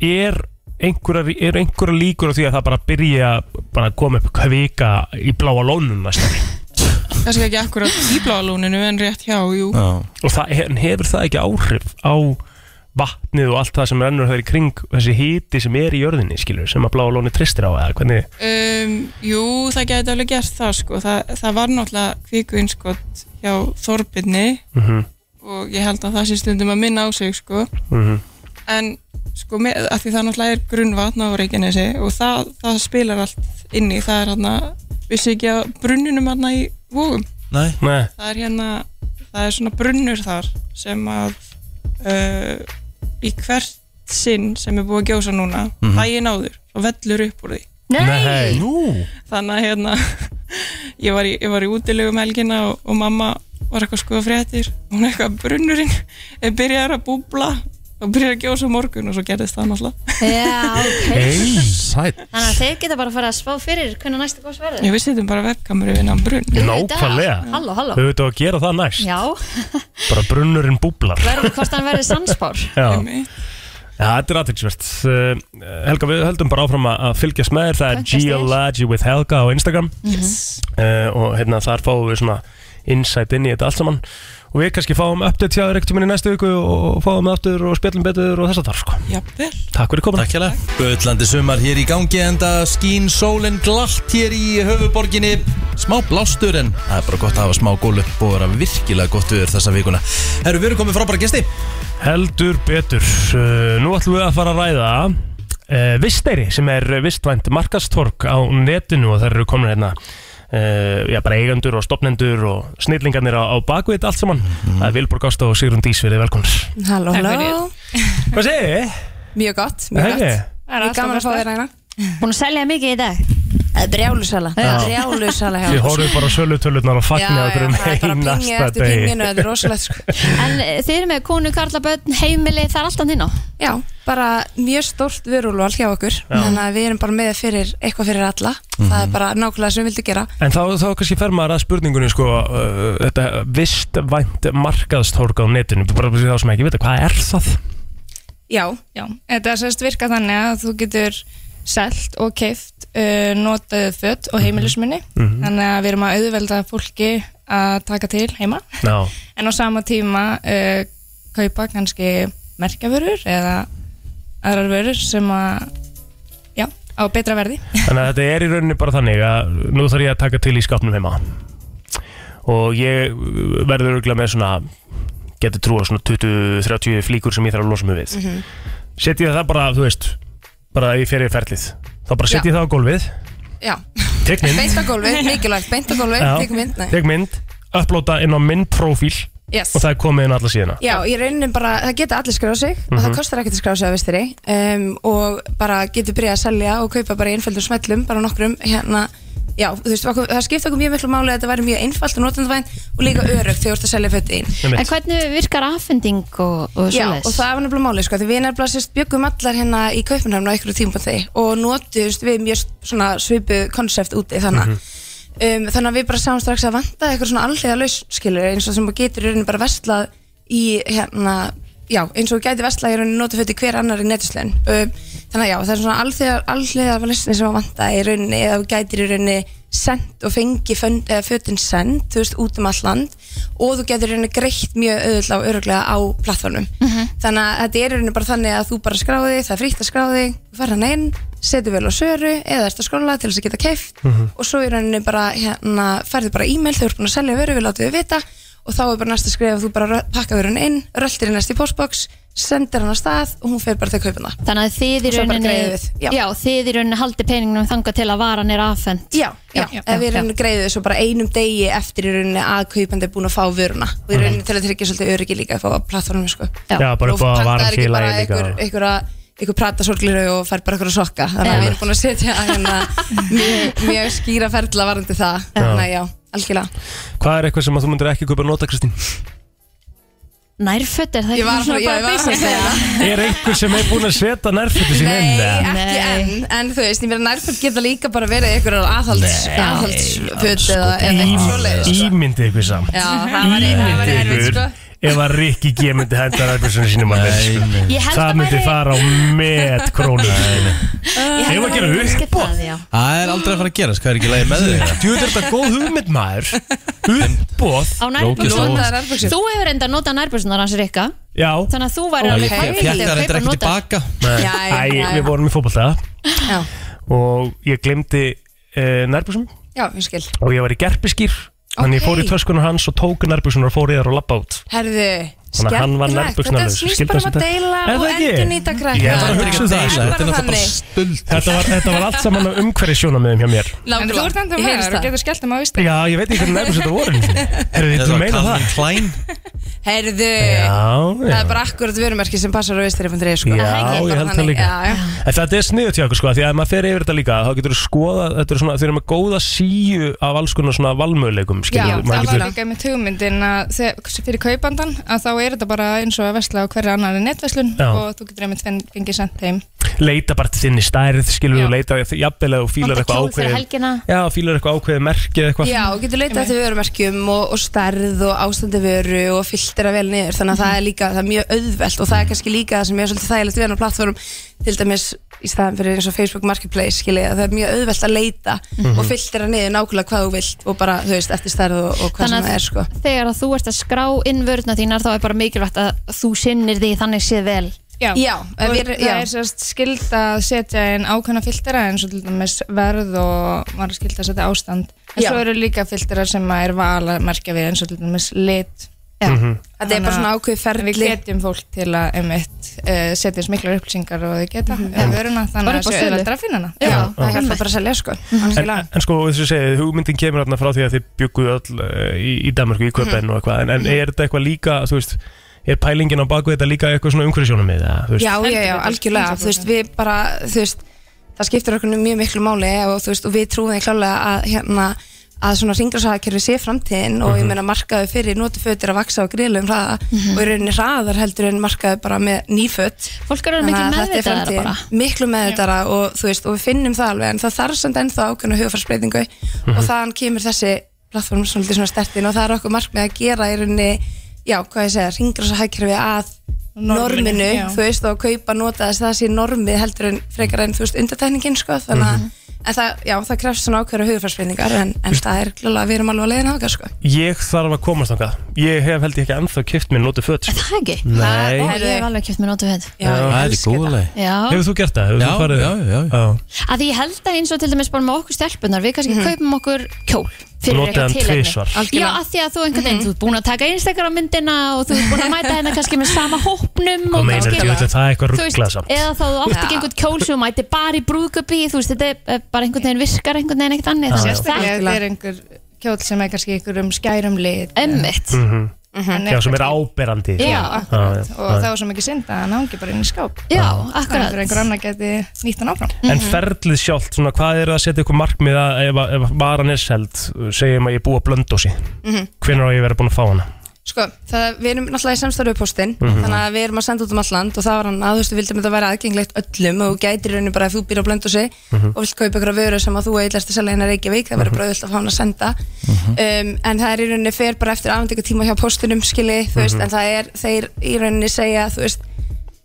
Speaker 3: er einhverja, er einhverja líkur á því að það bara byrja bara að koma upp kvika í bláa lónun næsta ári?
Speaker 8: kannski ekki akkurat í bláalóninu en rétt hjá, jú
Speaker 1: Já.
Speaker 3: og það, en hefur það ekki áhrif á vatnið og allt það sem rennur þær í kring þessi hiti sem er í jörðinni skilur, sem að bláa lónið tristir á eða hvernig,
Speaker 8: um, Jú, það geti alveg gert það sko, það, það var náttúrulega kvikuinskott hjá Þorbirni
Speaker 3: mm -hmm,
Speaker 8: og ég held að það sé stundum að minna á sig sko en sko með, að því það náttúrulega er grunnvatn á Reykjanesi og það, það spilar allt inni, það er hérna vissi ekki að brunninum hérna í vógum
Speaker 1: Nei.
Speaker 3: Nei,
Speaker 8: það er hérna, það er svona brunnur þar sem að uh, í hvert sinn sem er búið að gjósa núna mm -hmm. daginn áður og vellur upp úr því
Speaker 3: nei, nú
Speaker 8: þannig að hérna ég var í, ég var í útilegum helgina og, og mamma var eitthvað sko fréttir og hún eitthvað brunnurinn er byrjar að búbla og byrjar að gjósa á morgun og svo gerðist það náttúrulega
Speaker 2: Já, ok
Speaker 1: Sæt
Speaker 2: Þannig að þeir geta bara að fara að spá fyrir hvernig næsta gos verður
Speaker 8: ég við setjum bara vefkameru inn á brunn
Speaker 3: Nákvæmlega.
Speaker 2: Halló, halló
Speaker 3: Þau veitum að gera það næst
Speaker 2: Já,
Speaker 3: Bara brunnurinn búblar
Speaker 2: verður hvort hann verður sannspár
Speaker 3: Já,
Speaker 8: Einmitt.
Speaker 3: Já, þetta er aðtilsvert uh, Helga, við höldum bara áfram að að fylgjast með þér Það er
Speaker 2: Fylgjast þér.
Speaker 3: Geology with Helga á Instagram
Speaker 8: yes.
Speaker 3: uh, og hérna, þar fáum við svona insight inn í þetta allt saman og við kannski fáum update hjá þér ekkert tíminn í næstu viku og fáum við aftur og spjallum betur og þess að þar sko.
Speaker 8: jafnvel
Speaker 3: Takk fyrir komin
Speaker 1: Takkjalega Böllandi sumar hér í gangi enda skín sólin glatt hér í höfuborginni smá blástur en það er bara gott að hafa smá gól upp og vera virkilega gott viður þessa vikuna Herru, við erum komið frábæra gesti
Speaker 3: Heldur betur uh, Nú ætlum við að fara að ræða uh, Visteyri sem er vistvænt markastork á netinu og þær eru komin hérna Uh, já, bara eigendur og stopnendur og snillingarnir á, á bakvið þetta allt saman Það er Vilborg Ásta og Sigrun Dís verið velkomnir
Speaker 9: Halló, halló
Speaker 3: Hvað segir
Speaker 9: Eh?
Speaker 3: þið?
Speaker 9: Mjög gott, mjög gott
Speaker 3: Hey.
Speaker 9: Ég er gaman að fá þér hægna
Speaker 2: Búin að selja mikið í dag
Speaker 9: Brjálusala Brjálusala
Speaker 3: Þið horfum bara á sölutölunar og fagnir okkur um
Speaker 9: sko. það er bara að pingja
Speaker 3: einasta
Speaker 9: eftir
Speaker 3: degi
Speaker 9: pinginu, þetta er rosalegt sko.
Speaker 2: En eh, þið eru með konu, karla, börn, heimili, það er allt hann þinn á
Speaker 9: Já, bara mjög stórt vörulval hjá okkur Þannig að við erum bara með fyrir eitthvað fyrir alla
Speaker 3: Mhm.
Speaker 9: Það er bara nákvæmlega sem við vildu gera
Speaker 3: En þá, þá kannski fer maður að spurningunni sko, uh, þetta vistvænt markaðstorg á netinu, bara fyrir þá sem ekki vita, hvað er það?
Speaker 10: Já, já, þetta sérst virka þannig að þú getur selt og keift uh, notaðu fött
Speaker 3: Mhm.
Speaker 10: og heimilismunni þannig að við erum að auðvelda fólki að taka til heima
Speaker 3: Já,
Speaker 10: en á sama tíma uh, kaupa kannski merkjavörur eða aðrar vörur sem að já, á betra verði
Speaker 3: þannig að þetta er í rauninni bara þannig að nú þarf ég að taka til í skapnum heima og ég uh, verður örgulega með svona getur trúa svona 20-30 flíkur sem ég þarf að losa mig við mm
Speaker 9: Mhm.
Speaker 3: Setjið það bara, þú veist bara í fyrir ferlið, þá bara setjið það á gólfið
Speaker 9: Já,
Speaker 3: tek mynd,
Speaker 9: beint á gólfið, mikilvægt, beint á gólfið,
Speaker 3: Já.
Speaker 9: tekum mynd nei.
Speaker 3: tek mynd upplóta inn á minn profíl
Speaker 9: yes.
Speaker 3: og það er komið inn á alla síðuna
Speaker 9: Já, í rauninni bara, það geta allir skráð sig og það kostar ekkert að skráð sig að vestri um, og bara getur byrjað að selja og kaupa bara í einföldum smellum, bara nokkrum hérna, já, þú veist, okkur, það skipta okkur mjög miklu máli að þetta væri mjög einfalt og notendavænt og líka örugt þegar þú ert að selja fötið inn
Speaker 2: En hvernig virkar affending og, og
Speaker 9: Já,
Speaker 2: svoleiðis?
Speaker 9: og það var nefnilega málið sko, því við nefnilega sérst byggum allar hérna í Kaupinhafn á einhverju tímpandi og notuðust við mjög svona svipu konsept úti þannig
Speaker 3: Mhm.
Speaker 9: um, þannig að við bara sáum strax að vanda eitthvað svona allega lausskilur eins og sem þú getur í rauninni bara verslað í hérna, já, eins og þú gæti verslað í rauninni notaföti hver annar í netislein um, þannig að já, það er svona allega allega lausni sem að vanda í rauninni eða þú gætir í rauninni send og fengi fön- eða fötin send, þú veist, út um all land og þú getur í rauninni greitt mjög auðvitað og öruglega á plattformum þannig að þetta er í rauninni bara þannig að þú bara skráði það er frítt að skráði, þú fara hann inn setur vel á söru eða ert að skóla til þess að geta keift
Speaker 3: Mhm.
Speaker 9: og svo í rauninni bara hérna, færðu bara e-mail, þau eru búin að selja veru við látum við vita og þá er bara næsta skrif að þú bara rö- pakkar verun inn, röltir í næst í postbox sendir hann að stað og hún fer bara til kaupina
Speaker 2: Þannig að þið í
Speaker 9: Og svo bara
Speaker 2: rauninni
Speaker 9: greiðum við, já.
Speaker 2: Já, þið í rauninni haldi peningnum þangað til að varan er affend
Speaker 9: Já, já,
Speaker 2: Já,
Speaker 9: ef við
Speaker 2: já.
Speaker 9: í rauninni greiðu þessu bara einum degi eftir í rauninni að kaupandi er búin að fá vöruna og í rauninni til að tryggja svolítið öryggi líka upp á plattformum sko.
Speaker 3: Já, bara upp á
Speaker 9: Og pantaðir ekki
Speaker 3: varanfélagi
Speaker 9: bara
Speaker 3: líka
Speaker 9: einhver, einhver, einhver prata sorgliru og fær bara einhverja sokka
Speaker 2: Já.
Speaker 9: þannig að við erum búin að setja hérna, mjög, mjög skýra ferla varandi það þannig að já, algjörlega
Speaker 3: Hvað er eitthvað sem að þú myndir ekki kaupa að nota, Kristín?
Speaker 2: Nærfött er það
Speaker 9: Ég var,
Speaker 2: svona
Speaker 9: já, ég
Speaker 2: bara
Speaker 9: var að
Speaker 2: basic?
Speaker 9: segja það
Speaker 3: Er einhver sem er búin að setja nærfötu sín inn?
Speaker 9: Nei,
Speaker 3: eða?
Speaker 9: ekki
Speaker 2: Nei.
Speaker 9: enn, en þú veist, ég meina nærföld geta líka bara verið einhverjar aðhalds,
Speaker 1: Nei,
Speaker 9: aðhaldsföt
Speaker 3: Sko,
Speaker 9: eða eða eitthvað svoleiðis.
Speaker 3: Ím- Ímyndið ykkur samt
Speaker 9: Já, það var, það var
Speaker 3: Ímyndið
Speaker 9: erfitt
Speaker 3: ykkur
Speaker 9: sko.
Speaker 3: Ef að Rikki G myndi henda nærfötu sínum að þeir sko.
Speaker 2: Ég held
Speaker 3: Það
Speaker 2: að
Speaker 3: myndi
Speaker 2: væri-
Speaker 3: fara á met krónu
Speaker 2: Ég held
Speaker 3: Eigum við að
Speaker 2: að
Speaker 3: gera
Speaker 2: væri
Speaker 3: uppboð?
Speaker 2: skipta það, já.
Speaker 1: Það er aldrei að fara að gerast, hvað er ekki lægi með þig?
Speaker 3: Þú veit þetta góð hugmynd maður Uppbóð
Speaker 2: Á
Speaker 1: Lókist
Speaker 2: nærbuxum
Speaker 1: á-
Speaker 9: Notaðar nærbuxur.
Speaker 2: Þú hefur enda notað nærbuxunar hans Rikka
Speaker 3: Já
Speaker 2: Þannig að þú væri
Speaker 9: Ok.
Speaker 2: alveg
Speaker 9: Ég
Speaker 1: Fjækka það reyndar ekki
Speaker 2: nota
Speaker 1: tilbaka
Speaker 3: Nei.
Speaker 9: Já, já,
Speaker 3: Æ,
Speaker 9: já, já.
Speaker 3: við vorum í fótbolta
Speaker 9: Já,
Speaker 3: og ég glemdi uh, nærbúsum
Speaker 9: já, ég skil
Speaker 3: og ég var í gerpiskýr Þannig ég fór í
Speaker 9: Ok.
Speaker 3: töskunar hans og tók nærbúsunar og fór í þar og lappa út
Speaker 9: Herðu,
Speaker 3: Þannig að hann var
Speaker 9: Skemmtilegt.
Speaker 3: nærbuksnalus
Speaker 9: Þetta snýst bara um að deila og endurnýta krakka.
Speaker 3: Ég var að hugsa um
Speaker 9: Það
Speaker 3: það
Speaker 9: er bara þannig.
Speaker 3: Þetta var, þetta var allt saman um umhverju sjónamöðum hjá mér
Speaker 10: En þú ert enda
Speaker 9: Ég
Speaker 10: með
Speaker 9: heyrist
Speaker 10: það og
Speaker 9: það.
Speaker 10: getur skellt um á Íslandi
Speaker 3: Já, ég veit ekki hvernig nærbuks þetta voru Herðu,
Speaker 1: Þetta
Speaker 3: þú
Speaker 1: var
Speaker 3: meina
Speaker 1: Calvin
Speaker 3: það?
Speaker 1: Klein
Speaker 9: Herðu,
Speaker 3: Já,
Speaker 9: það
Speaker 3: já
Speaker 9: er bara akkurat vörumerki sem passar á vistri.is sko.
Speaker 3: Já,
Speaker 9: Það er ekki
Speaker 3: ég
Speaker 9: bara
Speaker 3: held það
Speaker 9: þannig.
Speaker 3: líka.
Speaker 9: Já, já.
Speaker 3: En þetta er sniðut hjá okkur sko, af því að ef maður fer yfir þetta líka þá getur þú skoða, þetta er svona, þeir eru með góða síu af alls konar svona valmöðleikum
Speaker 10: Já,
Speaker 3: skilur,
Speaker 10: það var
Speaker 3: getur,
Speaker 10: líka með hugmyndin að þegar- fyrir kaupandan að þá er þetta bara eins og að vesla á hverja annar netveslun
Speaker 3: Já.
Speaker 10: og þú getur einmitt fenn- fengið sendt heim
Speaker 3: leita bara til þinni stærð skilur, og leita jafnvel að þú fílar
Speaker 2: Vantar
Speaker 3: eitthvað
Speaker 2: kjól fyrir
Speaker 3: ákveðið
Speaker 2: helgina.
Speaker 3: Já, fílar eitthvað ákveðið merkið eitthvað
Speaker 9: Já, og getur leitað eftir vörumerkjum og, og stærð og ástandi vöru og filtera vel niður þannig að það er líka, það er mjög auðvelt og það er kannski líka það sem er svolítið þægilegt við hann á plattform til dæmis í staðan fyrir eins og Facebook Marketplace skilja, það er mjög auðvelt að leita
Speaker 2: Mhm.
Speaker 9: og filtera niður nákvæmlega hvað þú vilt og bara, þú veist, eftir stærð og, og hvað sem
Speaker 2: Þannig
Speaker 9: það
Speaker 2: að
Speaker 9: er sko.
Speaker 2: þegar að þú ert að skrá inn vörðna þínar þá er bara mikilvægt að þú sinnir því þannig séð vel
Speaker 10: Já,
Speaker 2: ef
Speaker 10: og
Speaker 2: ég-
Speaker 10: það er sérst skild að setja inn ákveðna filtera eins og til dæmis verð og maður er skild að setja ástand en
Speaker 9: Já.
Speaker 10: svo eru líka filtera sem maður er val að merkja við eins og til dæmis lit
Speaker 9: Já. Mhm. Þetta er bara svona ákveð ferli
Speaker 10: Við getjum fólk til að einmitt uh, setja eins miklar upplýsingar og þau geta mm -hmm. vöruna þannig að
Speaker 9: Bara upp á
Speaker 10: það séu
Speaker 9: sölu.
Speaker 10: öðvöldra að finna hana
Speaker 9: Já, það hjálpa bara að selja sko,
Speaker 3: En,
Speaker 9: algjörlega.
Speaker 3: en sko, þess að segja, hugmyndin kemur þarna frá því að þið bygguðu öll eh, í, í Danmarku í Köpen og eitthvað, en, en er þetta eitthvað líka, þú veist, er pælingin á baku þetta líka eitthvað svona umhverfisjónum við, þú veist?
Speaker 9: Já, já, já, algjörlega, þú veist, við bara, þú veist, það skiptir okkur mjög miklu máli og þú veist, og við trúum því klálega að hérna, að svona ringrasaðakerfi sé framtíðin og ég
Speaker 11: Mhm.
Speaker 9: meina markaðu fyrir notufötir að vaksa og grila um hraða
Speaker 2: Mhm.
Speaker 9: og í rauninni hraðar heldur en markaðu bara með nýföt.
Speaker 2: Fólk eru
Speaker 9: Þannig
Speaker 2: miklu
Speaker 9: að þetta er
Speaker 2: meðvitaðara
Speaker 9: framtíðin.
Speaker 2: bara.
Speaker 9: Miklu meðvitaðara og þú veist, og við finnum það alveg en það þarf samt ennþá ákveðna hugfarsbreytingu og
Speaker 11: Mhm.
Speaker 9: þaðan kemur þessi plattform svolítið svona stertin og það er okkur markmið að gera í rauninni, já, hvað ég segja, ringrasaðakerfi að
Speaker 11: Norminu,
Speaker 9: norminu,
Speaker 11: já.
Speaker 9: þú veist, og kaupa nota þess að það sé normið heldur en frekar en, þú veist, undartækningin, sko, þannig að En það, já, það krefst svona ákveðra hugfarsbreyningar en, en það er glæðilega að við erum alveg að leiðin á það, sko.
Speaker 3: Ég þarf að komast þangað. Ég hef held ég ekki ennþá kipt mér nótu föt. sko.
Speaker 2: Það ekki?
Speaker 3: Nei.
Speaker 2: Ó, Ég hef alveg kjöpt mér notu við
Speaker 3: er góðlega. Hefur
Speaker 2: Já,
Speaker 3: þú gert það? Hefur
Speaker 1: Já,
Speaker 3: þú farið?
Speaker 1: já,
Speaker 3: já. já.
Speaker 2: að ég held að eins og til dæmis bara með okkur stelpunar, við
Speaker 10: Mhm.
Speaker 2: kannski kaupum okkur kjól fyrir
Speaker 3: Notið
Speaker 2: eitthvað
Speaker 3: hann
Speaker 2: tilefni.
Speaker 3: tvisvar.
Speaker 2: Já, að því að þú einhvern
Speaker 10: Mhm.
Speaker 2: veginn, þú ert búin að taka einstakara myndina og þú ert búin að mæta hennar kannski með sama hópnum og
Speaker 3: Hvað meinar
Speaker 2: kannski-
Speaker 3: þú? Ég veit að það er eitthvað
Speaker 2: Þú veist,
Speaker 3: ruglað samt.
Speaker 2: Eða þá þú átt ekki einhvern kjól sem þú mæti bara í brúðköpi, þú veist, þetta er eh, bara einhvern veginn virkar einhvern veginn ekkert annir.
Speaker 10: Sérstaklega ef þetta er einhver kjóll sem er kannski ykkur um skærum lit
Speaker 2: Emmitt
Speaker 3: Mhm.
Speaker 10: Mhm.
Speaker 3: Já, sem er áberandi.
Speaker 10: Já,
Speaker 3: akkurat.
Speaker 10: og það var svo mikið synd að hann hangi bara inn í skáp
Speaker 2: Já,
Speaker 10: akkurat Þannig að einhver annar geti nýtt hann áfram
Speaker 3: En ferlið sjálft, svona, hvað er að setja ykkur markmið að ef, að- ef varan er seld, segjum að ég búa blöndósi,
Speaker 9: Mhm.
Speaker 3: hvenær á ég að vera búin að fá hana?
Speaker 9: Sko, það, við erum náttúrulega í samstarfið postin
Speaker 3: Mhm.
Speaker 9: þannig að við erum að senda út um all land og það var hann að þú veist, við vildum þetta vera aðgengilegt öllum og þú gætir í rauninni bara ef þú býr á blöndusi
Speaker 11: Mhm.
Speaker 9: og vilt kaupa ykkur að vöru sem að þú eitthvað að selja hennar Reykjavík, það verður bara auðvitað að fá hann að senda um, en það er í rauninni fer bara eftir afhendingu tíma hjá postinum skili, þú veist,
Speaker 11: Mhm.
Speaker 9: en það er þeir í rauninni segja, þú veist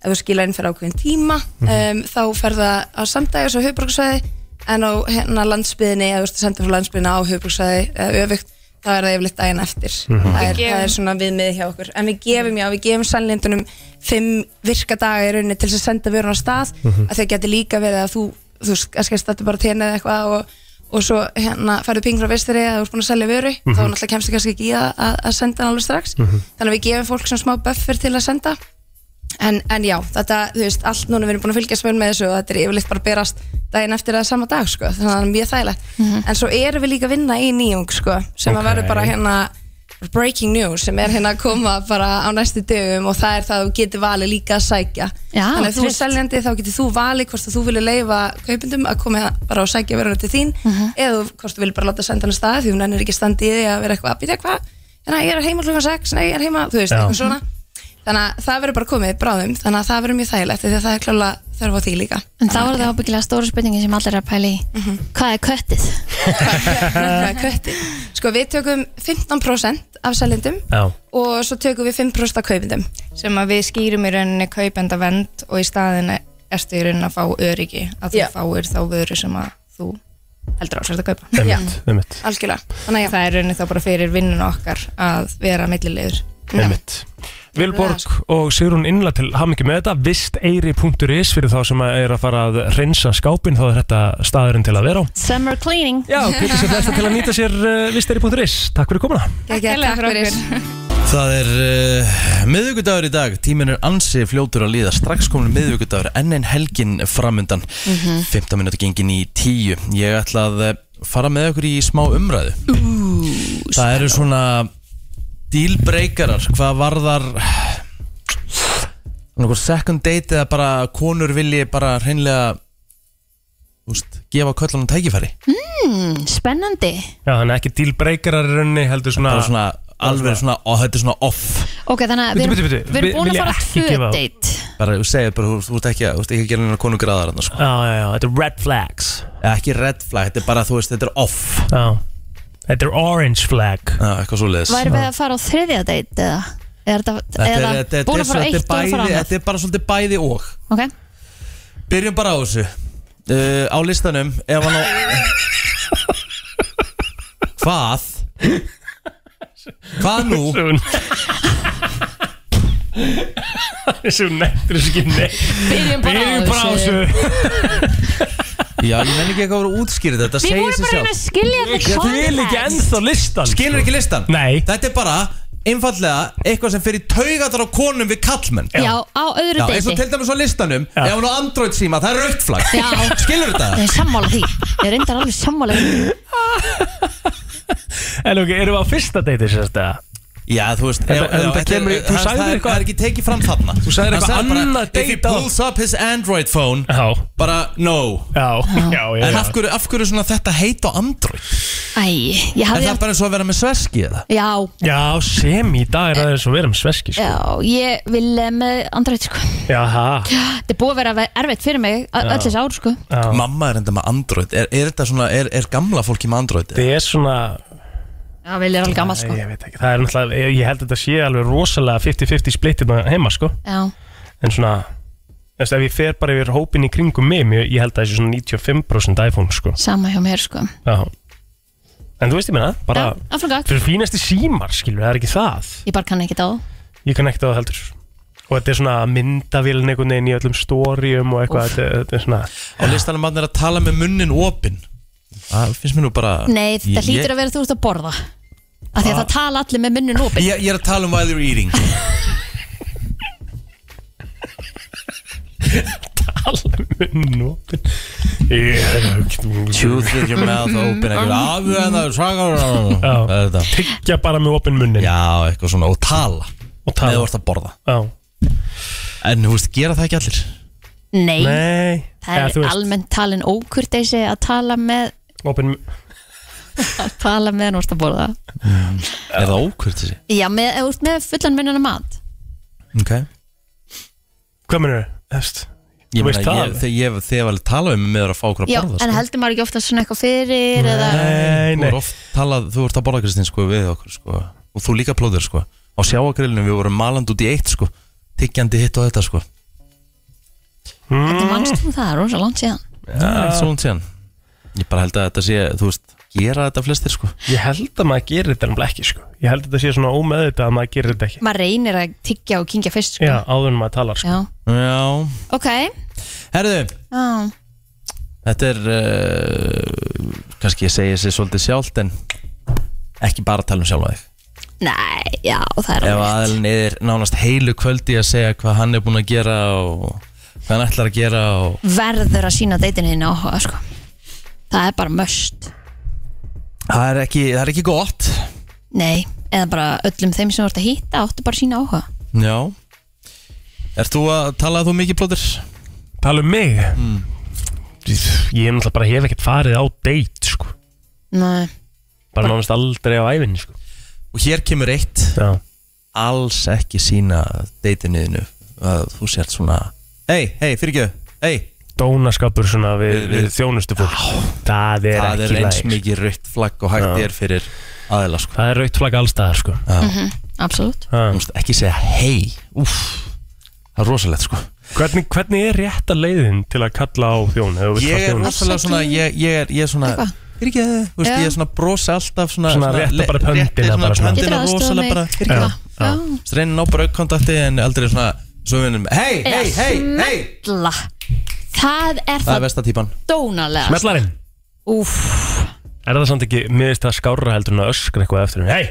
Speaker 9: ef þú skila inn fyrir ákveðin tíma
Speaker 11: Mhm.
Speaker 9: um, þá fer það á samdægis á höfuborgsvæði en á hérna landsbyðinni ef þú ert að senda frá landsbyðinna á höfuborgsvæði eða öfugt, þá er það yfirleitt daginn eftir
Speaker 11: Mhm.
Speaker 9: það, er,
Speaker 11: Við
Speaker 9: það er svona viðmið hjá okkur en við gefum, já, við gefum sannlindunum fimm virka daga í rauninni til þess að senda vörun á stað,
Speaker 11: Mhm.
Speaker 9: að þeir geti líka verið að þú, þú skast þetta bara tenni eða eitthvað og, og svo hérna færðu ping frá vestri að þú ert búin að selja vöru
Speaker 11: Mhm.
Speaker 9: þá náttúrulega kemstu kannski ekki í að, að, að senda hann alveg strax
Speaker 11: Mhm.
Speaker 9: þannig að við gefum fólk sem smá buffer til að senda en, en já, þetta, þú veist, allt núna við erum búin að fylgjast vel með þessu og þetta er yfirleitt bara að berast daginn eftir eða sama dag, sko, þannig að það er mjög þægilegt en svo erum við líka að vinna í nýjung, sko sem
Speaker 11: Ok.
Speaker 9: að verður bara hérna breaking news sem er hérna að koma bara á næstu dögum og það er það að þú getur valið líka að sækja
Speaker 2: Já,
Speaker 9: þannig að þú er
Speaker 2: tryllt.
Speaker 9: seljandi þá getur þú valið hvort að þú vilja leifa kaupendum að koma hérna- bara og sækja verður til þín
Speaker 2: Mhm.
Speaker 9: eða þú- hvort þú vil bara láta senda hann að stað því hún ennir ekki standið í því að vera eitthvað að býta hvað hérna ég er heima klukkan 6, nei ég er heima þú veist,
Speaker 11: Já.
Speaker 9: eitthvað svona þannig að það verður bara komið bráðum þannig að það verður mjög þægilegt af því að það er klálega þörf á því líka
Speaker 2: En þá er það ábyggilega stóra spurningin sem allir er að pæla í.
Speaker 9: Mhm.
Speaker 2: Hvað er köttið?
Speaker 9: Kötti. sko við tökum 15% af selindum
Speaker 3: Já.
Speaker 9: og svo tökum við 5% af kaupindum
Speaker 10: sem að við skýrum í rauninni kaupenda vend og í staðin ertu í rauninni að fá öryggi að þú fáir þá vöru sem að þú heldur ásvært að kaupa
Speaker 3: Einmitt, einmitt.
Speaker 9: algjörlega Þannig,
Speaker 10: það er rauninni þá bara fyrir vinnun okkar að vera millilegur
Speaker 3: Einmitt. Vilborg og Sigrun innlega til hamingi með þetta visteyri.is fyrir þá sem er að fara að reynsa skápin þá er þetta staðurinn til að vera á eh,
Speaker 2: Summer cleaning.
Speaker 3: Já, getur sér flesta til að nýta sér uh, visteyri.is Takk fyrir komuna
Speaker 9: Takk fyrir okkur
Speaker 1: Það er uh, miðvíkudagur í dag, tíminn er ansi fljótur að líða, strax komin miðvíkudagur, enn einn helgin framundan,
Speaker 11: Mhm.
Speaker 1: 15 minúti gengin í 10. Ég ætla að eh, fara með okkur í smá umræðu. Ú, það eru svona dealbreakarar, hvað varðar einhver second date eða bara konur vilji bara hreinlega úst, gefa köllunum tækifæri.
Speaker 2: mm, Spennandi
Speaker 3: Já, þannig ekki dealbreakarar í rauninni heldur svona
Speaker 1: Bara svona, alveg svona, ó, þetta er svona off
Speaker 2: Ok, þannig að við erum, við erum búin að fara tvö date
Speaker 1: bara þú segir bara, þú- þú ert ekki, þú ert ekki að gera hennar konu græðar annars sko.
Speaker 3: Já, já, já, þetta er red flags
Speaker 1: ekki red flag, þetta er bara þú veist, þetta er off
Speaker 3: Já, þetta er orange flag
Speaker 1: Já, eitthvað svo leiðis
Speaker 2: Værum við að fara á þriðja date eða? Er þetta,
Speaker 1: Þetta er-
Speaker 2: eða
Speaker 1: þetta er-
Speaker 2: búin að fara
Speaker 1: þetta er
Speaker 2: eitt og fara
Speaker 1: bæði-
Speaker 2: annað?
Speaker 1: Þetta er bara svolítið bæði og
Speaker 2: Ok,
Speaker 1: Byrjum bara á þessu uh, Á listanum, ef hann á Hvað? Hvað nú?
Speaker 3: Þessu nettur þessu ekki neitt
Speaker 2: Byrjum bara á þessu.
Speaker 1: Já, ég menn ekki eitthvað að vera útskýrið þetta
Speaker 2: Við
Speaker 1: segir
Speaker 2: vorum
Speaker 1: sig
Speaker 2: bara að reyna
Speaker 1: sjálft.
Speaker 2: að skilja þetta
Speaker 1: Ég vil ekki
Speaker 2: context.
Speaker 1: ennþá listan
Speaker 3: sko.
Speaker 1: Skilur ekki listan? Nei Þetta er bara, einfallega, eitthvað sem fyrir taugatar á konum við kallmenn
Speaker 2: Já, á öðru
Speaker 1: Já, eins og
Speaker 2: deiti
Speaker 1: til dæmis á listanum Ef hún á Android síma, það er raukt flagg
Speaker 2: Já.
Speaker 1: Skilur
Speaker 2: Ég
Speaker 1: þetta?
Speaker 2: er sammála því Ég er reyndar alveg sammála því
Speaker 3: En ok, erum við á fyrsta deiti sérst eða?
Speaker 1: Já, þú veist
Speaker 3: Þetta,
Speaker 1: já,
Speaker 3: þetta,
Speaker 1: þetta er-
Speaker 3: kemur,
Speaker 1: það-
Speaker 3: þú
Speaker 1: það-
Speaker 3: sagðir
Speaker 1: það er-
Speaker 3: eitthvað
Speaker 1: það er ekki tekið fram þarna
Speaker 3: Þú sagðir
Speaker 1: Hann
Speaker 3: eitthvað
Speaker 1: bara,
Speaker 3: annað
Speaker 1: If he
Speaker 3: date á-
Speaker 1: pulls up his Android phone
Speaker 3: Já.
Speaker 1: Bara no
Speaker 3: Já, já, já
Speaker 1: En af hverju, af hverju svona þetta heit á Android?
Speaker 2: Æ, ég
Speaker 1: Er
Speaker 2: hafði
Speaker 1: það bara eins og að vera með sveski eða?
Speaker 2: Já,
Speaker 3: Já, sem í dag er aðeins að vera með sveski sko.
Speaker 2: já, ég vil eh, með andrætt sko
Speaker 3: Já, ha
Speaker 2: Þetta er búið að vera erfitt fyrir mig ö-
Speaker 1: Já.
Speaker 2: öll þessi ár sko
Speaker 1: Mamma er enda með Android Er, er þetta svona, er, er gamla fólki með Android?
Speaker 3: Það er svona
Speaker 2: Já, vil ég er alveg gammal sko
Speaker 3: Ég veit ekki, það er náttúrulega, ég- ég held að þetta sé alveg rosalega 50-50 splittir heima sko
Speaker 2: Já,
Speaker 3: En svona, þú veist, ef ég fer bara yfir hópin í kringum mig, mér- ég held að það sé svona 95% iPhone sko
Speaker 2: sama hjá mér sko
Speaker 3: Já En þú veist ég minna, bara
Speaker 2: áfram gakk.
Speaker 3: Fyrir fínasti símar, skilur, það er ekki það
Speaker 2: Ég bara kann ekki þá
Speaker 3: Ég kann ekkert á það heldur Og þetta er svona myndavélin einhvern veginn í öllum stórium og eitthvað, þetta, þetta er svona
Speaker 1: Á listanum hann er að tala með munnin opinn Það finnst mér nú bara
Speaker 2: Nei, þetta
Speaker 1: Ég-
Speaker 2: hlýtur að vera þú ert að borða Af því að
Speaker 1: Ah.
Speaker 2: það tala allir með munnin opinn
Speaker 1: Ég, ég er að tala um while you're eating
Speaker 3: Nú Tooth
Speaker 1: with your mouth open
Speaker 2: Mm.
Speaker 1: Eitthvað aðu en það er svagar
Speaker 3: Tyggja bara með opinn munnin
Speaker 1: Já, eitthvað svona Og tala
Speaker 3: Og tala.
Speaker 1: Með vart að borða
Speaker 3: Já
Speaker 1: En þú veist, gera það ekki allir
Speaker 2: Nei,
Speaker 3: Nei.
Speaker 2: það
Speaker 1: Eða,
Speaker 2: er
Speaker 1: þú veist.
Speaker 2: almennt talin ókurteisi að tala með
Speaker 3: Opinn
Speaker 2: að tala með hann vorst að borða
Speaker 1: Er það ókvært þessi?
Speaker 2: Já, með, ef þú ert með fullan munnin að mat
Speaker 1: Ok
Speaker 3: Hvað mennur þau?
Speaker 1: Ég
Speaker 3: Þú veist
Speaker 1: meina,
Speaker 3: það
Speaker 1: ég,
Speaker 3: alveg.
Speaker 1: þegar ég, þegar ég var að tala um með að fá okkur að
Speaker 2: Já,
Speaker 1: borða
Speaker 2: en
Speaker 1: sko.
Speaker 2: heldur maður ekki ofta svona eitthvað fyrir eða
Speaker 1: Þú er oft talað, þú ert að borða Kristín sko við okkur sko Og þú líka plóður sko Á sjáagrillinu við vorum maland út í eitt sko Tyggjandi hitt og þetta sko
Speaker 3: Mhm.
Speaker 2: Þetta mannst þú það, rosa langt síðan
Speaker 1: Það er ekki svo hún síðan Ég bara held að þetta sé, þú veist, gera þetta flestir sko
Speaker 3: Ég held að maður gerir þetta nefnilega ekki sko. Ég held að þetta sé svona ómeðvitað að maður gerir þetta ekki
Speaker 2: Maður reynir að tyggja og kynkja fyrst sko.
Speaker 3: Já, áður en maður talar sko.
Speaker 2: Já.
Speaker 1: Já
Speaker 2: Ok,
Speaker 1: Herðu,
Speaker 2: já,
Speaker 1: þetta er uh, kannski ég segi sér svolítið sjálft en ekki bara tala um sjálfa þig
Speaker 2: nei, já, það er
Speaker 1: Ef aðalinn er nánast heilu kvöldi að segja hvað hann er búinn að gera og hvað hann ætlar að gera og
Speaker 2: verður að sína deitinu þínu áhuga sko. það er bara möst
Speaker 1: það er ekki, það er ekki gott
Speaker 2: nei, eða bara öllum þeim sem þú ert að hýtta áttu bara að sína áhuga
Speaker 1: Já Ert þú að tala þú mikið plóður?
Speaker 3: Tala um mig? Mm. Ég er náttúrulega bara hef ekkert farið á date sko.
Speaker 2: nei,
Speaker 3: Bara nánast aldrei á ævinni sko.
Speaker 1: Og hér kemur eitt
Speaker 3: Já.
Speaker 1: Alls ekki sína deytiniðinu að þú sért svona Hei, hei, fyrirgjöðu, hei
Speaker 3: Dónaskapur svona við, við, þjónustu fólk Það er
Speaker 1: Það
Speaker 3: ekki
Speaker 1: er eins
Speaker 3: læg, sko.
Speaker 1: mikið rautt flagg og hægt
Speaker 3: Já.
Speaker 1: er fyrir aðeila sko
Speaker 3: Það er raukt flagg allstaðar sko.
Speaker 1: mm
Speaker 2: -hmm. absolutt
Speaker 3: Þú
Speaker 1: veist ekki segja hei Úff, það er rosalegt sko
Speaker 3: hvernig, hvernig er rétta leiðin til að kalla á þjón? ef þú vilt fá
Speaker 1: Ég er
Speaker 3: þjónustu?
Speaker 1: rosalega svona, ég, ég, er, ég er svona Fyrirgjöðu, þú veist,
Speaker 2: Já.
Speaker 1: ég er svona brosa alltaf svona
Speaker 3: Svona rétta
Speaker 1: le-
Speaker 3: bara pöndina
Speaker 1: rétta svona
Speaker 3: bara svona.
Speaker 1: pöndina
Speaker 2: Getur aðstoðað mig?
Speaker 1: rosalega bara
Speaker 2: Já. Já.
Speaker 1: fyrirgjöðu Reynin á bara aukkontakti en aldrei svona Svo við vinnum, hei,
Speaker 2: Eða
Speaker 1: hei, hei, hei
Speaker 2: smella það er
Speaker 1: Það er
Speaker 2: það,
Speaker 1: versta típan
Speaker 2: dónalega
Speaker 3: Smellarinn
Speaker 2: Úff,
Speaker 3: Er það samt ekki miðist það skárra heldur en að öskra eitthvað eftir henni? Hei!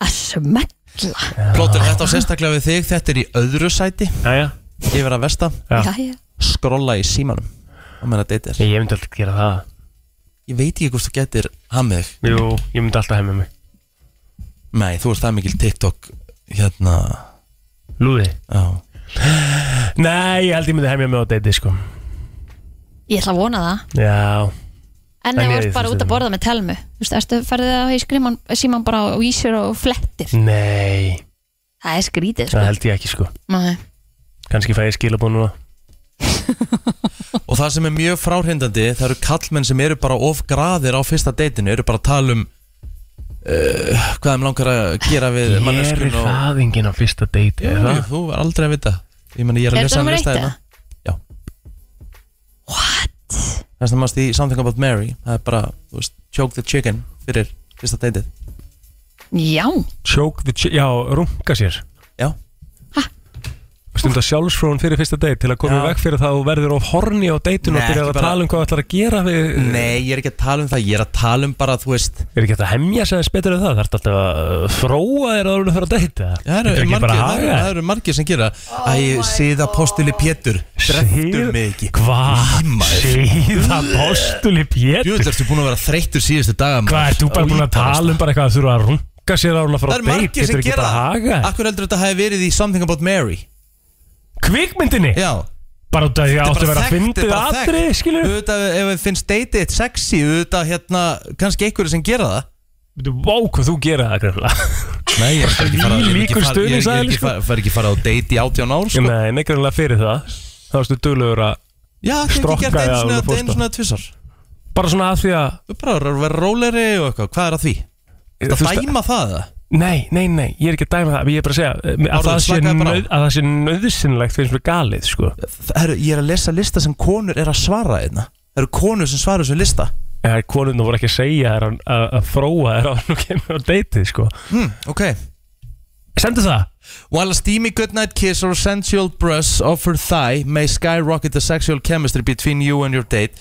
Speaker 2: að smella alla
Speaker 1: Plótur, þetta á sérstaklega við þig, þetta er í öðru sæti
Speaker 3: Jæja
Speaker 1: Yfir að vesta
Speaker 2: Jæja.
Speaker 1: Skrolla í símanum Og meðan að deyta þér
Speaker 3: Ég myndi alltaf gera það
Speaker 1: Ég veit ekki hvort þú getur hamið þig
Speaker 3: Jú, ég myndi alltaf hemmið mig
Speaker 1: Nei, þú ert það mikil TikTok Hérna
Speaker 3: Lúði
Speaker 1: Já
Speaker 3: Nei, ég held ég myndi hemmið mig á deiti sko
Speaker 2: Ég ætla að vona það
Speaker 3: Já
Speaker 2: En ef þú ert bara út að borða með telmu Þú veist, ertu ferðið að hei skriman Síman bara á ísir og flettir
Speaker 3: Nei,
Speaker 2: Það er skrítið,
Speaker 3: það
Speaker 2: sko
Speaker 3: held ég ekki sko
Speaker 2: Nei.
Speaker 3: Kanski fæ ég skilabóð núna
Speaker 1: Og það sem er mjög fráhrindandi Það eru kallmenn sem eru bara of graðir á fyrsta deytinu Eru bara að tala um uh, Hvað þeim langar að gera við manneskjuna
Speaker 3: Gerir
Speaker 1: og-
Speaker 3: það enginn á fyrsta deiti
Speaker 1: Jú,
Speaker 3: er það?
Speaker 1: þú er aldrei að vita Ég meni, ég er að
Speaker 2: Er
Speaker 1: lesa
Speaker 2: þetta
Speaker 1: hann
Speaker 2: númer
Speaker 1: lista
Speaker 2: eitt,
Speaker 1: hérna Já What? Þess að maður í Something About Mary Það er bara, þú veist, choke the chicken Fyrir fyrsta deytið
Speaker 2: Já,
Speaker 3: Choke the chi- Já, runga sér
Speaker 1: Já.
Speaker 3: Stunda sjálfsfrón fyrir fyrsta deit Til að koma
Speaker 1: Já.
Speaker 3: veg fyrir það og verður of horni á deitinu Og
Speaker 1: Nei,
Speaker 3: byrjar að
Speaker 1: ekki bara-
Speaker 3: tala um hvað ætlar að gera við
Speaker 1: Nei, ég er ekki að tala um það Ég er að tala um bara, þú veist
Speaker 3: Er ekki hægt að hemja sig aðeins betur en það? Þarf alltaf að uh, þróa þér áður en að fyrir að deyta?
Speaker 1: Það
Speaker 3: Getur
Speaker 1: eru
Speaker 3: ekki
Speaker 1: margir,
Speaker 3: bara
Speaker 1: það eru,
Speaker 3: hagað?
Speaker 1: það eru margir sem gera Æ, síða postuli Pétur Dreftur
Speaker 3: Síð-
Speaker 1: mig ekki
Speaker 3: Hvað? Síða postuli Pétur
Speaker 1: Jú, ertu búin að vera þreyttur síðustu daga maður.
Speaker 3: Hvað, ert þú bara búin að tala um bara eitthvað að þurfa að runga sér áður en að
Speaker 1: Það
Speaker 3: fyrir
Speaker 1: eru
Speaker 3: að deyta?
Speaker 1: margir sem
Speaker 3: Getur ekki
Speaker 1: gera
Speaker 3: bara haga?
Speaker 1: það Akkur heldur þetta hafi verið í Something About Mary
Speaker 3: Kvikmyndinni?
Speaker 1: Já
Speaker 3: Bara út af því að
Speaker 1: Þetta
Speaker 3: áttu
Speaker 1: er
Speaker 3: að vera
Speaker 1: bara
Speaker 3: að
Speaker 1: þekkt,
Speaker 3: fyndið
Speaker 1: þetta er bara
Speaker 3: atri,
Speaker 1: þekkt.
Speaker 3: skilur?
Speaker 1: Auðvitað ef þið finnst deytið eitt sexy Auðvitað hérna, kannski einhverju sem gera það
Speaker 3: Vá, hvað þú gera það, grefnilega
Speaker 1: Nei, ég er ekki fara- ég er
Speaker 3: Þvílíkur
Speaker 1: ekki fara- ég er ekki- ég er
Speaker 3: stuðningsaðili,
Speaker 1: ekki
Speaker 3: sko.
Speaker 1: fara- fer ekki fara á date í 18 ár sko.
Speaker 3: Nei, neikrænlega fyrir það Þá erstu duglegur að
Speaker 1: Já, þetta er ekki
Speaker 3: Strokkaði
Speaker 1: gert einu
Speaker 3: að
Speaker 1: svona
Speaker 3: alveg
Speaker 1: einu svona tvissar
Speaker 3: Bara svona að því að
Speaker 1: Þú bara að vera róleri og eitthvað, hvað er að því?
Speaker 3: Þú
Speaker 1: Það
Speaker 3: veist-
Speaker 1: dæma það eða?
Speaker 3: Nei, nei, nei, ég er ekki að dæma það Ég er bara að segja eh,
Speaker 1: Árún,
Speaker 3: að það sé,
Speaker 1: slakaðu bara á.
Speaker 3: nöð, að það sé nöðsynlegt finnst mér galið, sko
Speaker 1: Það eru- Ég er að lesa lista sem konur er að svara einna Það eru konur sem svara þessu lista
Speaker 3: Það er konunum voru ekki að segja þér að, að, að þróa þér á nú kemur á deytið, sko
Speaker 1: hmm, Ok
Speaker 3: Sendu það
Speaker 1: While a steamy goodnight kiss or sensual brush of her thigh may skyrocket the sexual chemistry between you and your date,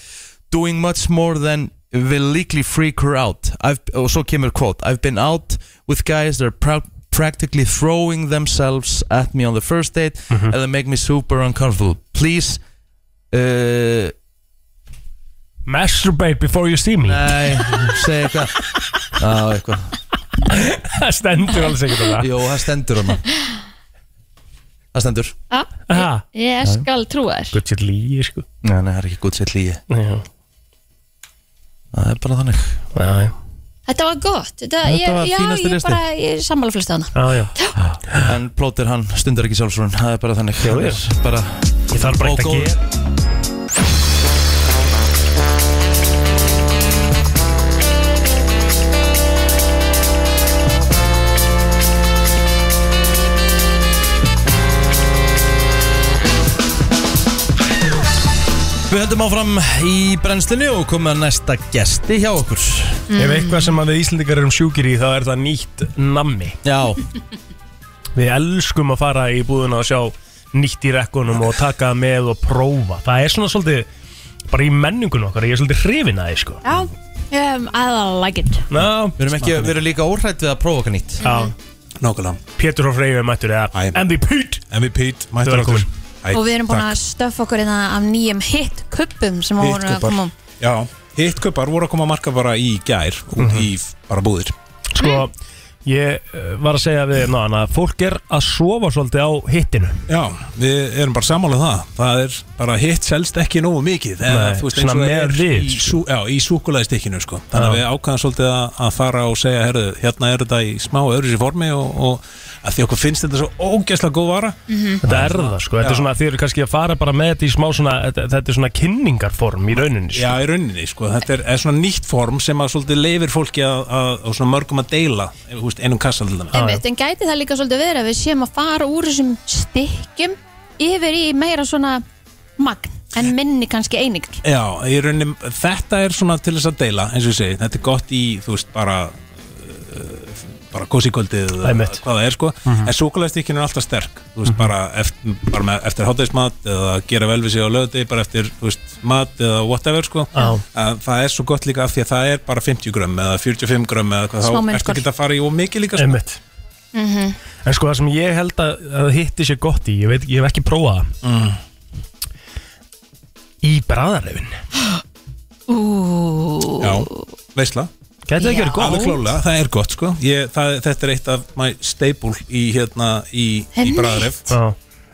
Speaker 1: doing much more than will legally freak her out. I've, oh, og svo kemur quote, I've been out with guys that are pra- practically throwing themselves at me on the first date
Speaker 3: Mm-hmm.
Speaker 1: and they make me super uncomfortable. Please, uh,
Speaker 3: Masturbate before you see me
Speaker 1: nei, segi eitthvað. Já, eitthvað.
Speaker 3: Það stendur alveg segir það
Speaker 1: Jó, það stendur hana. Það stendur.
Speaker 2: Já,
Speaker 3: Aha,
Speaker 2: ég skal trúa þér
Speaker 3: Gutt sér líi, sko
Speaker 1: Nei, nei, það er ekki gútt sér lígi.
Speaker 3: Já,
Speaker 1: Það er bara þannig.
Speaker 3: já, já,
Speaker 2: Þetta var gott Þetta,
Speaker 1: Þetta
Speaker 2: ég,
Speaker 1: var
Speaker 2: Já,
Speaker 1: fínasti
Speaker 2: ég
Speaker 1: listi.
Speaker 2: bara, ég sammála flestu hana
Speaker 3: já, já.
Speaker 1: En plótir hann stundar ekki sjálfsvörun Það er bara þannig
Speaker 3: Jú, jú.
Speaker 1: Hann er bara,
Speaker 3: Ég þarf bara
Speaker 1: Og
Speaker 3: ekkert að
Speaker 1: góður.
Speaker 3: gera
Speaker 1: Við höldum áfram í brennslinu og komum að næsta gesti hjá okkur
Speaker 3: Ef eitthvað sem að við Íslendingar erum sjúkir í þá er það nýtt nammi
Speaker 1: Já,
Speaker 3: Við elskum að fara í búðuna og sjá nýtt í rekkunum og taka það með og prófa Það er svona svolítið bara í menningun okkar, ég er svolítið hrifin að þið sko
Speaker 2: Já, um, I like it
Speaker 3: Ná,
Speaker 1: við erum, ekki, við erum líka óhrætt við að prófa okkar nýtt
Speaker 3: já,
Speaker 11: Nákvæmlega
Speaker 3: Pétur og Freyfi mættur eða
Speaker 11: Æ.
Speaker 3: MVP
Speaker 11: MVP, mættur
Speaker 3: Velkomin.
Speaker 11: aftur. Æ,
Speaker 2: Og við erum búin
Speaker 11: takk.
Speaker 2: að stöffa okkur innan af nýjum hitkuppum sem voru að
Speaker 11: Hittkuppar.
Speaker 2: koma um.
Speaker 11: Já, hittkuppar voru að koma að marka bara í gær út í bara búðir
Speaker 3: Sko, ég eh, var að segja við ná, hana, fólk er að sofa svolítið á hittinu
Speaker 11: Já, við erum bara samanlega það Það er bara hitt selst ekki nógu mikið eða,
Speaker 3: Nei,
Speaker 11: þú veist, eins og
Speaker 3: svona
Speaker 11: það
Speaker 3: með
Speaker 11: er
Speaker 3: við, sko.
Speaker 11: í, sú, Já, í súkulæðistykkinu sko Þannig að
Speaker 3: Já.
Speaker 11: við ákvæðum svolítið að, að fara og segja herðu, hérna er þetta í smá öðruvísi formi og, og að því okkur finnst þetta svo ógeðslega góð vara
Speaker 3: Þetta er það sko, þetta er
Speaker 11: Já.
Speaker 3: svona, þið eru kannski að fara bara með þetta í smá svona, þetta, þetta er svona kynningarform í rauninni
Speaker 11: Mm.
Speaker 3: sko.
Speaker 11: Já, í rauninni, sko, þetta er, er svona nýtt form sem að svolítið leifir fólki að, að, og svona mörgum að deila ef, þú veist, einum kassa til dæmis
Speaker 2: Einmitt, En gæti það líka svolítið verið að við séum að fara úr þessum stykkjum yfir í meira svona magn en minni kannski einingar
Speaker 11: Já, í rauninni, þetta er svona til þess að deila, eins og ég segi, þetta er gott í, þú veist, bara uh, bara kósikvöldið eða
Speaker 3: Einmitt. Mhm.
Speaker 11: hvað það er sko, en súkulæðstíkinu er alltaf sterk þú veist, bara, eftir, bara með, eftir hátægismat eða gera vel við sig á lögði bara eftir, þú veist, mat eða whatever sko,
Speaker 3: Já.
Speaker 11: að það er svo gott líka af því að það er bara 50 grömm eða 45 grömm eða hvað,
Speaker 2: Smá
Speaker 11: þá
Speaker 2: mjólkur.
Speaker 11: ertu ekki að fara í og mikið líka sko.
Speaker 3: Einmitt.
Speaker 10: Mhm.
Speaker 3: En sko það sem ég held að, að hitti sér gott í Ég, veit, ég hef ekki prófað það
Speaker 11: Mm.
Speaker 3: Í bræðarlefin
Speaker 2: Ú,
Speaker 11: veistla
Speaker 3: Gæti það ekki verið gott?
Speaker 11: Alveg klálega, það er gott sko ég, það, Þetta er eitt af my staple í, hérna, í, í
Speaker 3: Einmitt.
Speaker 11: bræðaref
Speaker 3: Já.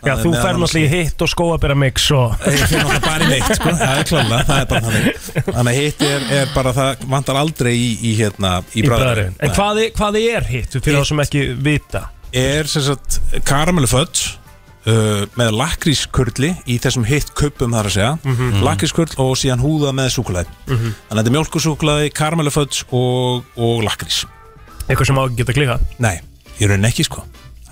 Speaker 3: Já, þú fer náttúrulega í hitt og skóabera mix og...
Speaker 11: Ég fer náttúrulega bara í neitt sko, það er klálega, það er bara þannig Þannig að hitt er, er bara, það vantar aldrei í, í, hérna, í
Speaker 3: Í
Speaker 11: bræðaref
Speaker 3: bræðarlefin En hvað, er- hvað er hitt fyrir þá sem ekki vita?
Speaker 11: Er sem sagt karamelluföld uh, með lakrískurli í þessum hitt kuppum þar að segja
Speaker 3: Mhm.
Speaker 11: lakrískurl og síðan húða með súkulæði
Speaker 3: Mhm.
Speaker 11: Þannig að þetta er mjólkusúkulæði, karamelluföld og, og lakrís
Speaker 3: Eitthvað sem á ekki geta klika?
Speaker 11: Nei, ég raunin ekki sko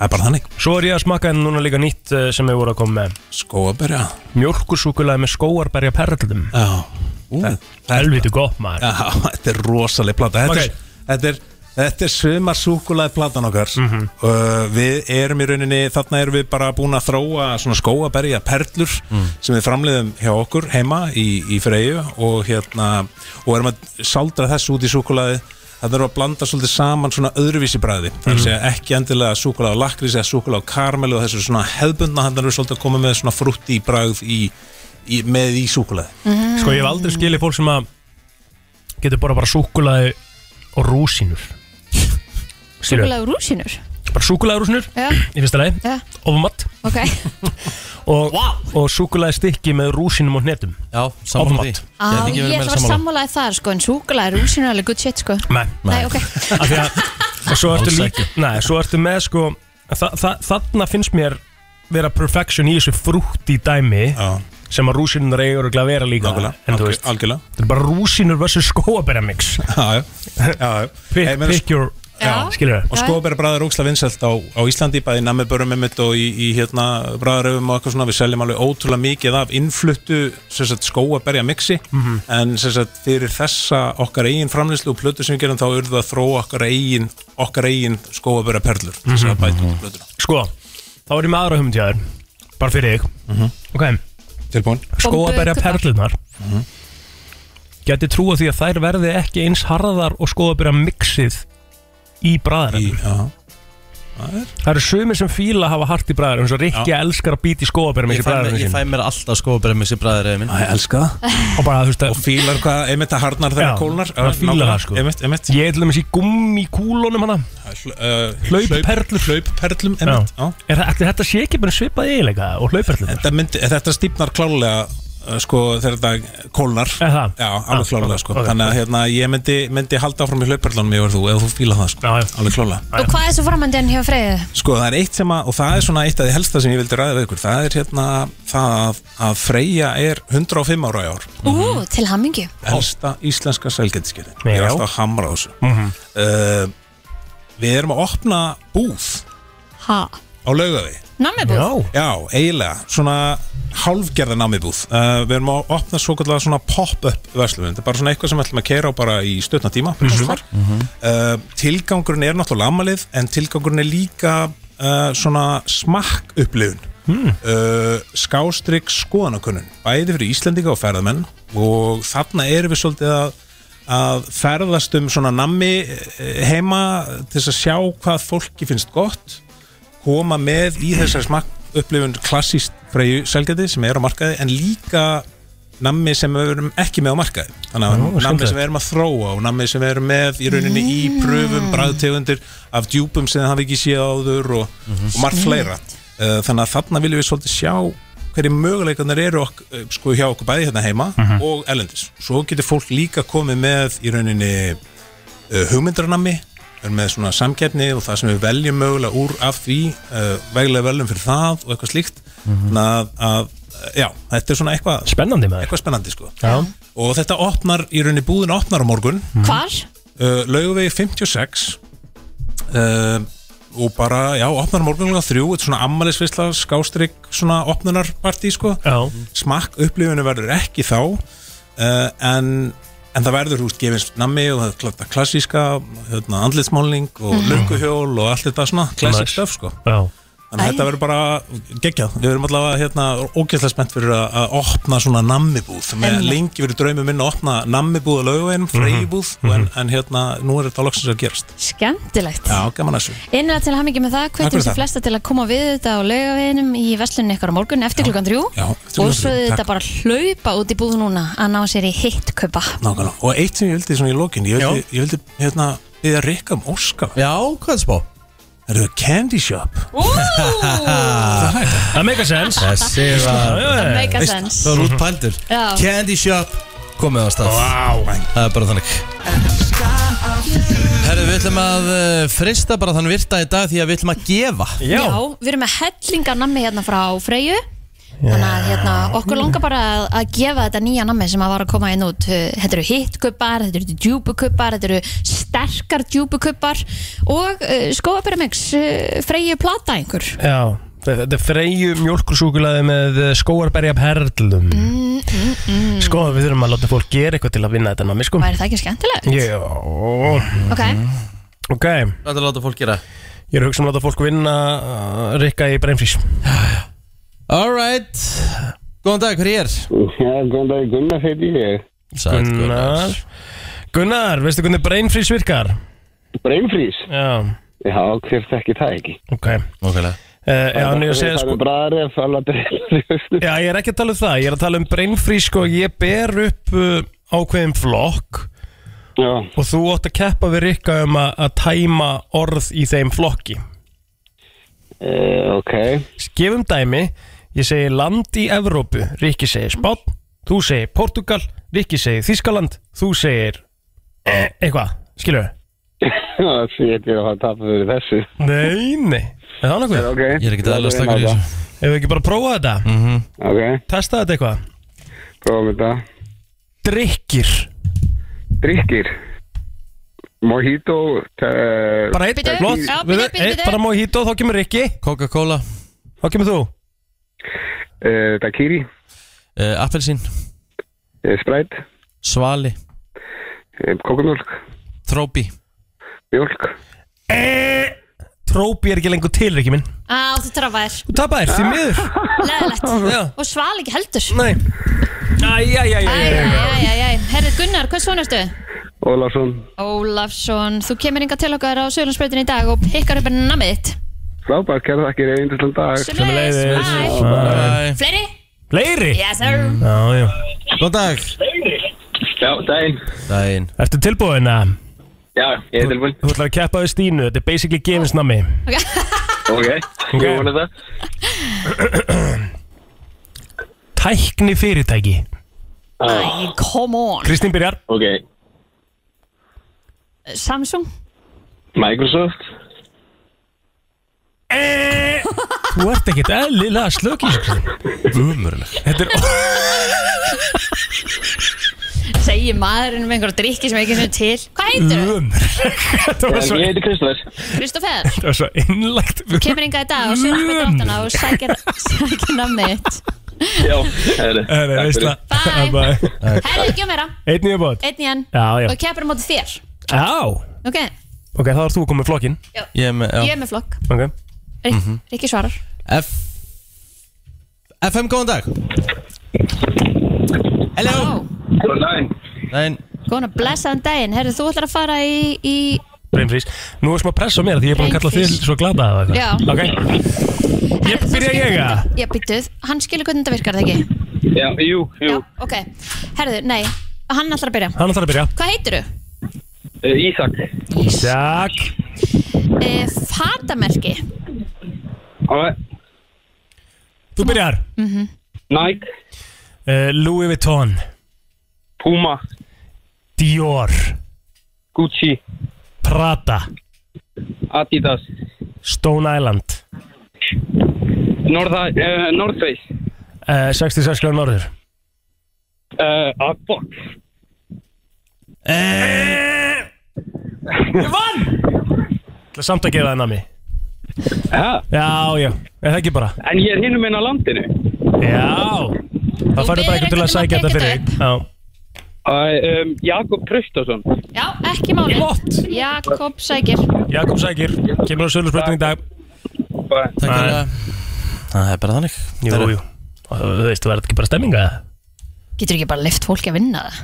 Speaker 11: Það er bara þannig
Speaker 3: Svo er ég að smaka en núna líka nýtt eh, sem við vorum að koma með
Speaker 11: Skóarberja
Speaker 3: Mjölkusúkulega með skóarberja perraldum
Speaker 11: Já
Speaker 3: Helviti gott maður
Speaker 11: Já, þetta er rosaleg plata Þetta er, þetta er Þetta er sumarsúkulæði platan okkar
Speaker 3: Mhm.
Speaker 11: uh, Við erum í rauninni Þarna erum við bara búin að þróa Svona skóaberja perlur Sem við framleiðum hjá okkur heima Í, í Freyju og hérna Og erum að saldra þessu út í súkulæði Það þarf að blanda svolítið saman svona öðruvísi bræði Það er að
Speaker 3: Mhm.
Speaker 11: segja ekki endilega súkulega á lakrís eða súkulega á karmelu og þessu svona hefðbundna hann er við svolítið að koma með svona frútti í bræð í, í, með í súkulega
Speaker 3: Mm.
Speaker 11: Mhm.
Speaker 3: Sko ég hef aldrei skilið fólk sem að getur bara bara súkulaði og rúsinur
Speaker 2: súkulega rúsinur
Speaker 3: Bara súkulaði og rúsinur
Speaker 2: Já.
Speaker 3: í fyrsta lagi
Speaker 2: Já.
Speaker 3: Ofumatt
Speaker 2: Ok,
Speaker 3: og, og súkulaði stykki með rúsinum og hnetum Já,
Speaker 1: sammála því.
Speaker 2: á, Ah, ég ætla að vera sammálaði þar sko, en súkulega rúsinur er alveg good shit sko
Speaker 3: Nei,
Speaker 2: Nei, ok
Speaker 3: af því að og svo ertu,
Speaker 1: Alls
Speaker 3: líka, nei, svo ertu með sko þa þa þarna finnst mér vera perfection í þessu frútt í dæmi
Speaker 11: Já.
Speaker 3: sem að rúsinunar eigur að vera líka
Speaker 11: Nákvæmlega,
Speaker 3: en þú
Speaker 11: algjör-
Speaker 3: veist,
Speaker 11: algjörlega.
Speaker 3: þetta er bara rúsinur versus skóabæra mix
Speaker 11: já, já.
Speaker 3: Pick- pick
Speaker 11: sko-
Speaker 3: your- Já. skilurðu?
Speaker 11: og sko, skóbera bræðar ógslag vinsælt á, á Íslandi bæði namibörum einmitt og í, í hérna bræðaröfum og eitthvað svona við seljum alveg ótrúlega mikið af innfluttu sem sagt, skóaberja mixi
Speaker 3: Mhm.
Speaker 11: en sem sagt, fyrir þessa okkar eigin framlýslu og plötu sem við gerum þá urðu að þróa okkar eigin, okkar eigin skóaberja perlur mm -hmm.
Speaker 3: sko, þá er ég með aðra humtjáður bara fyrir þig ok,
Speaker 11: Mhm. tilbúin
Speaker 3: skóabæra perlunar
Speaker 11: Mhm.
Speaker 3: geti trúa því að þær verði ekki eins harðar og skóabæra mixið í bræðarum
Speaker 11: já
Speaker 3: Það eru sumir sem fíla að hafa hart í bræðar eins og Rikki
Speaker 1: Já.
Speaker 3: elskar að býta í skóabærum
Speaker 1: Ég fæ, mér, ég fæ mér alltaf sko skóðbæðarmessi bræðir eða minn
Speaker 11: Æ, elska
Speaker 3: og bara þú veist að
Speaker 11: og fílar hvað, einmitt að harnar þegar kólnar
Speaker 3: það fíla það sko
Speaker 11: einmitt, einmitt
Speaker 3: Ég er til dæmis í gummi kúlunum hana Mhm. Hlaupperlum.
Speaker 11: Uh, Hlaupperlum einmitt, já.
Speaker 3: Er það- ætli þetta sé ekki bara svipað eiginlega og hlaupperlum
Speaker 11: Þetta, myndi, þetta stípnar klálega uh, sko, þegar þetta kólnar
Speaker 3: Já, Ah,
Speaker 11: alveg klálega sko. Þannig að hérna, ég myndi, myndi halda áfram í hlauparlunum ef þú, ef þú fíla það sko. alveg klálega
Speaker 2: Og hvað er svo framöndin hjá Freyðu?
Speaker 11: Sko það er eitt sem að, og það er svona eitt af því helsta sem ég vildi ræða við ykkur, það er hérna það að, að Freyja er 105 ára í ár
Speaker 2: Ú, til hamingju
Speaker 11: elsta íslenska sælgætiskerin ég er
Speaker 3: Já.
Speaker 11: alltaf að hamra á þessu
Speaker 3: Mhm.
Speaker 11: uh, Við erum að opna búð
Speaker 2: Ha,
Speaker 11: á laugavi
Speaker 2: námibúð?
Speaker 11: Já, eiginlega, svona hálfgerða námibúð uh, Við erum að opna svo kallega svona pop-up verslum Þetta er bara svona eitthvað sem við ætlum að keira á bara í stötna tíma fyrir sumar. uh, Tilgangurinn er náttúrulega amalið En tilgangurinn er líka uh, svona smakk upplifun uh, Skástrygg skoðanakönnun Bæði fyrir Íslendinga og ferðamenn Og þarna erum við svolítið að að ferðast um svona nammi eh, heima til þess að sjá hvað fólki finnst gott koma með í þessari smakk upplifun klassíst freyju selgæti sem er á markaði en líka nammi sem við erum ekki með á markaði þannig að
Speaker 3: Ó,
Speaker 11: nammi
Speaker 3: skemmtilegt.
Speaker 11: sem við erum að þróa og nammi sem við erum með í rauninni í pröfum bræðtegundir af djúpum sem það hafi ekki séð áður og,
Speaker 3: Mhm.
Speaker 11: og margt fleira Eh, þannig að þarna viljum við svolítið sjá hverju möguleikarnir eru ok, eh, sko, hjá okkur bæði hérna heima
Speaker 3: Mhm.
Speaker 11: og ellendis svo getur fólk líka komið með í rauninni uh, hugmyndarnami við erum með svona samkeppni og það sem við veljum mögulega úr af því uh, veglega veljum fyrir það og eitthvað slíkt þannig að, að eh, já, þetta er svona eitthvað
Speaker 3: Mhm. spennandi maður
Speaker 11: eitthvað spennandi sko
Speaker 3: Já. Mhm.
Speaker 11: og þetta opnar í rauninni búðin opnar á morgun
Speaker 2: Hvar?
Speaker 11: uh, Laugavegi 56 uh, og bara, já, opnar morgunlega þrjú, þetta er svona ammælisvisla skástrygg, svona opnunarpartí sko. smakk upplifinu verður ekki þá uh, en, en það verður húst gefins nammi og það er klart að klassíska hérna, andlitsmálning og
Speaker 3: Mhm.
Speaker 11: lönguhjól og allt þetta svona classic
Speaker 3: Nice.
Speaker 11: stuff sko.
Speaker 3: Já.
Speaker 11: Þannig að þetta verður bara geggjað Við verðum allavega hérna ógæslega spennt fyrir að, að opna svona nammibúð með
Speaker 12: Emmi.
Speaker 11: lengi verið draumum minn að opna nammibúð að laugaveginum,
Speaker 1: Mhm.
Speaker 11: freyjubúð en, en hérna nú er þetta loksins að gerast
Speaker 2: Skemmtilegt
Speaker 11: Já, gaman að þessu
Speaker 2: Innlega til hamingi með það,
Speaker 11: Takk fyrir
Speaker 2: hvetjum sem
Speaker 11: það.
Speaker 2: flesta til að koma við þetta á laugaveginum í veslunni ykkar á morgun eftir klukkan þrjú
Speaker 11: Já, eftir
Speaker 2: og
Speaker 11: klukkan
Speaker 2: svo
Speaker 11: þrjú,
Speaker 2: þetta
Speaker 11: takk.
Speaker 2: bara hlaupa út í búð núna að ná sér í hitt kaupa
Speaker 11: Nákvæmlega, og eitt sem ég vildi svona í lokin Ég vildi, ég vildi hérna við að rikka um Óska
Speaker 1: Já, hvað er spá?
Speaker 11: Er það Candy Shop?
Speaker 3: Það make a sense
Speaker 1: Ah. Þessi var
Speaker 2: Það make a Veist, sense.
Speaker 1: Það var út pældur
Speaker 2: Já.
Speaker 1: Candy Shop Komið á stað
Speaker 11: wow.
Speaker 1: Það er bara þannig Herðu, við ætlum að eh, frista bara þann virta í dag Því að við ætlum að gefa
Speaker 2: við erum með hellinga nammi hérna frá Freyju Þannig að hérna, okkur langar bara að, að gefa þetta nýja nammi sem að var að koma inn út Eh, Þetta eru hittkuppar, þetta eru djúbukuppar, þetta eru sterkar djúbukuppar Og uh, skóapiramix uh, Freyju plata einhver
Speaker 3: Já, þetta er freyju mjölkursúkulaði með eh, skóarberja perlum mm,
Speaker 2: mm, mm.
Speaker 3: Sko, við þurfum að láta fólk gera eitthvað til að vinna þetta námi, sko
Speaker 2: Væri það ekki skemmtilegt?
Speaker 3: Já
Speaker 2: Ok,
Speaker 3: Ok
Speaker 1: Hvað er að láta fólk gera?
Speaker 3: Ég er að hugsa um að láta fólk vinna uh, Rikka í breymfrís
Speaker 1: Alright Góðan dag, hver er ég?
Speaker 13: Já, góðan dag, Gunnar heiti ég
Speaker 1: Sæll,
Speaker 3: Gunnar Gunnar, veistu hvernig breymfrís virkar?
Speaker 13: Breymfrís?
Speaker 3: Já
Speaker 13: Já, hver þekki það ekki
Speaker 3: Ok
Speaker 1: Nókulega
Speaker 3: Uh, já, en ég að segja
Speaker 13: Það
Speaker 3: sko
Speaker 13: er bræðar ef að laða
Speaker 3: Já, ég er ekki að tala um það, ég er að tala um brainfree sko, ég ber upp uh, ákveðin flokk
Speaker 13: Já.
Speaker 3: og þú átt að keppa við Rikka um að, að tæma orð í þeim flokki
Speaker 13: uh, Ok
Speaker 3: Gefum dæmi, ég segi land í Evrópu, Rikki segir Spán þú segir Portugal, Rikki segir Þískaland, þú segir eh, eitthvað, skilur við?
Speaker 13: Það sé ég að hafa tapað fyrir þessu
Speaker 3: Nei, nei, er það nokkuð?
Speaker 13: Okay.
Speaker 1: Ég er ekkert eðlilega slakur í þessu.
Speaker 3: Ef við ekki bara prófa þetta?
Speaker 1: Mm -hmm.
Speaker 13: Ok
Speaker 3: Testa þetta eitthvað
Speaker 13: Prófum þetta
Speaker 3: Drikkir
Speaker 13: Drikkir Mojito uh,
Speaker 3: Bara einn, flott, við- einn, bara mojito, þá kemur Rikki
Speaker 1: Coca-Cola
Speaker 3: Þá kemur þú
Speaker 13: uh, Dakiri
Speaker 1: uh, Appelsín
Speaker 13: uh, Sprite
Speaker 1: Svali
Speaker 13: uh, Kókumjólk
Speaker 1: Trópi
Speaker 13: Mjólk
Speaker 3: Eh, Trópi er ekki lengur til, Rikki minn
Speaker 2: Á, þú trafaðir
Speaker 3: Þú tapaðir, því miður Já.
Speaker 2: Leðilegt Og sval ekki heldur
Speaker 3: Nei Æjæjæjæjæjæjæjæjæjæjæjæjæjæjæjæ
Speaker 2: Herri Gunnar, hvað svona ertu?
Speaker 13: Ólafsson
Speaker 2: Ólafsson, þú kemur inga til okkar á Söðlandsbreytin í dag og pikkar upp namið þitt
Speaker 13: Frábært, kæra þakkir, einn til dag
Speaker 3: Sömuleiðis.
Speaker 1: Bye.
Speaker 2: Fleiri?
Speaker 3: Fleiri?
Speaker 2: Yes sir
Speaker 3: Já, já
Speaker 1: Góðan dag
Speaker 13: Já, daginn
Speaker 1: Daginn
Speaker 3: Ertu tilbúin að?
Speaker 13: Já, ég er tilbúin
Speaker 3: Þú ætlar að keppa við Stínu, þetta er basically gefins nami
Speaker 13: Ok,
Speaker 3: Ok.
Speaker 13: ég vona það
Speaker 3: Tækni fyrirtæki
Speaker 2: Æ, come on
Speaker 3: Kristín byrjar
Speaker 13: Ok
Speaker 2: Samsung
Speaker 13: Microsoft
Speaker 3: Eh. Þú ert ekkert eðlilega slökið Umurlega Þetta er
Speaker 2: Segir maðurinn um einhverja drikki sem ekki sem til Hvað heitir þú?
Speaker 3: umurlega Þetta var svo
Speaker 13: Ég heiti Kristoffer
Speaker 2: Kristoffer
Speaker 3: Þetta var svo innlagt
Speaker 2: Þú kemur inga í dag á Söðlandsbreytin 8 og sækir, sækir namið þitt
Speaker 13: Já, herri
Speaker 3: Það er veistla Bye
Speaker 2: Herri, gjöf meira
Speaker 3: Einn í bótt
Speaker 2: Einn í enn
Speaker 3: Já, já.
Speaker 2: Og keppur á móti þér
Speaker 3: Já
Speaker 2: Ok,
Speaker 3: Ok, þá er þú komið flokkin
Speaker 2: Já.
Speaker 1: Ég er með,
Speaker 2: ég
Speaker 1: já
Speaker 2: er með flokk
Speaker 3: Ok
Speaker 2: Rik,
Speaker 1: Mhm.
Speaker 2: Rikki svarar
Speaker 1: F FM, góðan dag Hello
Speaker 13: Góðan daginn
Speaker 1: Daginn
Speaker 2: Góðan og blessaðan daginn Herri, þú ætlar að fara í, í
Speaker 3: Breimfrís Nú er smá pressa á mér því ég er búin að kalla þig
Speaker 2: Brainfreeze.
Speaker 3: svo glada að
Speaker 2: Já.
Speaker 3: það Ok Ég byrja ég að
Speaker 2: Já, býttuð Hann skilur hvernig þetta virkar það ekki
Speaker 13: Já, jú, jú
Speaker 2: Ok, herðu, nei Hann ætlar að byrja
Speaker 3: Hann ætlar að byrja
Speaker 2: Hvað heitir þú?
Speaker 13: uh, Ísak
Speaker 3: Ísak
Speaker 2: E, fatamerki
Speaker 3: Þú byrjar
Speaker 2: Mhm.
Speaker 13: Nike
Speaker 3: uh, Louis Vuitton
Speaker 13: Puma
Speaker 3: Dior
Speaker 13: Gucci
Speaker 3: Prada
Speaker 13: Adidas
Speaker 3: Stone Island
Speaker 13: Norða, uh, North Face
Speaker 3: uh, 66 gráður norður
Speaker 13: uh, Abba
Speaker 3: Ég vann Það er samt að gefa það nami
Speaker 13: Já
Speaker 3: Já, já, er það ekki bara
Speaker 13: En ég er hinum einn á landinu
Speaker 3: Já Það færðu bara eitthvað til að sækja þetta fyrir þig. Já
Speaker 13: uh, um, Jakob Traustason
Speaker 2: Já, ekki máli Flott Jakob Sækir
Speaker 3: Jakob Sækir, kemur á sölursprötun í dag
Speaker 6: bæ
Speaker 1: Takk fyrir Það er bara þannig
Speaker 3: Jú, jú Og Þú veist, þú verður ekki bara stemminga
Speaker 2: Getur ekki bara lift fólki að vinna það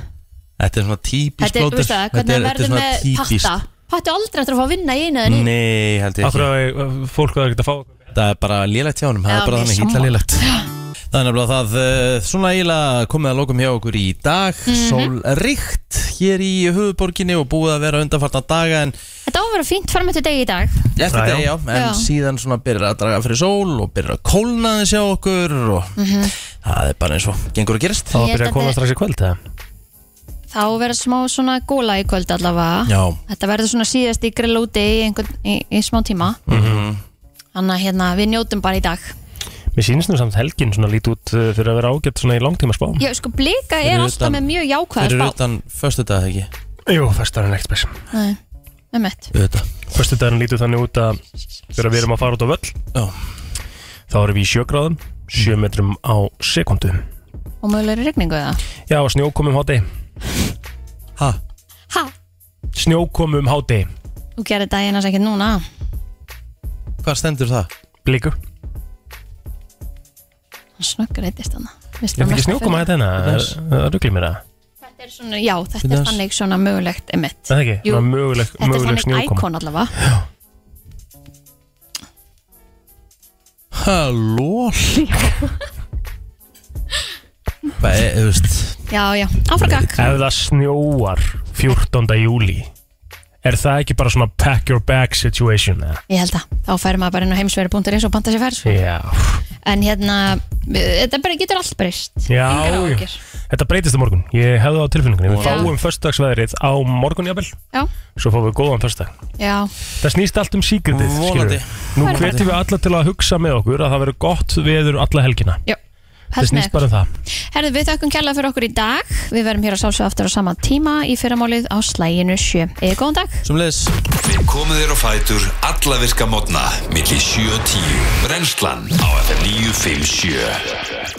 Speaker 1: Þetta er svona típist
Speaker 2: Þetta er, þú veist það, hvernig það verður með patta Patta aldrei eftir að fá að vinna í einu eða nýju
Speaker 1: Nei, held ég
Speaker 3: Af hverju að fólk verður ekki að fá
Speaker 1: Það er bara lélegt hjá honum, það
Speaker 2: Já,
Speaker 1: er bara
Speaker 2: mér
Speaker 1: þannig
Speaker 2: sammála.
Speaker 1: illa lélegt Það er nefnilega það, eh, svona eiginlega komið að lokum hjá okkur í dag
Speaker 2: Mhm.
Speaker 1: Sólríkt hér í höfuborginni og búið að vera undanfartna daga en
Speaker 2: Þetta á að vera fínt fram eftir degi í dag
Speaker 1: eftir
Speaker 2: Já, já.
Speaker 1: degi já, en
Speaker 2: Já.
Speaker 1: síðan svona byrjar að draga fyrir sól og byrjar að kólna þess hjá okkur og
Speaker 2: Mhm.
Speaker 1: það er bara eins og gengur að gerast
Speaker 2: Það var að byrja að kólna strax
Speaker 3: í kvöld það
Speaker 2: Þá vera smá svona góla í kvöld allavega
Speaker 1: Já
Speaker 2: Þetta verður svona síðast í grill úti í, einhvern, í, í smá tíma
Speaker 1: Mhm.
Speaker 2: Þannig að hérna, við njótum bara í dag
Speaker 3: Mér sýnist nú samt helgin svona lít út uh, fyrir að vera ágætt svona í langtíma spá
Speaker 2: Já, sko, blika er alltaf með mjög jákvæða spá
Speaker 1: utan förstu dag ekki
Speaker 3: Jú, fyrstu daginn ekkert spes
Speaker 2: Nei, með mitt
Speaker 3: Fyrstu daginn lítur þannig út að fyrir að við erum að fara út á völl
Speaker 1: Já.
Speaker 3: Þá erum við í sjögráðum, sjö metrum á sekundu
Speaker 2: Og mögulega er regningu eða
Speaker 3: Já, og um snjókomum háti
Speaker 1: Ha?
Speaker 2: Ha,
Speaker 3: Snjókomum háti
Speaker 2: þú gerir daginn að segja núna
Speaker 1: Hvað stendur það?
Speaker 3: Blíku
Speaker 2: Snöggur eittist hana
Speaker 3: Er þetta ekki snjókoma þetta hérna? Ruggli mér það
Speaker 2: Þetta er svona, já, þetta
Speaker 3: Finans.
Speaker 2: er þannig svona mögulegt emitt
Speaker 3: Er Það ekki?
Speaker 2: Jú,
Speaker 3: Jú, möguleg,
Speaker 2: Þetta er
Speaker 3: möguleg
Speaker 2: þannig
Speaker 3: snjókoma
Speaker 2: íkon allavega
Speaker 1: Halló Hvað er, þú veist
Speaker 2: Já, já, áfram gakk
Speaker 3: Ef það snjóar 14. júli Er það ekki bara svona pack your bag situation? eða?
Speaker 2: Ég held að, þá færum maður bara inn á heimsveri.is og panta sér færs
Speaker 3: Já,
Speaker 2: En hérna, við- þetta bara getur allt breyst
Speaker 3: já,
Speaker 2: Engar
Speaker 3: já.
Speaker 2: áhyggjur.
Speaker 3: Þetta breytist á morgun Ég hefði það á tilfinningunni Við
Speaker 2: Já.
Speaker 3: fáum föstudagsveðrið á morgun jafnvel
Speaker 2: Já,
Speaker 3: Svo fáum við góðan föstudag
Speaker 2: já,
Speaker 3: Það snýst allt um síkritið
Speaker 1: Vonandi.
Speaker 3: Nú
Speaker 2: Vonandi.
Speaker 3: hvetjum við alla til að hugsa með okkur að það verður gott veður alla helgina
Speaker 2: já
Speaker 3: Það snýst bara um það
Speaker 2: Herðu, við þökkum kærlega fyrir okkur í dag Við verum hér að sálsög aftur á sama tíma í fyrramálið á slæginu 7 Eða góðan dag
Speaker 1: Sumleis
Speaker 4: Við komum þér á fætur alla virka mótna milli 7 og 10 Brennslan á FM 957